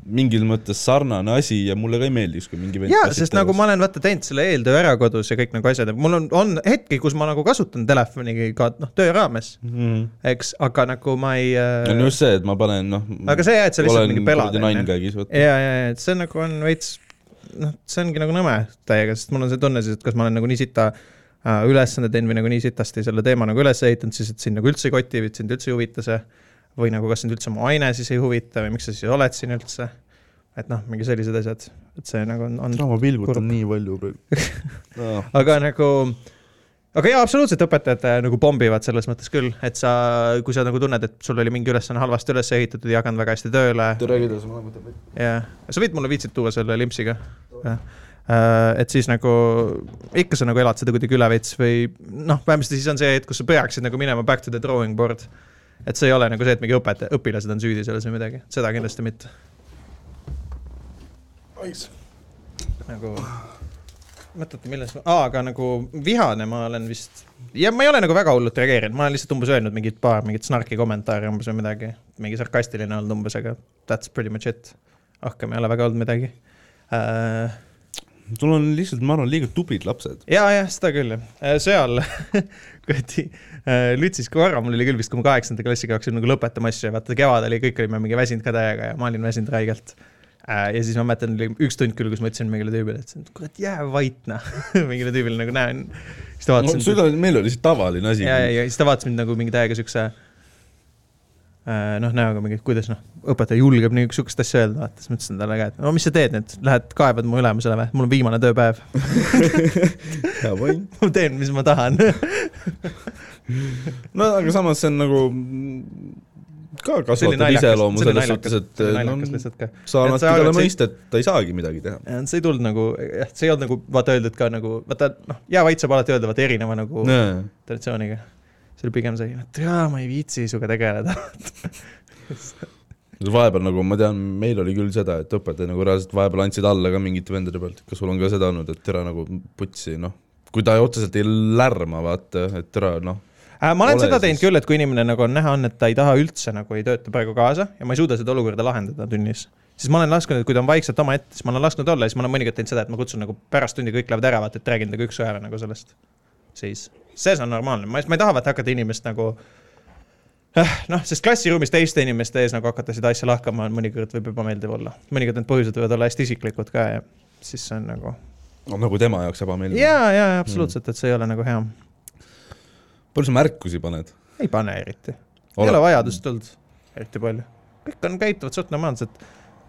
Speaker 3: mingil mõttes sarnane asi ja mulle ka ei meeldiks , kui mingi vend
Speaker 1: ja
Speaker 3: kassib
Speaker 1: sest nagu
Speaker 3: telefoni.
Speaker 1: ma olen vaata teinud selle eeltöö ära kodus ja kõik nagu asjad , mul on , on hetki , kus ma nagu kasutan telefoni ka noh , töö raames ,
Speaker 3: Mhm.
Speaker 1: eks , aga nagu ma ei
Speaker 3: Ja on
Speaker 1: äh, .
Speaker 3: just see , et ma panen noh ,
Speaker 1: aga see , et sa lihtsalt mingi pelad .
Speaker 3: nann käigis , vot .
Speaker 1: ja , ja , ja , et see nagu on veits , noh , see ongi nagu nõme täiega , sest mul on see tunne siis , et kas ma olen nagu nii sita äh, ülesande teinud või nagu nii sitasti selle teema nagu üles ehitanud , siis et sind nagu üldse ei koti või et sind üldse ei huvita see . või nagu kas sind üldse mu aine siis ei huvita või miks sa siis oled siin üldse . et noh , mingi sellised asjad , et see nagu on , on
Speaker 3: ma
Speaker 1: Kurb.
Speaker 3: pilgutan nii palju praegu .
Speaker 1: aga nagu , aga jaa , absoluutselt õpetajad äh, nagu pommivad selles mõttes küll , et sa , kui sa nagu tunned , et sul oli mingi ülesanne halvasti üles ehitatud , ei jaganud väga hästi tööle .
Speaker 3: tere , kuidas ma olen mõtelnud ?
Speaker 1: jah , sa võid mulle viitsid tuua selle limpsiga ? et siis nagu ikka sa nagu elad seda kuidagi üle veits või noh , vähemasti siis on see hetk , kus sa peaksid nagu minema back to the drawing board . et see ei ole nagu see , et mingi õpetaja , õpilased on süüdi selles või midagi , seda kindlasti mitte . nagu , mõtlete , milles ma , aa , aga nagu vihane ma olen vist . ja ma ei ole nagu väga hullult reageerinud , ma olen lihtsalt umbes öelnud mingid paar mingit snarki kommentaari umbes või midagi . mingi sarkastiline olnud umbes , aga that's pretty much it . rohkem ei ole väga olnud midagi äh, .
Speaker 3: sul on lihtsalt , ma arvan , liiga tublid lapsed .
Speaker 1: ja , jah , seda küll , jah . seal (laughs) kuradi äh, lütsis korra , mul oli küll vist , kui ma kaheksanda klassiga hakkasin nagu lõpetama asju ja vaata kevadel ja kõik olime mingi väsinud ka täiega ja ma olin väsinud räigelt . ja siis ma mäletan , oli üks tund küll , kus ma ütlesin mingile tüübile , et kurat jää vait noh , (laughs) mingile tüübile nagu näen . siis ta
Speaker 3: no
Speaker 1: vaatas
Speaker 3: seda , meil oli see tavaline asi .
Speaker 1: ja , ja , ja siis ta vaatas mind nagu mingi täiega siukse äh, noh , näoga mingi , kuidas noh , õpetaja julgeb nii sihukest asja öelda , vaata , siis ma ütlesin talle ka , et no mis sa teed nüüd , lähed kaevad mu ülemusele või , mul on viimane tööpäev , (laughs)
Speaker 3: hea point .
Speaker 1: ma teen , mis ma
Speaker 3: (laughs)
Speaker 1: tahan .
Speaker 3: no aga samas see on nagu ka kasvatav iseloomu selles suhtes , et
Speaker 1: naljakas
Speaker 3: no,
Speaker 1: lihtsalt ka .
Speaker 3: sa
Speaker 1: Et
Speaker 3: annad
Speaker 1: sa
Speaker 3: talle
Speaker 1: arvad, see-
Speaker 3: mõista , et ta ei saagi midagi teha .
Speaker 1: see ei tulnud nagu , jah , see ei olnud nagu vaata öeldud ka nagu , vaata noh , hea vait saab alati öelda , vaata erineva nagu traditsiooniga . see oli pigem see , et jaa , ma ei viitsi sinuga tegeleda .
Speaker 3: vahepeal nagu ma tean , meil oli küll seda , et õpetajad nagu reaalselt vahepeal andsid alla ka mingite vendade pealt , kas sul on ka seda olnud , et tere nagu putsi , noh , kui ta otseselt ei lärma , vaata , et tere , noh ,
Speaker 1: Äh, ma olen
Speaker 3: Ole
Speaker 1: seda teinud
Speaker 3: siis.
Speaker 1: küll , et kui inimene nagu on näha on , et ta ei taha üldse nagu ei tööta praegu kaasa ja ma ei suuda seda olukorda lahendada tunnis , siis ma olen lasknud , et kui ta on vaikselt omaette , siis ma olen lasknud olla ja siis ma olen mõnikord teinud seda , et ma kutsun nagu pärast tundi kõik lähevad ära , vaata , et räägin temaga üks-ühele nagu sellest . siis , see on normaalne , ma ma ei taha , vaata hakata inimest nagu Eh, noh , sest klassiruumis teiste inimeste ees nagu hakata seda asja lahkama on mõnikord võib ebameeldiv olla , mõnikord need põhjused võivad olla hästi isiklikud ka ja siis see on nagu
Speaker 3: nagu tema jaoks ebameeldiv yeah. .
Speaker 1: ja , ja absoluutselt , et see ei ole nagu hea .
Speaker 3: palju sa märkusi paned ?
Speaker 1: ei pane eriti , ei ole
Speaker 3: oled ,
Speaker 1: vajadust olnud eriti palju . kõik on , käituvad suht normaalselt .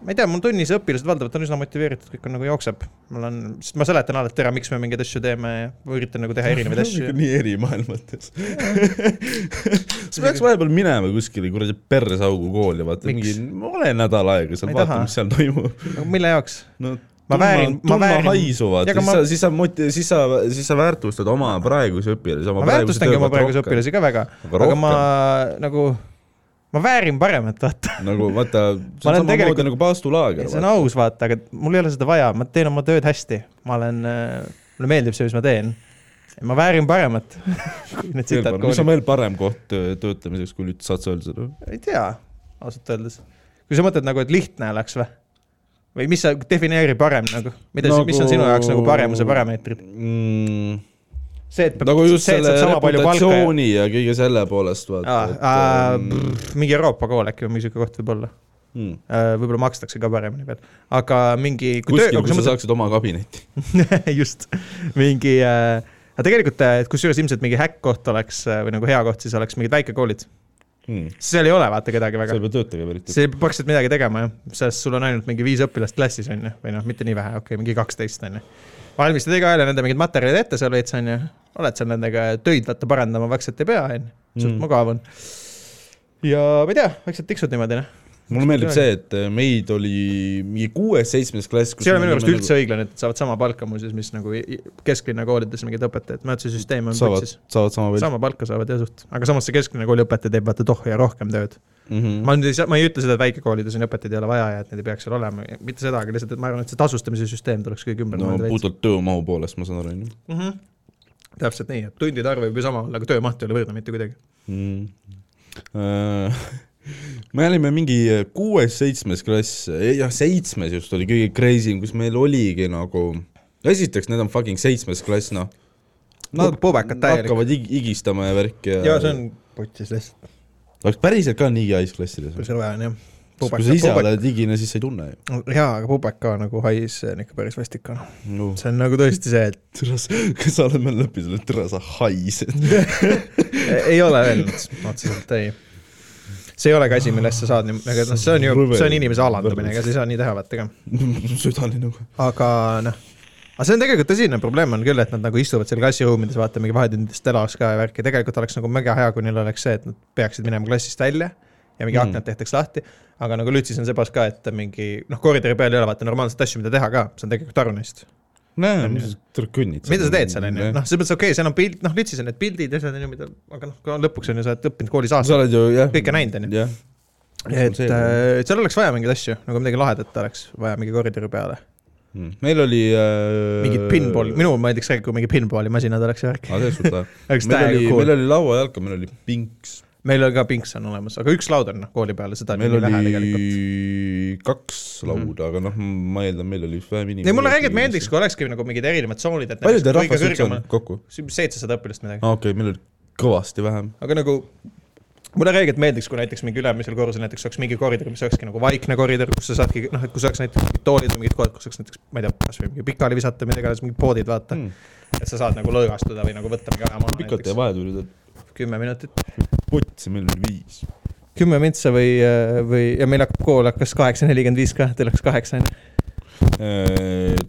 Speaker 1: ma ei tea , mul tunnis õpilased valdavalt on üsna motiveeritud , kõik on nagu jookseb . mul on , sest ma seletan alati ära , miks me mingeid asju teeme ja ma üritan nagu teha erinevaid
Speaker 3: (laughs)
Speaker 1: asju .
Speaker 3: Noh, nii eri (laughs) maailmates . sa peaks vahepeal minema kuskile kuradi persaugu kooli , vaata
Speaker 1: Miks?
Speaker 3: mingi , ole nädal aega seal ,
Speaker 1: Ma ei
Speaker 3: vaata
Speaker 1: taha. ,
Speaker 3: mis seal toimub .
Speaker 1: mille jaoks ?
Speaker 3: no
Speaker 1: Ma väärin- ma väärin-
Speaker 3: haisu vaata ,
Speaker 1: Ja, aga
Speaker 3: siis
Speaker 1: ma-
Speaker 3: sa , siis sa moti- , siis sa , siis sa väärtustad oma praeguse õpilasi , oma
Speaker 1: ma väärtustangi oma praegusi õpilasi ka väga ,
Speaker 3: aga
Speaker 1: aga
Speaker 3: rohkem
Speaker 1: ma
Speaker 3: ma...
Speaker 1: nagu , ma väärin paremat , vaata .
Speaker 3: nagu vaata , see on
Speaker 1: olen
Speaker 3: samamoodi
Speaker 1: tegelikult-
Speaker 3: tegelikult... nagu paastulaager .
Speaker 1: see on aus , vaata , aga mul ei ole seda vaja , ma teen oma tööd hästi . ma olen , mulle meeldib see , mis ma teen . ma väärin paremat . (laughs) Need sitad
Speaker 3: mis
Speaker 1: koolis
Speaker 3: on . veel parem koht töö- töötamiseks , kui nüüd saad sa öelda noh? seda ?
Speaker 1: ei tea , ausalt öeldes . kui sa mõtled nagu , et lihtne oleks või ? või mis sa , defineeri parem nagu , mida nagu... , mis on sinu jaoks nagu paremuse parameetrid ?
Speaker 3: mm, ?
Speaker 1: see , et peab
Speaker 3: nagu just
Speaker 1: see, et
Speaker 3: selle
Speaker 1: saab sama palju palka ja-
Speaker 3: reputatsiooni ja Ah, kõige selle poolest vaata
Speaker 1: Aa, aa,
Speaker 3: ehm.
Speaker 1: brr, mingi Euroopa kool äkki või mingi sihuke koht võib-olla ,
Speaker 3: mm.
Speaker 1: võib-olla makstakse ka paremini veel , aga mingi .
Speaker 3: kuskil , kus sa mõtled... saaksid oma kabinetti .
Speaker 1: (laughs) just , mingi äh, , aga tegelikult , et kusjuures ilmselt mingi häkk-koht oleks äh, või nagu hea koht , siis oleks mingid väikekoolid ,
Speaker 3: Mm.
Speaker 1: seal ei ole vaata kedagi
Speaker 3: sa
Speaker 1: väga
Speaker 3: ei . pea töötaja veel ütlema .
Speaker 1: Hmm. see peab praktiliselt midagi tegema jah , sest sul on ainult mingi viis õpilast klassis on ju , või noh , mitte nii vähe , okei okay, , mingi kaksteist on ju . valmistad igaühele nende mingid materjalid ette seal veits on ju , oled seal nendega töid vaata parandama vaikselt ei pea on ju , suht
Speaker 3: Mm.
Speaker 1: mugav on . ja ma ei tea , vaikselt tiksud niimoodi noh ,
Speaker 3: mulle meeldib see , et eh, meid oli mingi kuues-seitsmes klass .
Speaker 1: see ei ole minu arust üldse
Speaker 3: nagu-
Speaker 1: õiglane , et saavad sama palka muuseas , mis nagu i- i- kesklinna koolides mingid õpetajad , ma arvan , et see süsteem on
Speaker 3: nagu saavad
Speaker 1: putsis ,.
Speaker 3: saavad sama palju .
Speaker 1: sama palka saavad jah suht , aga samas see kesklinna kooli õpetaja teeb vaata tohja rohkem tööd .
Speaker 3: Mhm.
Speaker 1: ma nüüd ei saa , ma ei ütle seda , et väikekoolides on õpetajaid ei ole vaja ja et neid ei peaks seal olema , mitte seda , aga lihtsalt , et ma arvan , et see tasustamise süsteem tuleks kõik ümber
Speaker 3: no
Speaker 1: mõelda veits.
Speaker 3: puhtalt töömahu poolest , ma saan aru , on ju
Speaker 1: Mhm. täpselt nii , et tundide arv võib ju sama olla , aga töömaht ei ole võrdne mitte kuidagi .
Speaker 3: mm. . Äh, (laughs) me olime mingi kuues-seitsmes klass , jah , seitsmes just oli kõige crazy im , kus meil oligi nagu , esiteks need on fucking seitsmes klass , noh .
Speaker 1: Nad pubekad täielik.
Speaker 3: hakkavad ig- higistama ja värki ja,
Speaker 1: ja see on putsis lihtsalt ,
Speaker 3: oleks päriselt ka nii hais klassides .
Speaker 1: kui seal vaja on jah .
Speaker 3: kui sa ise oled higine , siis sa ei tunne ju .
Speaker 1: jaa , aga pubeka nagu hais , see on ikka päris vastik on .
Speaker 3: no
Speaker 1: see on nagu tõesti see ,
Speaker 3: tere , kas sa oled meil lõpus , tere , sa (laughs) haised .
Speaker 1: et ei ole veel otseselt ei . see ei ole ka asi , millest sa saad nii , aga noh , see on ju , see on inimese alandamine , ega sa ei saa nii teha , vaata ka .
Speaker 3: südani nagu .
Speaker 1: aga noh , aga see on tegelikult tõsine probleem on küll , et nad nagu istuvad seal klassiruumides , vaata mingi vahetundides telas ka ja värki , tegelikult oleks nagu väga hea , kui neil oleks see , et nad peaksid minema klassist välja ja mingi
Speaker 3: Mm.
Speaker 1: mm. aknad tehtaks lahti , aga nagu lütsis on see paas ka , et mingi noh , koridori peal ei ole vaata normaalset asju , mida teha ka , see on tegelikult aru neist .
Speaker 3: näe , mis sa tere kõnnid .
Speaker 1: mida sa teed seal , on ju , noh , selles mõttes okei okay, , seal on pilt , noh , lütsis on need pildid ja asjad on ju , mida , aga noh , lõpuks on ju , sa oled õppinud koolis aasta ,
Speaker 3: sa oled ju jah .
Speaker 1: Noh, kõike näinud , on ju .
Speaker 3: jah .
Speaker 1: et äh, et seal oleks vaja mingeid asju , nagu midagi lahedat oleks vaja mingi koridori peale .
Speaker 3: Mm. meil oli äh...
Speaker 1: mingid pinball , minul meeldiks ka , kui mingi pinballi masinad oleks ja värk .
Speaker 3: aa , see on
Speaker 1: (laughs)
Speaker 3: suht lahe .
Speaker 1: oleks
Speaker 3: meil oli
Speaker 1: täiega , cool
Speaker 3: meil
Speaker 1: meil oli...
Speaker 3: oli lauajalka , meil oli pinks ,
Speaker 1: meil oli ka pinks on olemas , aga üks laud on noh , kooli peale , seda on
Speaker 3: meil
Speaker 1: nii vähe
Speaker 3: oli
Speaker 1: tegelikult .
Speaker 3: kaks lauda , aga noh , ma eeldan , meil oli vist vähem inimesi .
Speaker 1: ei , mulle räägib , meeldiks ,. kui olekski nagu mingid erinevad tsoonid , et
Speaker 3: palju teil rahvast üldse on ? kokku ?
Speaker 1: seitsesada õpilast midagi ,
Speaker 3: aa , okei , meil oli kõvasti vähem .
Speaker 1: aga nagu mulle räägib , et meeldiks , kui näiteks mingi ülemisel korrusel näiteks oleks mingi koridor , mis olekski nagu vaikne koridor , kus sa saadki , noh , et kus oleks näiteks mingid toolid või mingid kohad , kus oleks näiteks , ma ei tea , kasvõi mingi pikali visata , mida iganes , mingid poodid , vaata
Speaker 3: Mm.
Speaker 1: mm. . et sa saad nagu lõõgastuda või nagu võtta mingi aja maha
Speaker 3: pikalt jäi
Speaker 1: näiteks ,
Speaker 3: vahe tuli ,
Speaker 1: kümme minutit .
Speaker 3: et putsi , meil oli viis .
Speaker 1: kümme mintsa või , või ja meil hakkab kool hakkas kaheksa nelikümmend viis ka , teil hakkas kaheksa onju .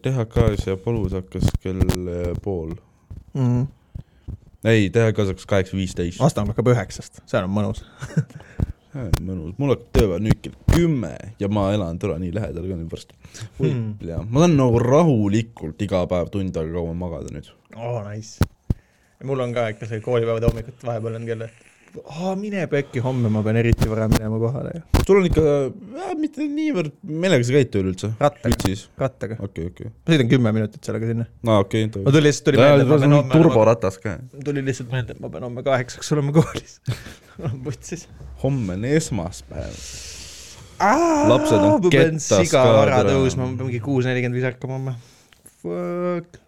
Speaker 3: THK-s Äh, ja Polus hakkas kell eh, pool ,
Speaker 1: Mm.
Speaker 3: ei , THK-s hakkas kaheksa viisteist .
Speaker 1: Astangu hakkab üheksast , seal on mõnus .
Speaker 3: mõnus , mul hakkab tööpäev nüüd kell kümme ja ma elan täna nii lähedal ka nüüd varsti .
Speaker 1: Hmm.
Speaker 3: ma saan nagu rahulikult iga päev tund aega kauem magada nüüd .
Speaker 1: oo , nice . mul on ka ikka see koolipäevade hommikud vahepeal on kell , et aa , mine pekki , homme ma pean eriti vara minema kohale ja
Speaker 3: sul on ikka äh, mitte niivõrd , millega sa käid tööl üldse ?
Speaker 1: rattaga ,
Speaker 3: üldsis ?
Speaker 1: rattaga .
Speaker 3: okei , okei .
Speaker 1: ma sõidan kümme minutit sellega sinna .
Speaker 3: aa , okei .
Speaker 1: ma tulin lihtsalt , tuli meelde , et ma pean homme olema ,
Speaker 3: turboratas ka .
Speaker 1: tuli lihtsalt meelde , et ma pean homme kaheksaks olema koolis . (laughs) olen putsis .
Speaker 3: homme on esmaspäev . Lapsed
Speaker 1: lapsed
Speaker 3: on
Speaker 1: ma pean
Speaker 3: kettas
Speaker 1: siga
Speaker 3: ka
Speaker 1: ära
Speaker 3: täna.
Speaker 1: tõusma , ma pean mingi kuus nelikümmend viis hakkama homme . Fuck .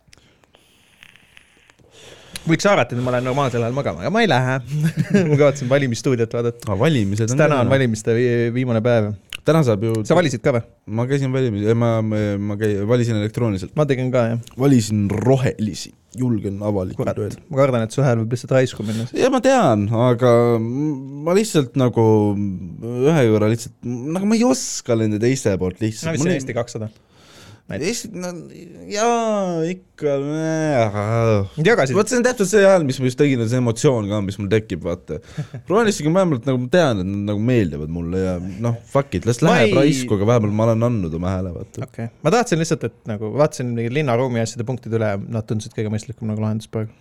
Speaker 1: võiks arvata , et ma lähen normaalsel ajal magama , aga ma ei lähe . (laughs) ma kavatsen valimisstuudiot vaadata .
Speaker 3: aa , valimised on
Speaker 1: täna on . valimiste vi- viimane päev .
Speaker 3: täna saab ju .
Speaker 1: sa valisid ka või ?
Speaker 3: ma käisin valimis- , ma , ma käi- , valisin elektrooniliselt .
Speaker 1: ma tegin ka jah ,
Speaker 3: valisin rohelisi , julgen avalikult
Speaker 1: kurat
Speaker 3: öelda .,
Speaker 1: ma kardan , et su hääl võib lihtsalt raisku minna .
Speaker 3: ja ma tean , aga ma lihtsalt nagu ühe korra lihtsalt , nagu ma ei oska nende teiste poolt
Speaker 1: no
Speaker 3: lihtsalt .
Speaker 1: mis see Eesti kakssada ? näiteks.
Speaker 3: Eesti , no jaa , ikka .
Speaker 1: Nad jagasid ,
Speaker 3: vot see on täpselt see hääl , mis ma just tegin , see emotsioon ka , mis mul tekib ,
Speaker 1: (laughs)
Speaker 3: vaata . rohelistega vähemalt nagu ma tean , et nad nagu meeldivad mulle ja noh , fuck it , las
Speaker 1: Ma
Speaker 3: läheb
Speaker 1: ei-
Speaker 3: ei... raisku , aga vähemalt ma olen andnud oma hääle , vaata .
Speaker 1: okei okay. , ma tahtsin lihtsalt , et nagu vaatasin mingi linnaruumi asjade punktide üle , nad tundusid kõige mõistlikum nagu lahendus praegu .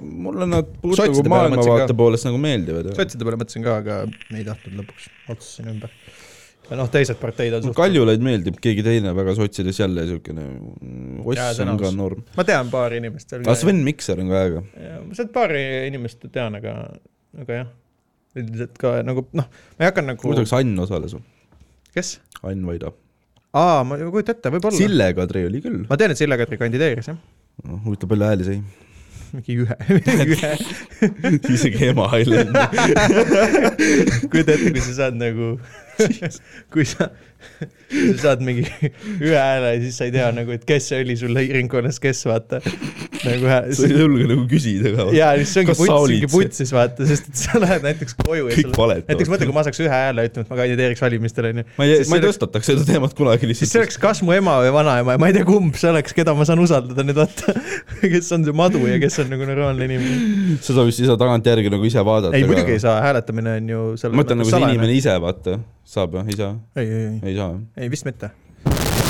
Speaker 3: mulle nad
Speaker 1: Sotside
Speaker 3: puhtalt
Speaker 1: peale mõtlesin
Speaker 3: maailmavaate poolest nagu meeldivad .
Speaker 1: sotside peale mõtlesin ka , aga ei tahtnud lõpuks , otsustasin ümber . ja noh , teised parteid on suht- .
Speaker 3: Kaljulaid meeldib , keegi teine väga sotsides jälle niisugune
Speaker 1: Jaa,
Speaker 3: oss on
Speaker 1: sõnavõtt.
Speaker 3: ka norm .
Speaker 1: ma tean paari inimest seal .
Speaker 3: aga Sven Mikser on ka äge .
Speaker 1: ma sealt paari inimest tean , aga , aga jah . üldiselt ka nagu noh , ma ei hakka nagu .
Speaker 3: muideks Ann osales ,
Speaker 1: kes ?
Speaker 3: Ann Vaida .
Speaker 1: aa , ma ei kujuta ette , võib-olla .
Speaker 3: Sille Kadri oli küll ,
Speaker 1: ma tean , et Sille Kadri kandideeris jah , (laughs)
Speaker 3: noh huvitav palju hääli sai . (laughs)
Speaker 1: mingi ühe , (laughs) ühe .
Speaker 3: isegi ema ei leidnud .
Speaker 1: kujuta ette , kui sa saad nagu , (laughs) kui sa , kui sa saad mingi ühe hääle ja siis sa ei tea nagu , et kes oli sul ringkonnas , kes vaata . nagu
Speaker 3: sa
Speaker 1: hää-
Speaker 3: ei julge nagu küsida ka .
Speaker 1: jaa , see ongi
Speaker 3: Kas sa
Speaker 1: puts ,
Speaker 3: olid
Speaker 1: mingi
Speaker 3: see?
Speaker 1: putsis vaata , sest et sa lähed näiteks koju ja
Speaker 3: kõik
Speaker 1: sul näiteks
Speaker 3: valetavad .
Speaker 1: mõtle , kui ma saaks ühe hääle ütlema , et ma kandideeriks valimistel , onju .
Speaker 3: ma ei ,
Speaker 1: siis
Speaker 3: ma
Speaker 1: see
Speaker 3: ei tõstataks seda teemat kunagi
Speaker 1: siis see
Speaker 3: lihtsalt .
Speaker 1: oleks kas mu ema või vanaema ja ma ei tea , kumb see oleks , keda ma saan usaldada nüüd vaata . (laughs) kes on see madu ja kes on nagu normaalne inimene .
Speaker 3: seda vist ei saa tagantjärgi nagu ise vaadata .
Speaker 1: ei , muidugi ei saa , hääletamine on ju
Speaker 3: ma mõtlen nagu see . inimene ise , vaata . saab jah , ei saa ?
Speaker 1: ei , ei , ei ,
Speaker 3: ei saa jah ?
Speaker 1: ei vist mitte .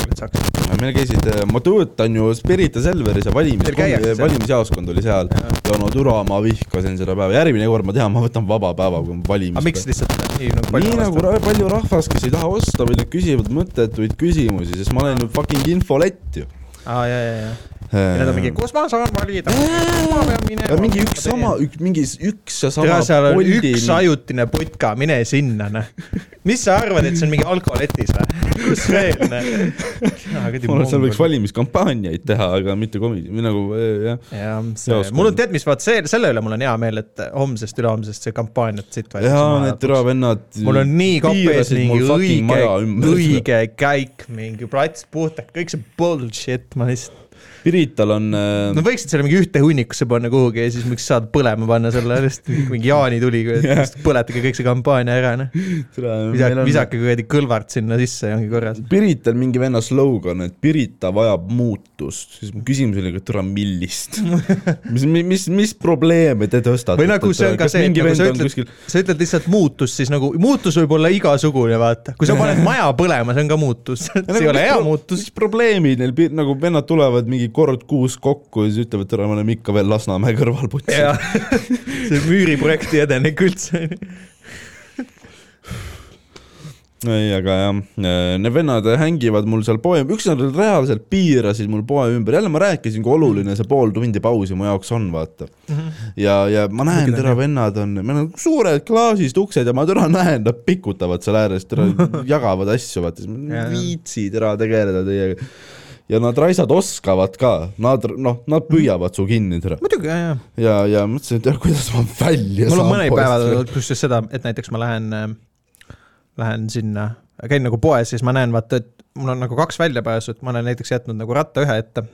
Speaker 1: et saaks .
Speaker 3: Ja meil käisid , ma töötan ju Spirita Selveris ja valimis
Speaker 1: Teil , käiakse seal?
Speaker 3: valimisjaoskond oli seal
Speaker 1: Jaa.
Speaker 3: ja no türa , ma vihkasin seda päeva , järgmine kord ma tean , ma võtan vaba päeva , kui
Speaker 1: aga
Speaker 3: on
Speaker 1: miks
Speaker 3: valimised .
Speaker 1: lihtsalt nii nagu
Speaker 3: nii
Speaker 1: palju
Speaker 3: nagu
Speaker 1: vastu ?
Speaker 3: ra- palju rahvast , kes ei taha osta , vaid nad küsivad mõttetuid küsimusi , sest ma olen ju fucking infolett ju .
Speaker 1: aa , ja , ja , ja . ja nad on mingi , kus ma saan valida , kus ma pean minema .
Speaker 3: ja mingi üks sama , üks , mingi s- üks ja sama
Speaker 1: tere , seal on
Speaker 3: Bolti-
Speaker 1: üks ajutine putka , mine sinna , noh . mis sa arvad , et see on mingi alkoholetis või ? kus veel ,
Speaker 3: ma arvan , et seal võiks
Speaker 1: noh ?
Speaker 3: valimiskampaaniaid teha , aga mitte komi- , või nagu eh, jah .
Speaker 1: jah , see
Speaker 3: Jaoskond. ,
Speaker 1: mul on tead , mis vaat see , selle üle mul on hea meel , et homsest ülehomsest see kampaaniat siit
Speaker 3: jaa , need . türa vennad .
Speaker 1: mul on nii kapis mingi õige , õige käik , mingi plats puhtalt , kõik see bullshit , ma lihtsalt .
Speaker 3: Pirital on äh,
Speaker 1: Nad võiksid selle mingi ühte hunnikusse panna kuhugi ja siis võiks saada põlema panna selle , lihtsalt mingi jaanituli , põletage kõik see kampaania ära , noh . visake ,
Speaker 3: visake .
Speaker 1: visake kuradi kõlvart sinna sisse ja ongi korras .
Speaker 3: Pirital mingi venna slogan , et Pirita vajab muutust , siis mu küsimus oli , et ära
Speaker 1: (laughs)
Speaker 3: millist ? mis , mis , mis probleeme te tõstate ?
Speaker 1: Või nagu see on ka see, et
Speaker 3: mingi
Speaker 1: nagu
Speaker 3: vend
Speaker 1: sa
Speaker 3: on
Speaker 1: ütled-
Speaker 3: kuskil ,
Speaker 1: sa ütled lihtsalt muutus , siis nagu muutus võib olla igasugune , vaata . kui sa paned maja põlema , see on ka muutus . see ei ole hea muutus .
Speaker 3: Nagu mis probleemid neil , nagu vennad tulevad mingi kord kuus kokku ja siis ütlevad , et ära me oleme ikka veel Lasnamäe kõrval putsi .
Speaker 1: jaa , (laughs) see müüriprojekti edenik üldse .
Speaker 3: ei , aga jah , need vennad hängivad mul seal poe , üks nad reaalselt piirasid mul poe ümber , jälle ma rääkisin , kui oluline see pool tundi pausi mu jaoks on , vaata .
Speaker 1: Mhm.
Speaker 3: ja , ja ma näen ,
Speaker 1: Kõikidel
Speaker 3: tere , vennad on , meil on suured klaasist uksed ja ma tere näen , nad pikutavad seal ääres ,
Speaker 1: (laughs)
Speaker 3: tere jagavad asju , vaata , siis ma
Speaker 1: Jaa,
Speaker 3: ei
Speaker 1: jaa.
Speaker 3: viitsi tere tegeleda teiega . ja nad raisad oskavad ka , nad noh , nad püüavad su kinni , tere .
Speaker 1: muidugi , jaa , jaa .
Speaker 3: ja , ja mõtlesin , et jah, kuidas ma välja
Speaker 1: mul on
Speaker 3: saan
Speaker 1: mõni
Speaker 3: poest.
Speaker 1: päev olnud kusjuures seda , et näiteks ma lähen , lähen sinna , käin nagu poes ja siis ma näen , vaata , et mul on nagu kaks väljapääsu , et ma olen näiteks jätnud nagu ratta ühe ette .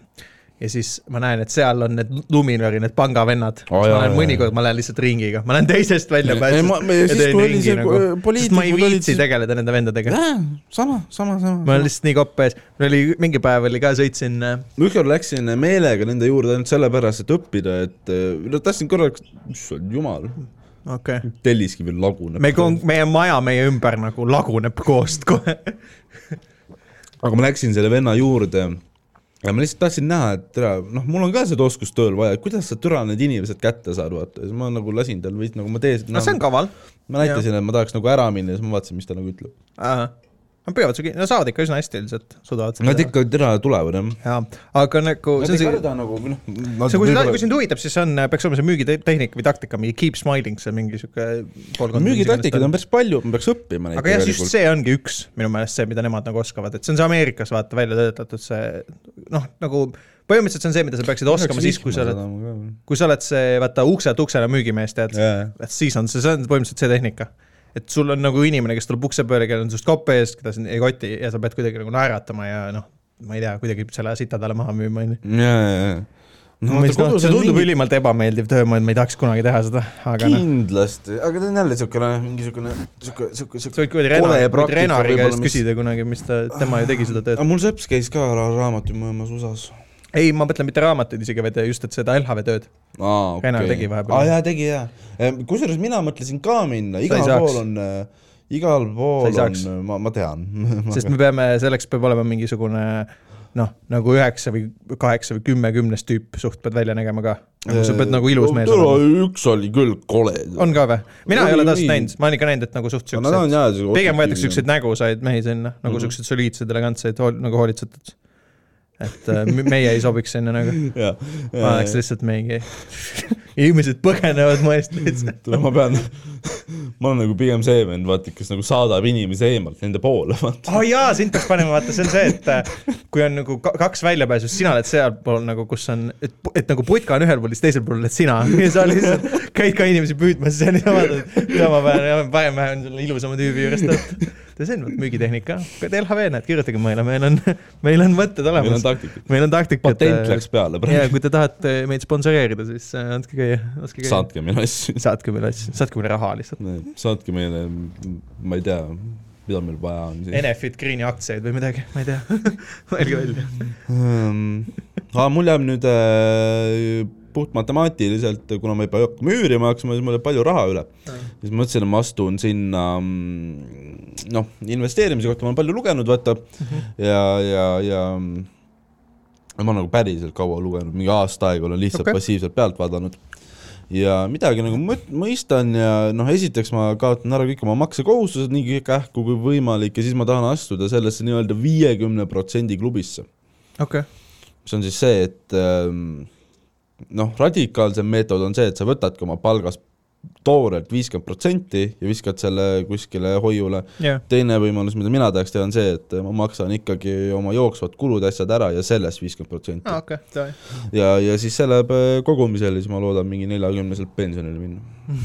Speaker 1: ja siis ma näen , et seal on need Luminori , need pangavennad
Speaker 3: Aa,
Speaker 1: oh, .
Speaker 3: jaa,
Speaker 1: ma lähen
Speaker 3: jaa,
Speaker 1: mõnikord , ma lähen lihtsalt ringiga , ma lähen teisest välja
Speaker 3: Ei,
Speaker 1: pääsen
Speaker 3: ma- me- siis, kui oli see, kui
Speaker 1: poliitikud nagu. ma ei
Speaker 3: poliitikud olid,
Speaker 1: viitsi
Speaker 3: siis-
Speaker 1: tegeleda nende vendadega .
Speaker 3: Äh, sama , sama , sama .
Speaker 1: ma olen lihtsalt nii kopp ees , mul oli mingi päev oli ka , sõitsin äh,
Speaker 3: ma ükskord läksin meelega nende juurde ainult sellepärast , et õppida , et eh, no tahtsin korraks , issand jumal ,
Speaker 1: okei okay. ,
Speaker 3: Telliskivi laguneb .
Speaker 1: me , meie maja meie ümber nagu laguneb koost kohe .
Speaker 3: aga ma läksin selle venna juurde ja ma lihtsalt tahtsin näha , et tere , noh , mul on ka seda oskust tööl vaja , kuidas sa türa need inimesed kätte saad , vaata , ja siis ma nagu lasin tal veits nagu ma tees-
Speaker 1: no see on kaval .
Speaker 3: ma näitasin , et ma tahaks nagu ära minna ja siis ma vaatasin , mis ta nagu ütleb .
Speaker 1: Nad püüavad su , no saavad ikka üsna hästi üldiselt , suudavad
Speaker 3: Nad . ikka tere tulevad jah .
Speaker 1: jaa , aga nagu
Speaker 3: Nad
Speaker 1: see on
Speaker 3: ei
Speaker 1: see
Speaker 3: karda nagu või noh ,
Speaker 1: see , kui sind , kui sind huvitab , siis see on , peaks olema see müügitehnika või taktika , mingi keep smiling , see mingi sihuke poolkond .
Speaker 3: müügitaktikaid on päris palju , ma peaks õppima neid
Speaker 1: aga jah , just see ongi üks minu meelest see , mida nemad nagu oskavad , et see on see Ameerikas vaata välja töötatud see noh , nagu põhimõtteliselt see on see , mida sa peaksid oskama siis , kui sa
Speaker 3: nagu
Speaker 1: oled ,
Speaker 3: oled .
Speaker 1: kui sa oled see vaata ukselt uksele müügimees , tead . et siis on see , see on põhimõtteliselt see tehnika . et sul on nagu inimene , kes tuleb ukse peale , kellel on sinust kopp ees , keda sind ei koti ja sa pead kuidagi nagu naeratama ja noh , ma ei tea , kuidagi selle sita talle maha müüma , onju .
Speaker 3: ja , ja , ja .
Speaker 1: no ma ei tea , see tundub mingi... ülimalt ebameeldiv töömõõt , ma ei tahaks kunagi teha seda , aga noh ,
Speaker 3: kindlasti , aga ta on jälle siukene , mingi siukene , siuke , siuke ,
Speaker 1: sa
Speaker 3: siuke
Speaker 1: võid kuidagi Renar ,
Speaker 3: praktika
Speaker 1: Renari
Speaker 3: võib-olla,
Speaker 1: käest
Speaker 3: mis-
Speaker 1: küsida kunagi , mis ta , tema ju tegi seda tööd .
Speaker 3: aga mul sõps käis ka ra- raamatu müümas USA-s .
Speaker 1: ei , ma mõtlen mitte raamatuid isegi , vaid just , et seda LHV tööd .
Speaker 3: aa , okei
Speaker 1: Renar tegi vahepeal.
Speaker 3: aa jaa , tegi jaa . kusjuures mina mõtlesin ka minna ,
Speaker 1: ei
Speaker 3: igal
Speaker 1: saaks.
Speaker 3: pool on , igal pool on äh,
Speaker 1: saaks. ,
Speaker 3: ma , ma tean . (laughs)
Speaker 1: sest me peame , selleks peab olema mingisugune noh , nagu üheksa või kaheksa või kümme kümnest tüüp suht pead välja nägema ka . sa pead nagu ilus mees olema .
Speaker 3: olema . üks oli küll kole .
Speaker 1: on ka või ? mina ei
Speaker 3: Oli
Speaker 1: ole tahtnud
Speaker 3: nii.
Speaker 1: näinud , ma olen ikka näinud , et nagu suht siuksed , pigem võetakse siukseid nägusaid mehi sinna , nagu
Speaker 3: Mhm.
Speaker 1: siuksed soliidseid , elegantseid , nagu hoolitsetud . et äh, m- meie ei sobiks sinna nagu . ma oleks
Speaker 3: ma
Speaker 1: lihtsalt mingi , (laughs) inimesed põgenevad mu eest lihtsalt .
Speaker 3: pean , (laughs) ma olen nagu pigem see vend , vaata , kes nagu saadab inimesi eemalt nende poole , vaata .
Speaker 1: aa oh jaa , sind peaks panema , vaata , see on see , et äh, kui on nagu ka- kaks väljapääsu , siis sina oled sealpool nagu , kus on , et , et nagu putka on ühel pool , siis teisel pool oled sina ja sa lihtsalt käid ka inimesi püüdmas , siis on niimoodi , et tema päev , parem vähe on selle ilusama tüübi juures tõtt . see on müügitehnika , LHV näed , kirjutage meile , meil on , meil on mõtted
Speaker 3: meil on
Speaker 1: olemas ,
Speaker 3: taktikad .
Speaker 1: meil on taktika .
Speaker 3: patent läks peale
Speaker 1: ja
Speaker 3: praegu .
Speaker 1: kui te tahate meid sponsoreerida , siis äh, andke käia , laske käia .
Speaker 3: saatke meile asju .
Speaker 1: saatke meile asju , saatke meile raha lihtsalt .
Speaker 3: saatke meile , ma ei tea , mida meil vaja on siis .
Speaker 1: Enefit Greeni aktsiaid või midagi , ma ei tea , (laughs) mõelge välja .
Speaker 3: Ehm, aga mul jääb nüüd äh, puhtmatemaatiliselt , kuna ma ei pea hakkama üürima maksma , siis mul jääb palju raha üle . siis ma mõtlesin , et ma astun sinna mm, noh , investeerimise kohta ma olen palju lugenud , vaata , ja , ja , ja mm, ma olen nagu päriselt kaua lugenud , mingi aasta aega olen lihtsalt
Speaker 1: Okei.
Speaker 3: okay. passiivselt pealt vaadanud . ja midagi nagu mõt- , mõistan ja noh , esiteks ma kaotan ära kõik oma maksekohustused nii kähku kui võimalik ja siis ma tahan astuda sellesse nii-öelda viiekümne protsendi klubisse
Speaker 1: okei .
Speaker 3: see on siis see , et ähm, noh , radikaalsem meetod on see , et sa võtadki oma palgast toorelt viiskümmend protsenti ja viskad selle kuskile hoiule .
Speaker 1: jah ,
Speaker 3: teine võimalus , mida mina tahaks teha , on see , et ma maksan ikkagi oma jooksvad kulud , asjad ära ja sellest viiskümmend protsenti .
Speaker 1: Ah, okei , davai .
Speaker 3: ja , ja siis see läheb äh, kogumisele , siis ma loodan mingi neljakümneselt pensionile minna .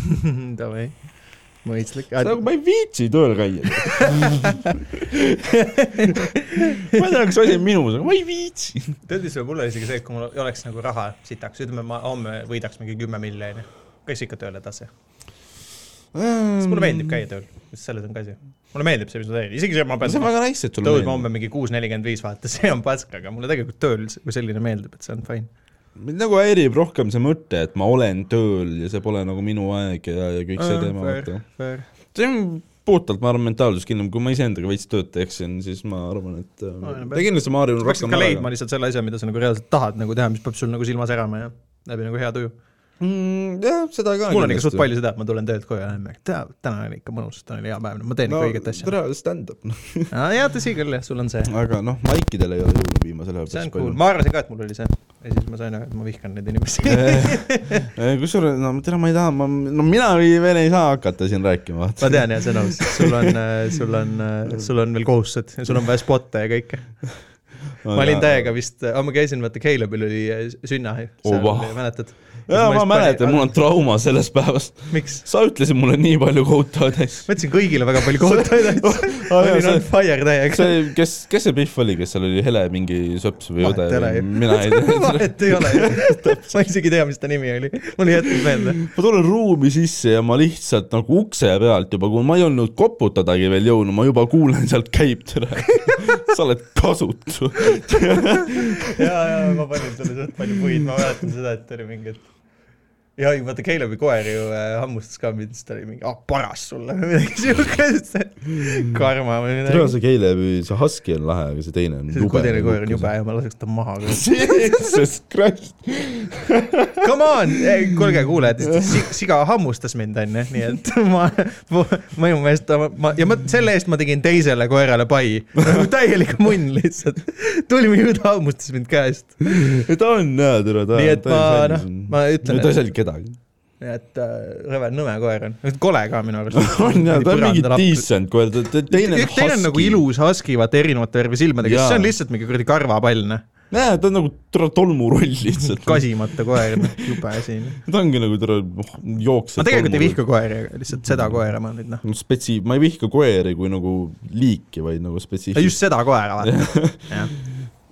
Speaker 1: (laughs) davai , mõistlik .
Speaker 3: nagu ma ei viitsi tööl käia .
Speaker 1: (laughs)
Speaker 3: ma ei tea , kas asi on minus , aga ma ei viitsi .
Speaker 1: tead , mis võib olla isegi see , et kui mul oleks nagu raha sitaks , ütleme , ma homme võidaks mingi kümme miljonit , käiks ikka tööle edasi . sest mulle meeldib käia tööl , just selles on ka asi . mulle meeldib see , mis ma teen , isegi see , et ma
Speaker 3: see on
Speaker 1: pean
Speaker 3: väga nice , et sulle
Speaker 1: tõusma homme mingi kuus nelikümmend viis , vaata , see on pask , aga mulle tegelikult tööl see- kui selline meeldib , et see on fine .
Speaker 3: mind nagu häirib rohkem see mõte , et ma olen tööl ja see pole nagu minu aeg ja , ja kõik see
Speaker 1: Äh,
Speaker 3: teema ,
Speaker 1: fair.
Speaker 3: vaata . see on puhtalt , ma arvan , mentaalsuskindlam , kui ma iseendaga veits tööd teeksin , siis ma arvan , et äh,
Speaker 1: Oleneb,
Speaker 3: ja kindlasti ma harjun
Speaker 1: sa peaksid
Speaker 3: rohkem
Speaker 1: ka leidma lihtsalt selle asja , mida sa nagu reaalselt tahad nagu teha , mis peab sul nagu silma särama ja läbi nagu hea tuju .
Speaker 3: Mm, jah , seda ka .
Speaker 1: mul on ikka suht . palju seda , et ma tulen töölt koju ja lähen , täna oli ikka mõnus , täna oli hea päev , ma teen
Speaker 3: no
Speaker 1: ikka õiget asja .
Speaker 3: tere , stand-up .
Speaker 1: ah, . jaa , tõsi küll , jah , sul on see .
Speaker 3: aga noh , maikidel ei ole jõule viimasel ajal
Speaker 1: see on cool ,. ma arvasin ka , et mul oli see . ja siis ma sain aru , et ma vihkan neid inimesi . (laughs)
Speaker 3: kusjuures , no tere , ma ei taha , ma , no mina ei- veel ei saa hakata siin rääkima , vaata .
Speaker 1: ma tean jah , see on äh, aus , sul on , sul on , sul on veel kohustused ja sul on vaja spotte ja kõike . ma olin täiega vist , ma käisin , vaata , Caleb'il oli äh, sünna ,
Speaker 3: Oba.
Speaker 1: mäletad ?
Speaker 3: jaa , ma mäletan , mul on trauma sellest päevast .
Speaker 1: miks ?
Speaker 3: sa ütlesid mulle nii palju kohutavaid asju .
Speaker 1: ma ütlesin kõigile väga
Speaker 3: (laughs)
Speaker 1: palju kohutajaid
Speaker 3: Oh,
Speaker 1: asju . ma olin on fire täiega .
Speaker 3: see , kes , kes see Pihv oli , kes seal oli , Hele mingi söps või
Speaker 1: Vahet
Speaker 3: õde
Speaker 1: ei ole ju. ?
Speaker 3: mina ei tea .
Speaker 1: (laughs) (laughs) vahet ei
Speaker 3: (laughs)
Speaker 1: ole , ma isegi ei tea , mis ta nimi oli , mul ei jätnud meelde .
Speaker 3: ma tulen ruumi sisse ja ma lihtsalt nagu ukse pealt juba , kui ma ei olnud koputadagi veel jõudnud , ma juba kuulen sealt käib tere . (laughs) sa oled kasutu .
Speaker 1: ja , ja ma panin talle suht palju puid , ma mäletan seda , et oli mingi , et ja ei vaata Caleb'i koer ju äh, hammustas ka mind , siis ta oli mingi , ah paras sulle või midagi siukest , karma või
Speaker 3: tere ,
Speaker 1: midagi .
Speaker 3: see Keilevi , see Husky on lahe , aga see teine on
Speaker 1: see kudene koer on jube hea , ma laseks ta maha .
Speaker 3: (laughs) Jesus Christ .
Speaker 1: Come on , kuulge kuulajad , siga hammustas mind onju , nii et (laughs) ma, ma , minu meelest ta- ma ja ma selle eest ma tegin teisele koerale pai , (laughs) täielik munn lihtsalt . tuli minu juurde , hammustas mind käest ,
Speaker 3: ta on jaa , tere , ta
Speaker 1: Nii et
Speaker 3: ta ei
Speaker 1: ma,
Speaker 3: salli
Speaker 1: noh,
Speaker 3: sind.
Speaker 1: ma ütlen,
Speaker 3: no ta
Speaker 1: et-
Speaker 3: ei salli kedagi .
Speaker 1: nii et äh, rõve nõme koer on , kole ka minu arust .
Speaker 3: (laughs) (laughs) on jaa , ta on mingi decent koer , ta , ta teine on
Speaker 1: üks teine on nagu
Speaker 3: Husky.
Speaker 1: ilus husky , vaata erinevate värvi silmadega ,
Speaker 3: Jaa.
Speaker 1: see on lihtsalt mingi kuradi karvapäll ,
Speaker 3: (laughs)
Speaker 1: noh .
Speaker 3: jaa , ta on nagu tore tolmuroll lihtsalt .
Speaker 1: kasimata koer , noh , jube asi .
Speaker 3: ta ongi nagu tore jooksja .
Speaker 1: ma tegelikult ei vihka koeri , aga lihtsalt
Speaker 3: Mm.
Speaker 1: seda koera ma nüüd , noh .
Speaker 3: no spetsi- , ma ei vihka koeri kui nagu liiki , vaid nagu spetsiifilist
Speaker 1: just seda koera , (laughs) vaata . jah ,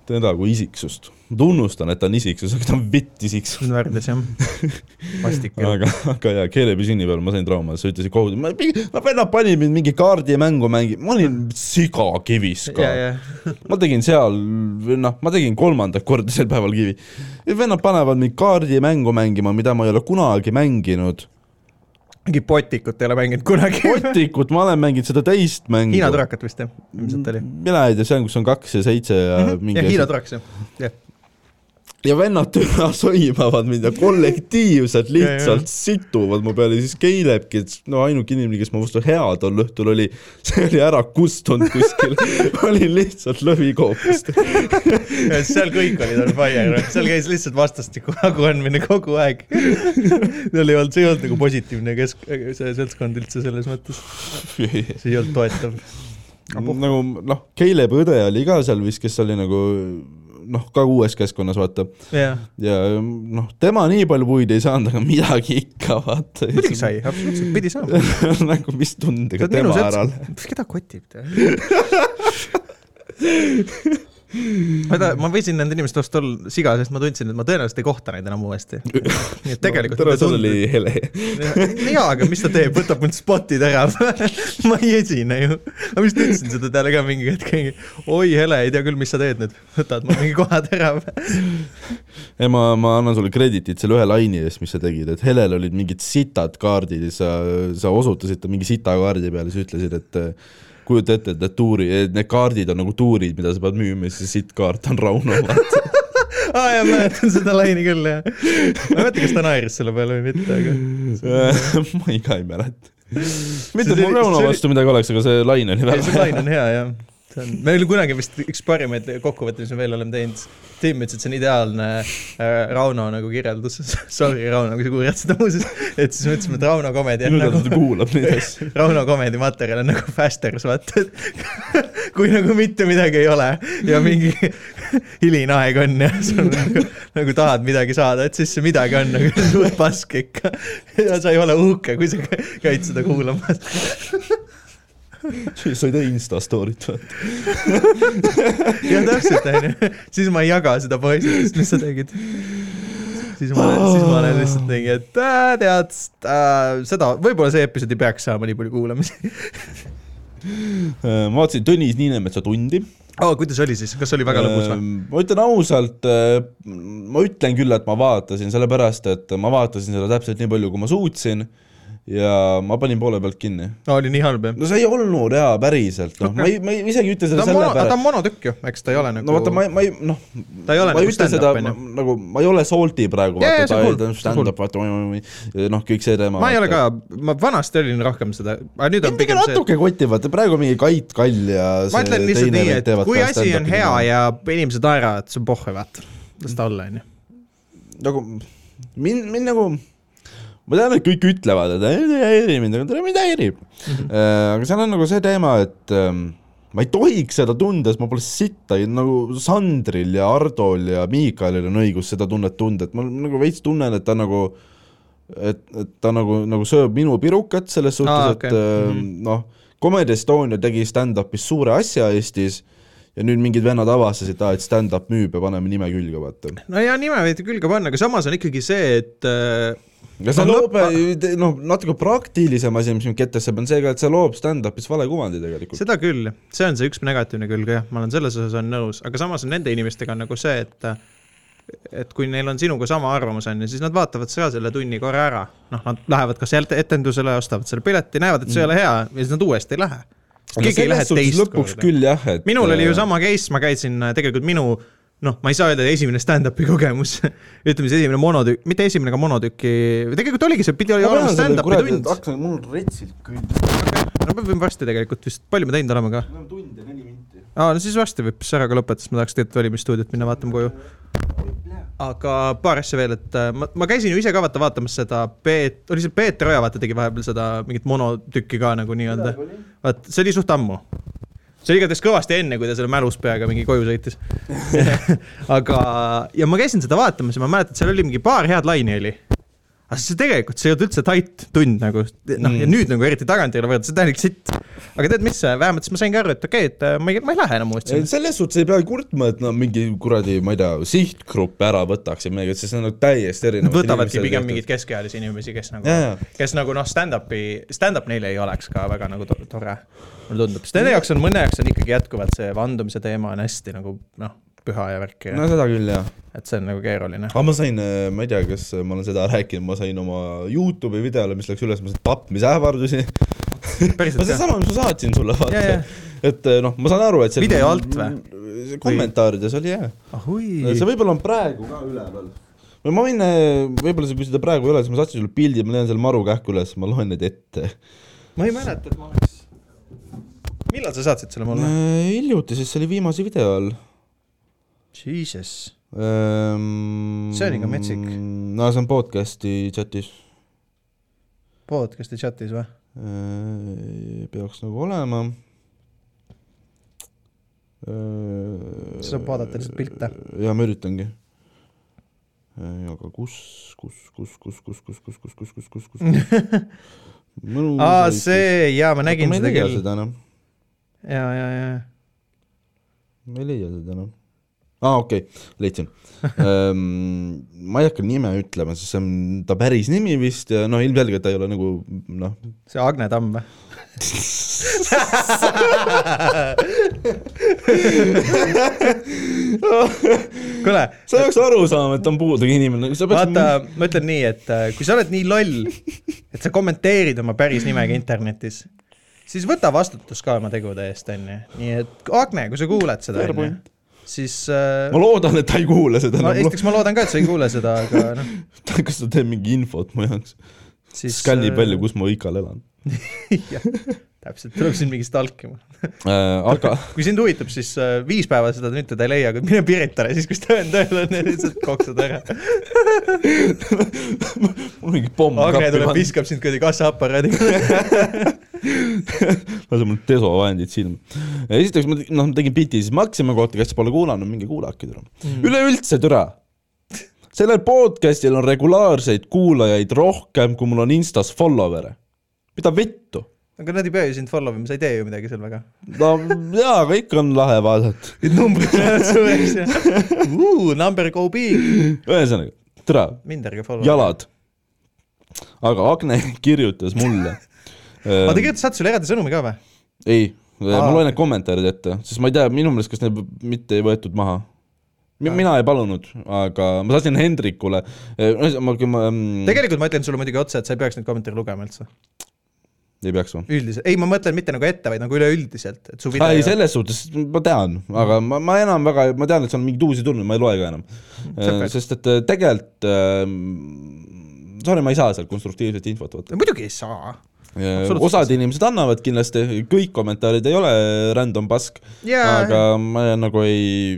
Speaker 3: teda kui isiksust . tunnustan , et ta on isiksus , aga ta on vitt isiksus .
Speaker 1: see on värdjas ,
Speaker 3: (laughs)
Speaker 1: jah . vastik .
Speaker 3: aga , aga jaa , keelepüsini peal ma sain trauma , sa ütlesid kohut- , ma , ma vennad panid mind mingi kaardimängu mängi- , ma olin sigakivis ka
Speaker 1: ja , ja .
Speaker 3: ma tegin seal , noh , ma tegin kolmandat korda sel päeval kivi . vennad panevad mind kaardimängu mängima , mida ma ei ole kunagi
Speaker 1: (laughs)
Speaker 3: mänginud .
Speaker 1: mingi potikut ei ole mänginud kunagi .
Speaker 3: Otikut ma olen mänginud seda teist mängu .
Speaker 1: (laughs) Hiina turakat vist , jah , ilmselt oli .
Speaker 3: mina ei tea , see on , kus on kaks ja seitse ja mm -hmm. Mm. mingi
Speaker 1: jah , Hiina turakas , jah . jah ,
Speaker 3: ja vennad täna sõimavad
Speaker 1: (laughs)
Speaker 3: mind ja kollektiivselt
Speaker 1: Ja, ja.
Speaker 3: lihtsalt situvad mu peale , siis Keilebki , no ainuke inimene , kes mu vastu hea tol õhtul oli , (laughs) see oli ära kustunud kuskil , (laughs) olin lihtsalt lõvikoopis .
Speaker 1: (laughs) seal kõik olid on fire , seal käis lihtsalt vastastikku haguandmine kogu aeg . seal ei olnud , see ei olnud nagu positiivne kesk- , see seltskond üldse selles mõttes , see ei olnud toetav .
Speaker 3: nagu noh , Keileb õde oli ka seal vist , kes oli nagu noh , ka uues keskkonnas , vaata .
Speaker 1: jah ,
Speaker 3: ja noh , tema nii palju puid ei saanud , aga midagi ikka , vaata .
Speaker 1: muidugi sai , absoluutselt pidi saama .
Speaker 3: (laughs) nagu mis
Speaker 1: sa
Speaker 3: tundega
Speaker 1: oled minu
Speaker 3: tema ära (laughs)
Speaker 1: selts , keda kotib ? vaata , ma võisin nende inimeste vastu olla siga , sest ma tundsin , et ma tõenäoliselt ei kohta neid enam uuesti . nii et tegelikult
Speaker 3: tere , sul oli . hele . (laughs)
Speaker 1: jaa , aga mis ta teeb , võtab mul spotid ära . (laughs) ma ei esine ju . ma vist ütlesin seda talle ka mingi hetk , oi Hele , ei tea küll , mis sa teed nüüd , võtad mul mingi kohad ära . (laughs)
Speaker 3: ei , ma , ma annan sulle krediitit selle ühe laine eest , mis sa tegid , et Helel olid mingid sitad kaardid ja sa , sa osutasid ta mingi sita kaardi peale , sa ütlesid , et äh, kujuta ette , et need tuuri , need kaardid on nagu tuurid , mida sa pead müüma ja siis sitt kaart on Rauno oma .
Speaker 1: (laughs) aa jaa , mäletan seda laine küll jah . ma ei mäleta , kas ta naeris selle peale või mitte , aga
Speaker 3: (laughs) ma ei- ka ei mäleta . mitte , et
Speaker 1: oli-
Speaker 3: mul Rauno
Speaker 1: see oli-
Speaker 3: vastu midagi oleks , aga see laine oli
Speaker 1: ei ,
Speaker 3: väga
Speaker 1: see
Speaker 3: hea .
Speaker 1: lain on hea jah . see on , meil oli kunagi vist üks parimaid kokkuvõtteid , mis me veel oleme teinud . Tim ütles , et see on ideaalne äh, Rauno nagu kirjeldus . (laughs) Sorry , Rauno , kui sa kuulad seda muuseas . et siis me ütlesime , et Rauno komedi on
Speaker 3: nüüd
Speaker 1: nagu
Speaker 3: ta kuulab neid asju .
Speaker 1: Rauno Comedy materjal on nagu Fasters , vaata , et kui nagu mitte midagi ei ole ja mingi hiline aeg on ja sa nagu, nagu tahad midagi saada , et siis see midagi on nagu suht pask ikka . ja sa ei ole uhke , kui sa käid seda kuulamas . (laughs)
Speaker 3: sa ei tee Insta story't või ?
Speaker 1: ja täpselt , onju . siis ma ei jaga seda poisilist , mis sa tegid . siis ma olen , siis ma olen lihtsalt mingi , et äh, tead äh, , seda , võib-olla see episood ei peaks saama nii palju kuulamisi .
Speaker 3: Äh, ma vaatasin Tõnis Niinemetsa tundi
Speaker 1: aa , kuidas oli siis , kas oli väga lõbus või ?
Speaker 3: Ehm, ma ütlen ausalt , ma ütlen küll , et ma vaatasin , sellepärast et ma vaatasin seda täpselt nii palju , kui ma suutsin ja ma panin poole pealt kinni .
Speaker 1: Äh, oli nii halb jah ?
Speaker 3: no see ei olnud jaa , päriselt , noh , ma ei , ma ei, ma isegi ei ütle
Speaker 1: ta
Speaker 3: seda
Speaker 1: on mono , ta
Speaker 3: sellepärast
Speaker 1: on , monotükk ju , eks ta ei ole nagu
Speaker 3: no vaata , ma ei , ma ei , noh ,
Speaker 1: ta ei ole
Speaker 3: ma ei
Speaker 1: nagu
Speaker 3: ütle
Speaker 1: stand-up,
Speaker 3: seda
Speaker 1: on ju.
Speaker 3: ma- nagu , ma ei ole salty praegu ,
Speaker 1: Jaa, jaa, , see
Speaker 3: vaata ta
Speaker 1: on
Speaker 3: ei
Speaker 1: cool, ,
Speaker 3: ta
Speaker 1: see
Speaker 3: on
Speaker 1: on cool.
Speaker 3: stand-up , vaata , noh , kõik see teema .
Speaker 1: ma ei ole ka , ma vanasti olin rohkem seda , aga nüüd on
Speaker 3: mind
Speaker 1: pigem
Speaker 3: ikka
Speaker 1: see ,
Speaker 3: natuke kotib , vaata praegu mingi Kait Kall ja
Speaker 1: et ma ütlen lihtsalt nii , et kui asi on hea ja inimesed naeravad , see on pohhu , vaata . las ta olla , onju .
Speaker 3: nagu mind , mind nagu , ma tean , et kõik
Speaker 1: Mhm.
Speaker 3: Äh, ütlevad , et ei, ei häiri mind , aga tere , mind häirib . aga seal on nagu see teema , et ähm, ma ei tohiks seda tunda, sest ma pole sitta, nagu Sandril ja Hardol ja Miikalil on õigus seda tunnet tunda, et ma nagu veits tunnen, et ta nagu et, et ta nagu, nagu sööb minu pirukat selles suhtes
Speaker 1: Aa,
Speaker 3: ah, ,
Speaker 1: okei.
Speaker 3: okay. et mm -hmm.
Speaker 1: Mhm.
Speaker 3: noh , Comedy Estonia tegi stand-up'is suure asja Eestis ja nüüd mingid vennad avastasid , et stand-up müüb ja paneme nime külge , vaata .
Speaker 1: no ja nime võite külge panna , aga samas on ikkagi see , et äh,
Speaker 3: ja see
Speaker 1: No
Speaker 3: loob
Speaker 1: lõppa- ,
Speaker 3: noh , natuke praktilisem asi , mis mind ketesse paneb , on see ka , et see loob stand-up'is vale kuvandi tegelikult .
Speaker 1: seda küll , see on see üks negatiivne külg , jah , ma olen selles osas on nõus , aga samas on nende inimestega on nagu see , et et kui neil on sinuga sama arvamus , on ju , siis nad vaatavad seal selle tunni korra ära . noh , nad lähevad kas et- etendusele , ostavad selle pileti , näevad , et see ei
Speaker 3: Mm.
Speaker 1: ole hea ja siis nad uuesti ei lähe . keegi ei lähe teist
Speaker 3: lõpuks
Speaker 1: korda .
Speaker 3: küll jah , et äh,
Speaker 1: minul oli ju sama case , ma käisin äh, tegelikult minu noh , ma ei saa öelda , esimene stand-up'i kogemus , (laughs) ütleme siis esimene monotükk , mitte esimene , aga monotüki , tegelikult oligi , see pidi
Speaker 3: ma
Speaker 1: olema
Speaker 3: pean selle
Speaker 1: stand-up'i
Speaker 3: kuradi
Speaker 1: tund .
Speaker 3: akna , mul on retsilt külm ,
Speaker 1: no me võime varsti tegelikult vist , palju me teinud oleme ka ?
Speaker 3: enam tund ja neli minti .
Speaker 1: aa , no siis varsti võib see ära ka lõpetada , sest ma tahaks tegelikult valimisstuudiot minna vaatama koju . aga paar asja veel , et äh, ma , ma käisin ju ise ka vaata vaatamas seda Peet- , oli see Peeter Oja vaata tegi vahepeal seda mingit monotükki ka nagu nii-öelda . vaat see oli suht ammu . see oli igatahes kõvasti enne , kui ta selle mälus peaga mingi koju (laughs) sõitis . aga , ja ma käisin seda vaatamas ja ma mäletan , et seal oli mingi paar head laine oli . aga see tegelikult , see ei olnud üldse tait tund nagu , noh mm. ja
Speaker 3: Mm.
Speaker 1: nüüd nagu eriti tagantjärele võrreldes , see täielik sitt . aga tead mis , vähemalt siis ma saingi aru , et okei okay, , et äh, ma ei , ma ei lähe enam uuesti
Speaker 3: Ei,
Speaker 1: sinna .
Speaker 3: selles suhtes ei pea kurtma , et nad mingi kuradi , ma ei tea , sihtgruppe ära võtaks ja midagi , sest see on nagu täiesti
Speaker 1: Nad
Speaker 3: erinevad .
Speaker 1: võtavadki pigem mingeid keskealisi inimesi , kes
Speaker 3: Jaa, jaa.
Speaker 1: nagu , kes nagu noh , stand-up'i , stand-up neile ei oleks ka väga nagu to- tore , mulle tundub , sest nende jaoks on , mõne jaoks on ikkagi jätkuvalt see vandumise teema on hästi nagu noh , püha ja värk ja
Speaker 3: no
Speaker 1: no.
Speaker 3: seda küll jah ,
Speaker 1: et see on nagu keeruline .
Speaker 3: aga ma sain , ma ei tea , kas ma olen seda rääkinud , ma sain oma Youtube'i videole , mis läks üles , ma sain tapmisähvardusi .
Speaker 1: päriselt
Speaker 3: no
Speaker 1: ka?
Speaker 3: seesama , mis ma saatsin sulle ,
Speaker 1: Jaa,
Speaker 3: vaata
Speaker 1: jaa. .
Speaker 3: et noh , ma saan aru , et see
Speaker 1: Video alt või? ?
Speaker 3: kommentaarides oli jah ,
Speaker 1: ahoi
Speaker 3: see , võib-olla on praegu ka üleval no ma võin , võib-olla sa- kui seda praegu ei ole , siis ma saatsin sulle pildi , ma teen selle maru kähku üles , ma loen need ette .
Speaker 1: ma ei mäleta , et ma oleks . millal sa saatsid selle mulle ?
Speaker 3: Eh, hiljuti , sest see oli viimase video all
Speaker 1: Jesus .
Speaker 3: see
Speaker 1: See on ikka metsik.
Speaker 3: Ehm, no see on podcast'i chatis ,
Speaker 1: podcast'i chatis või ?
Speaker 3: peaks nagu olema .
Speaker 1: sa
Speaker 3: Eh,
Speaker 1: saad vaadata lihtsalt pilte .
Speaker 3: ja ma üritangi . aga kus , kus , kus , kus , kus , kus , kus , kus , kus , kus , kus , kus ?
Speaker 1: (laughs) aa ,. see , jaa , ma nägin seda küll .
Speaker 3: seda enam ,
Speaker 1: jaa , jaa , jaa .
Speaker 3: ma ei leia seda enam . aa , okei okay. , leidsin Ehm, ma ei hakka nime ütlema , sest see on ta päris nimi vist ja noh , ilmselgelt ta ei ole nagu noh ,
Speaker 1: see Agne Tamm või ? kuule
Speaker 3: sa peaks aru saama , et ta on puudega inimene , sa peaks
Speaker 1: vaata , ma ütlen nii , et äh, kui sa oled nii loll , et sa kommenteerid oma päris nimega internetis , siis võta vastutus ka oma tegude eest , onju . nii et Agne , kui sa kuuled seda ,
Speaker 3: Fair
Speaker 1: onju ,
Speaker 3: point.
Speaker 1: siis äh,
Speaker 3: ma loodan , nagu- et ta ei kuule seda
Speaker 1: ma,
Speaker 3: enam ,
Speaker 1: esiteks ma loodan ka , et sa ei kuule seda , aga noh ,
Speaker 3: (laughs) kas ta teeb mingi infot mu jaoks ,
Speaker 1: siis . äh,
Speaker 3: skanni palju ,. kus ma ikal elan
Speaker 1: täpselt , tuleb sind mingi stalkima .
Speaker 3: äh, , aga
Speaker 1: kui sind huvitab , siis äh, viis päeva seda nüüd teda ei leia , aga mine Piritale , siis kui tõend tööl on , (laughs) lihtsalt koksad ära .
Speaker 3: mul mingi pomm
Speaker 1: Agne tuleb ,
Speaker 3: panna ,
Speaker 1: viskab sind kuradi kassaaparaadiga .
Speaker 3: (laughs) lase mul desovahendid silma . esiteks ma te- noh , ma tegin biti , siis me hakkasime kohta , kes pole kuulanud , minge kuulake türa mm. . üleüldse türa , sellel podcast'il on regulaarseid kuulajaid rohkem , kui mul on Instas follower'e . mida vittu ?
Speaker 1: aga nad ei pea ju sind follow ima , sa ei tee ju midagi seal väga .
Speaker 3: no jaa , aga ikka on lahe vaadata .
Speaker 1: Need (laughs) numbrid lähevad suureks ja uh, . Number go big .
Speaker 3: ühesõnaga , türa
Speaker 1: mind ärge follow .
Speaker 3: jalad . aga Agne kirjutas mulle .
Speaker 1: (laughs) ma tegelikult saatsin sulle eraldi sõnumi ka või ?
Speaker 3: ei , ma
Speaker 1: Aa.
Speaker 3: loen need kommentaarid ette , sest ma ei tea , minu meelest , kas need mitte ei võetud maha . mina ei palunud , aga ma saatsin Hendrikule , ühesõnaga ma mm,
Speaker 1: tegelikult ma ütlen sulle muidugi otse , et sa ei peaks neid kommentaare lugema üldse .
Speaker 3: ei peaks või ?
Speaker 1: üldiselt , ei , ma mõtlen mitte nagu ette , vaid nagu üleüldiselt , et su
Speaker 3: aa ei ,
Speaker 1: video .
Speaker 3: selles suhtes ma tean , aga ma , ma enam väga , ma tean , et seal on mingeid uusi tulnud , ma ei loe ka enam .
Speaker 1: Sõped.
Speaker 3: sest et äh, tegelikult ähm, sorry , ma ei saa sealt konstruktiivset infot , vaata .
Speaker 1: muidugi ei saa .
Speaker 3: Ja
Speaker 1: Absoluutselt.
Speaker 3: osad inimesed annavad kindlasti , kõik kommentaarid ei ole random pask
Speaker 1: Jaa.
Speaker 3: aga ma nagu ei ,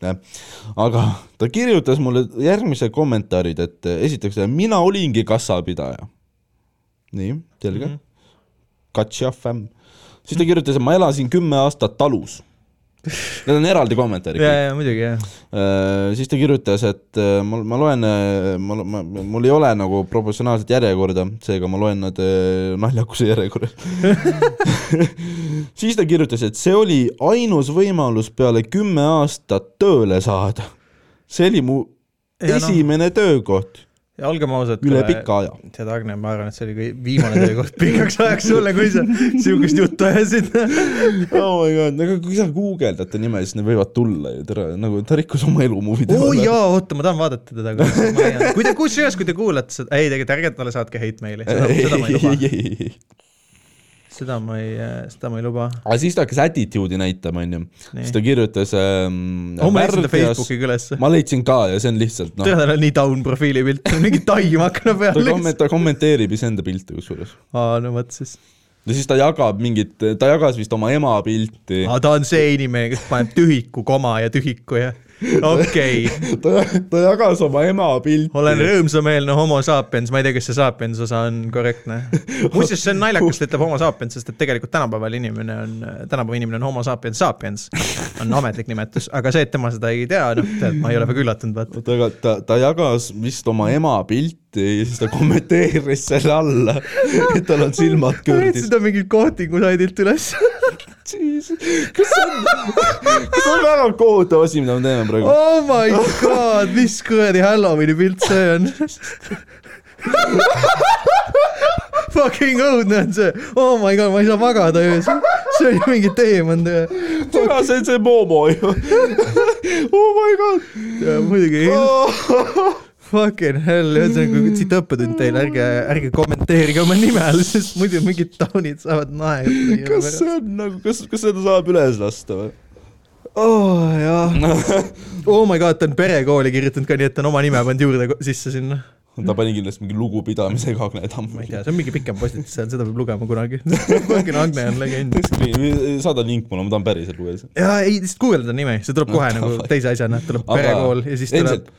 Speaker 3: aga ta kirjutas mulle järgmise kommentaarid , et äh, esiteks , mina olingi kassapidaja . nii , selge mm . -hmm. Katša fämm . siis ta kirjutas , et ma elasin kümme aastat talus . Need on eraldi kommentaarid
Speaker 1: ja
Speaker 3: kõik .,
Speaker 1: ja muidugi jah .
Speaker 3: Äh, siis ta kirjutas , et äh, mul , ma loen , ma, ma , mul ei ole nagu proportsionaalset järjekorda , seega ma loen nad äh, naljakuse järjekorras . siis ta kirjutas , et see oli ainus võimalus peale kümme aastat tööle saada . see oli mu
Speaker 1: Ja
Speaker 3: ja
Speaker 1: noh.
Speaker 3: esimene no. töökoht
Speaker 1: ja olgem ausad . äh,
Speaker 3: üle pika aja .
Speaker 1: tead , Agne , ma arvan , et see oli kõi- viimane töökoht pikaks ajaks sulle , kui sa sihukest juttu (laughs) ajasid .
Speaker 3: oh my god , aga kui sa guugeldad ta nime , siis need võivad tulla ju , tere , nagu ta rikkus oma elu mu video
Speaker 1: oo oh, . jaa , oota , ma tahan vaadata teda ka . kui te , kusjuures , kui te kuulate seda , ei tegelikult ärge talle saatke hate meili , seda ma ei luba ,
Speaker 3: (laughs) aga
Speaker 1: seda ma ei , seda ma ei luba .
Speaker 3: siis ta hakkas attitude'i näitama , onju .
Speaker 1: Nii.
Speaker 3: siis ta kirjutas ähm,
Speaker 1: oh , ma leidsin ta Facebooki ülesse .
Speaker 3: ma leidsin ka ja see on lihtsalt noh ,
Speaker 1: tead , tal on nii down profiili pilt , mingi taim akna
Speaker 3: ta
Speaker 1: peal .
Speaker 3: komment- , ta kommenteerib iseenda pilte kusjuures .
Speaker 1: aa , no vot siis .
Speaker 3: ja siis ta jagab mingit , ta jagas vist oma ema pilti .
Speaker 1: aa , ta on see inimene , kes paneb tühiku koma ja tühiku ja okei okay. ,
Speaker 3: ta , ta jagas oma ema pilti .
Speaker 1: olen rõõmsameelne homo sapiens , ma ei tea , kas see sapiens osa on korrektne . muuseas , see on naljakas , ta ütleb homo sapiens , sest et tegelikult tänapäeval inimene on , tänapäeva inimene on homo sapiens sapiens , on ametlik nimetus , aga see , et tema seda ei tea , noh , tead , ma ei ole väga üllatunud , vaata .
Speaker 3: oota , aga ta , ta jagas vist oma ema pilti ja siis ta kommenteeris selle alla , et tal on silmad
Speaker 1: ma leidsin
Speaker 3: kõrdis .
Speaker 1: ta mingilt kohtingu saidilt üles .
Speaker 3: kas see on , kas see on väga kohutav asi , mida me teeme praegu ?
Speaker 1: oh my god , mis kuradi Halloweeni pilt see on ? (laughs) Fucking õudne on see , oh my god , ma ei saa magada öösel , see oli mingi teemant .
Speaker 3: täna see on see Momo ju . (laughs) oh my god .
Speaker 1: muidugi
Speaker 3: Oh (laughs)
Speaker 1: Fucking hell , ühesõnaga siit õppetund teile , ärge , ärge kommenteerige oma nime all , sest muidu mingid taunid saavad naerda .
Speaker 3: kas see on nagu , kas , kas seda saab üles lasta või ?
Speaker 1: oh, ?
Speaker 3: Mm.
Speaker 1: oh my god , ta on perekooli kirjutanud ka , nii et ta on oma nime pannud juurde ko- sisse sinna .
Speaker 3: (laughs) ta pani kindlasti mingi lugupidamisega Agne
Speaker 1: ma
Speaker 3: Tammi
Speaker 1: ei . tea , see on mingi pikem postitus seal , seda peab lugema kunagi . (laughs) Fucking Agne on legend .
Speaker 3: saada link mulle , ma tahan päriselt lugeda seda .
Speaker 1: jaa , ei , lihtsalt guugelda nime , see tuleb
Speaker 3: Ah,
Speaker 1: kohe nagu teise asjana , tuleb
Speaker 3: Aga
Speaker 1: perekool ja siis tuleb
Speaker 3: endiselt, .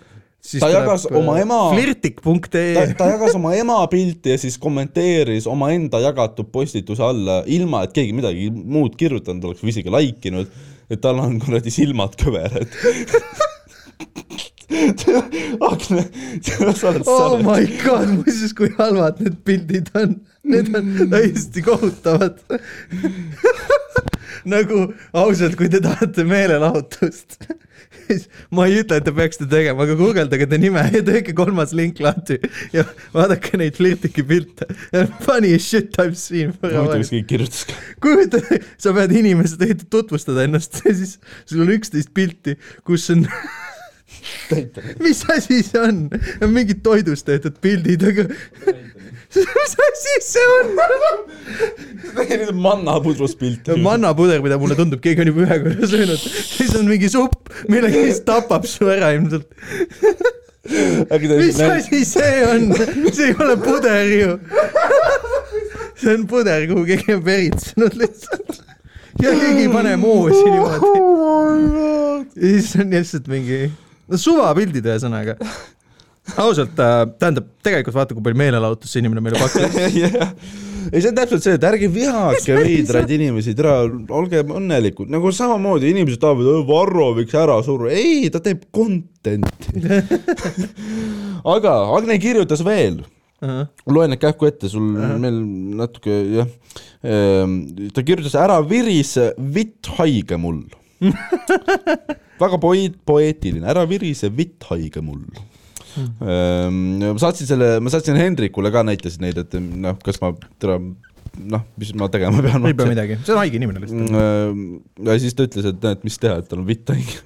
Speaker 3: ta jagas oma ema- ta
Speaker 1: flirtik.ee ,
Speaker 3: ta jagas oma ema pilti ja siis kommenteeris omaenda jagatud postituse alla , ilma et keegi midagi muud kirjutanud oleks või isegi like inud , et tal on kuradi silmad kõverad . Agne , sa
Speaker 1: oh
Speaker 3: oled sale .
Speaker 1: my god , muuseas , kui halvad need pildid on , need on täiesti kohutavad . (laughs) nagu ausalt , kui te tahate meelelahutust , siis ma ei ütle , et te peaksite tegema , aga guugeldage ta nime ja tehke kolmas link lahti ja vaadake neid flirtiki pilte . Funny as shit I have seen for a
Speaker 3: huvitav ,
Speaker 1: while
Speaker 3: kas . keegi kirjutas ka .
Speaker 1: kujuta , sa pead inimesed , ehitad tutvustada ennast ja siis sul on üksteist pilti , kus on mis asi see on ? mingid toidust tehtud pildid , aga (laughs) mis asi see on ?
Speaker 3: tegelikult mannapudrust pilti .
Speaker 1: mannapuder , mida mulle tundub , keegi on juba ühe korra söönud , siis on mingi supp , mille siis tapab su ära ilmselt . mis asi see on ? see ei ole puder ju . see on puder , kuhu keegi on veritsenud lihtsalt . ja keegi ei pane moosi
Speaker 3: Oh
Speaker 1: niimoodi . (laughs) ja siis on lihtsalt mingi , no suvapildid ühesõnaga . ausalt , tähendab , tegelikult vaata , kui palju meelelahutust see inimene meile pakkus .
Speaker 3: jah , ei see on täpselt see , et ärge vihake veidraid inimesi , tere , olge õnnelikud , nagu samamoodi inimesed tahavad , Varro võiks ära surra , ei , ta teeb content'i . (laughs) aga Agne kirjutas veel , loen need kähku ette , sul meil natuke jah , ta kirjutas ära virise vitt haige
Speaker 1: (laughs)
Speaker 3: mul . väga poeet- , poeetiline , ära virise vitt haige mul Ehm, ma saatsin selle , ma saatsin Hendrikule ka , näitasin neid , et noh , kas ma täna noh , mis ma tegema pean .
Speaker 1: ei pea . midagi , see on haige inimene lihtsalt .
Speaker 3: ja siis ta ütles , et näed , mis teha , et tal on vitt
Speaker 1: (laughs)
Speaker 3: haige .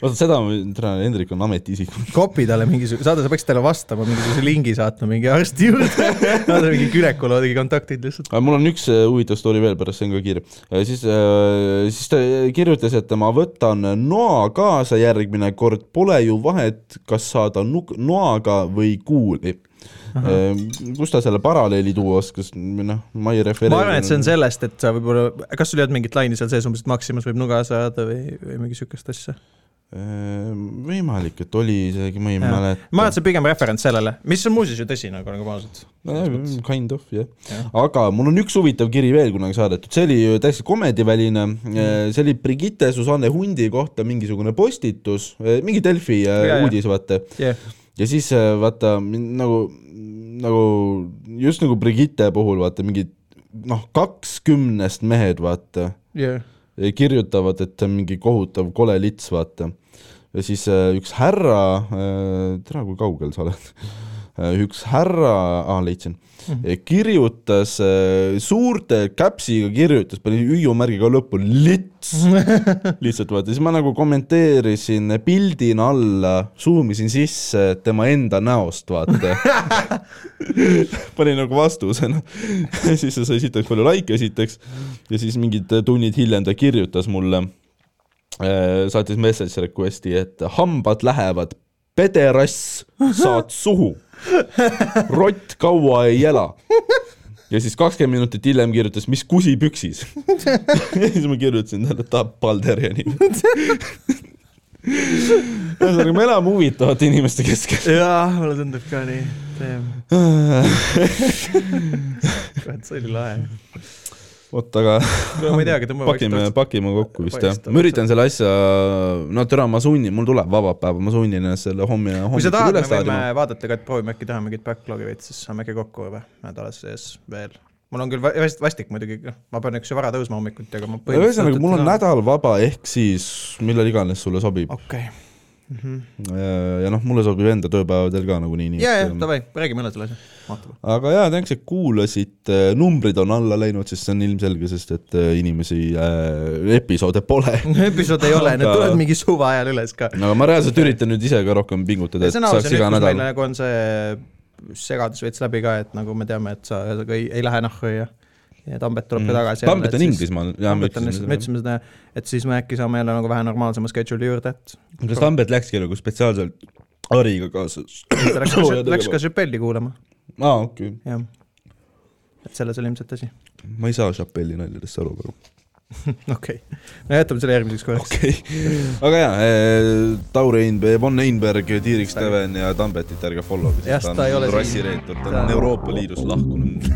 Speaker 3: vaata seda , täna Hendrik on ametiisik .
Speaker 1: kopi talle mingisuguse , saada , sa peaksid talle vastama , mingisuguse lingi saatma mingi arsti juurde . (laughs) saada mingi gümnakoloogide kontaktid lihtsalt .
Speaker 3: aga mul on üks äh, huvitav story veel pärast , see on ka kiire . siis , siis ta äh, kirjutas , et ma võtan noa kaasa järgmine kord , pole ju vahet , kas saada nuk- noaga või kuuli . kus ta selle paralleeli tuua oskas , noh , ma ei refereeri .
Speaker 1: ma arvan , et see on sellest , et sa võib-olla , kas sul ei olnud mingit laini seal sees umbes , et Maximas võib nuga saada või , või mingi sihukest asja ?
Speaker 3: Äh, võimalik , et oli isegi , ma ei
Speaker 1: ma
Speaker 3: mäleta .
Speaker 1: arvan , et see on pigem referents sellele , mis on muuseas ju tõsi nagu , nagu ausalt .
Speaker 3: nojah , mm, kind of jah
Speaker 1: Jah.
Speaker 3: ja. , aga mul on üks huvitav kiri veel kunagi saadetud , see oli ju täiesti komediväline mm. , see oli Brigitte Susanne Hundi kohta mingisugune postitus , mingi Delfi ja,
Speaker 1: Ja, ja.
Speaker 3: uudis , vaata .
Speaker 1: Yeah.
Speaker 3: ja siis äh, vaata min- nagu , nagu just nagu Brigitte puhul vaata mingid noh , kakskümnest mehed vaata
Speaker 1: Yeah.
Speaker 3: Äh, kirjutavad , et see on mingi kohutav kole lits , vaata . ja siis äh, üks härra , tere , kui kaugel sa oled , (laughs) üks härra , aa , leidsin mm , -hmm. kirjutas äh, suurte käpsiga kirjutas , pani hüüumärgiga lõppu , lits . lihtsalt vaata , siis ma nagu kommenteerisin pildina alla , suumisin sisse tema enda näost , vaata . panin nagu vastusena . (laughs) siis see sai esiteks palju likee esiteks ja siis mingid äh, tunnid hiljem ta kirjutas mulle , saatis message request'i , et hambad lähevad , pederass , saad suhu . rott kaua ei ela . ja siis kakskümmend minutit hiljem kirjutas , mis kusi püksis . ja siis ma kirjutasin talle , et tahab Balderiani . ühesõnaga , me elame huvitavate inimeste keskel .
Speaker 1: jaa , mulle tundub ka nii . (laughs) kurat , see oli lahe .
Speaker 3: oot , aga
Speaker 1: ma ei teagi , tõmbame
Speaker 3: pakime , pakime kokku vist jah
Speaker 1: paistaks- .
Speaker 3: ma üritan selle asja , no türa , ma sunnin , mul tuleb vaba päev , ma sunnin ennast selle homme ,
Speaker 1: kui sa
Speaker 3: hommikul
Speaker 1: tahad , me
Speaker 3: üles
Speaker 1: võime
Speaker 3: laadima .
Speaker 1: vaadata ka , et proovime äkki teha mingit backlog'i veits , siis saame äkki kokku juba nädala sees veel . mul on küll va- vast- vastik muidugi , noh , ma pean üks vara tõusma hommikuti , aga ma
Speaker 3: ühesõnaga , mul on . nädal vaba , ehk siis millal iganes sulle sobib .
Speaker 1: okei ,
Speaker 3: ja noh , mulle sobib enda tööpäevadel ka nagunii nii . ähm,
Speaker 1: ja , ja davai , räägime üle selle asja , vaatame .
Speaker 3: aga jaa , tänks , et kuulasite , numbrid on alla läinud , sest see on ilmselge , sest et äh, inimesi äh, , episoode
Speaker 1: (laughs)
Speaker 3: pole .
Speaker 1: (laughs) episood ei ole , need
Speaker 3: Aga-
Speaker 1: tulevad mingi suva ajal üles ka .
Speaker 3: aga ma reaalselt üritan nüüd ise ka rohkem pingutada , et
Speaker 1: see on aus ,
Speaker 3: saaks
Speaker 1: see on üks ,
Speaker 3: iga
Speaker 1: mis meil
Speaker 3: nädal .
Speaker 1: nagu on see segadus veits läbi ka , et nagu me teame , et sa ühesõnaga ei , ei lähe nahku ja , ja Tambet tuleb ka tagasi .
Speaker 3: Mm. Tambet on . Inglismaal , jaa , me
Speaker 1: Tambet on lihtsalt , me
Speaker 3: ütlesime .
Speaker 1: ütlesime seda , et siis me äkki saame jälle nagu vähe normaalsema schedule'i juurde , et
Speaker 3: kas Tambet läkski nagu spetsiaalselt Ariga kaasas ?
Speaker 1: ta läks,
Speaker 3: Sooja
Speaker 1: läks
Speaker 3: tegema.
Speaker 1: ka Chappelli kuulama ,
Speaker 3: aa , okei okay. ,
Speaker 1: jah . et selles oli ilmselt asi , (laughs)
Speaker 3: ma ei saa Chappelli naljadest aru praegu .
Speaker 1: okei . no jätame selle järgmiseks korraks
Speaker 3: okei okay. , aga jaa , Tauri Einberg , Von Einberg , Tiirik Steven ja Tambetit ärge follow'ge ,
Speaker 1: Jah,
Speaker 3: sest
Speaker 1: ta
Speaker 3: ta
Speaker 1: ei ole
Speaker 3: on
Speaker 1: siin.
Speaker 3: rassireetur , ta
Speaker 1: Ta-
Speaker 3: on Euroopa
Speaker 1: (laughs)
Speaker 3: Liidust lahkunud .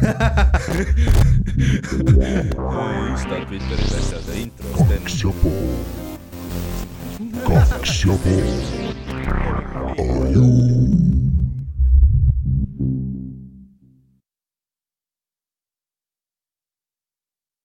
Speaker 3: Insta , Twitteris asjad ja intros teen .
Speaker 2: Kaks ja pool. Kaks ja pool. Aju.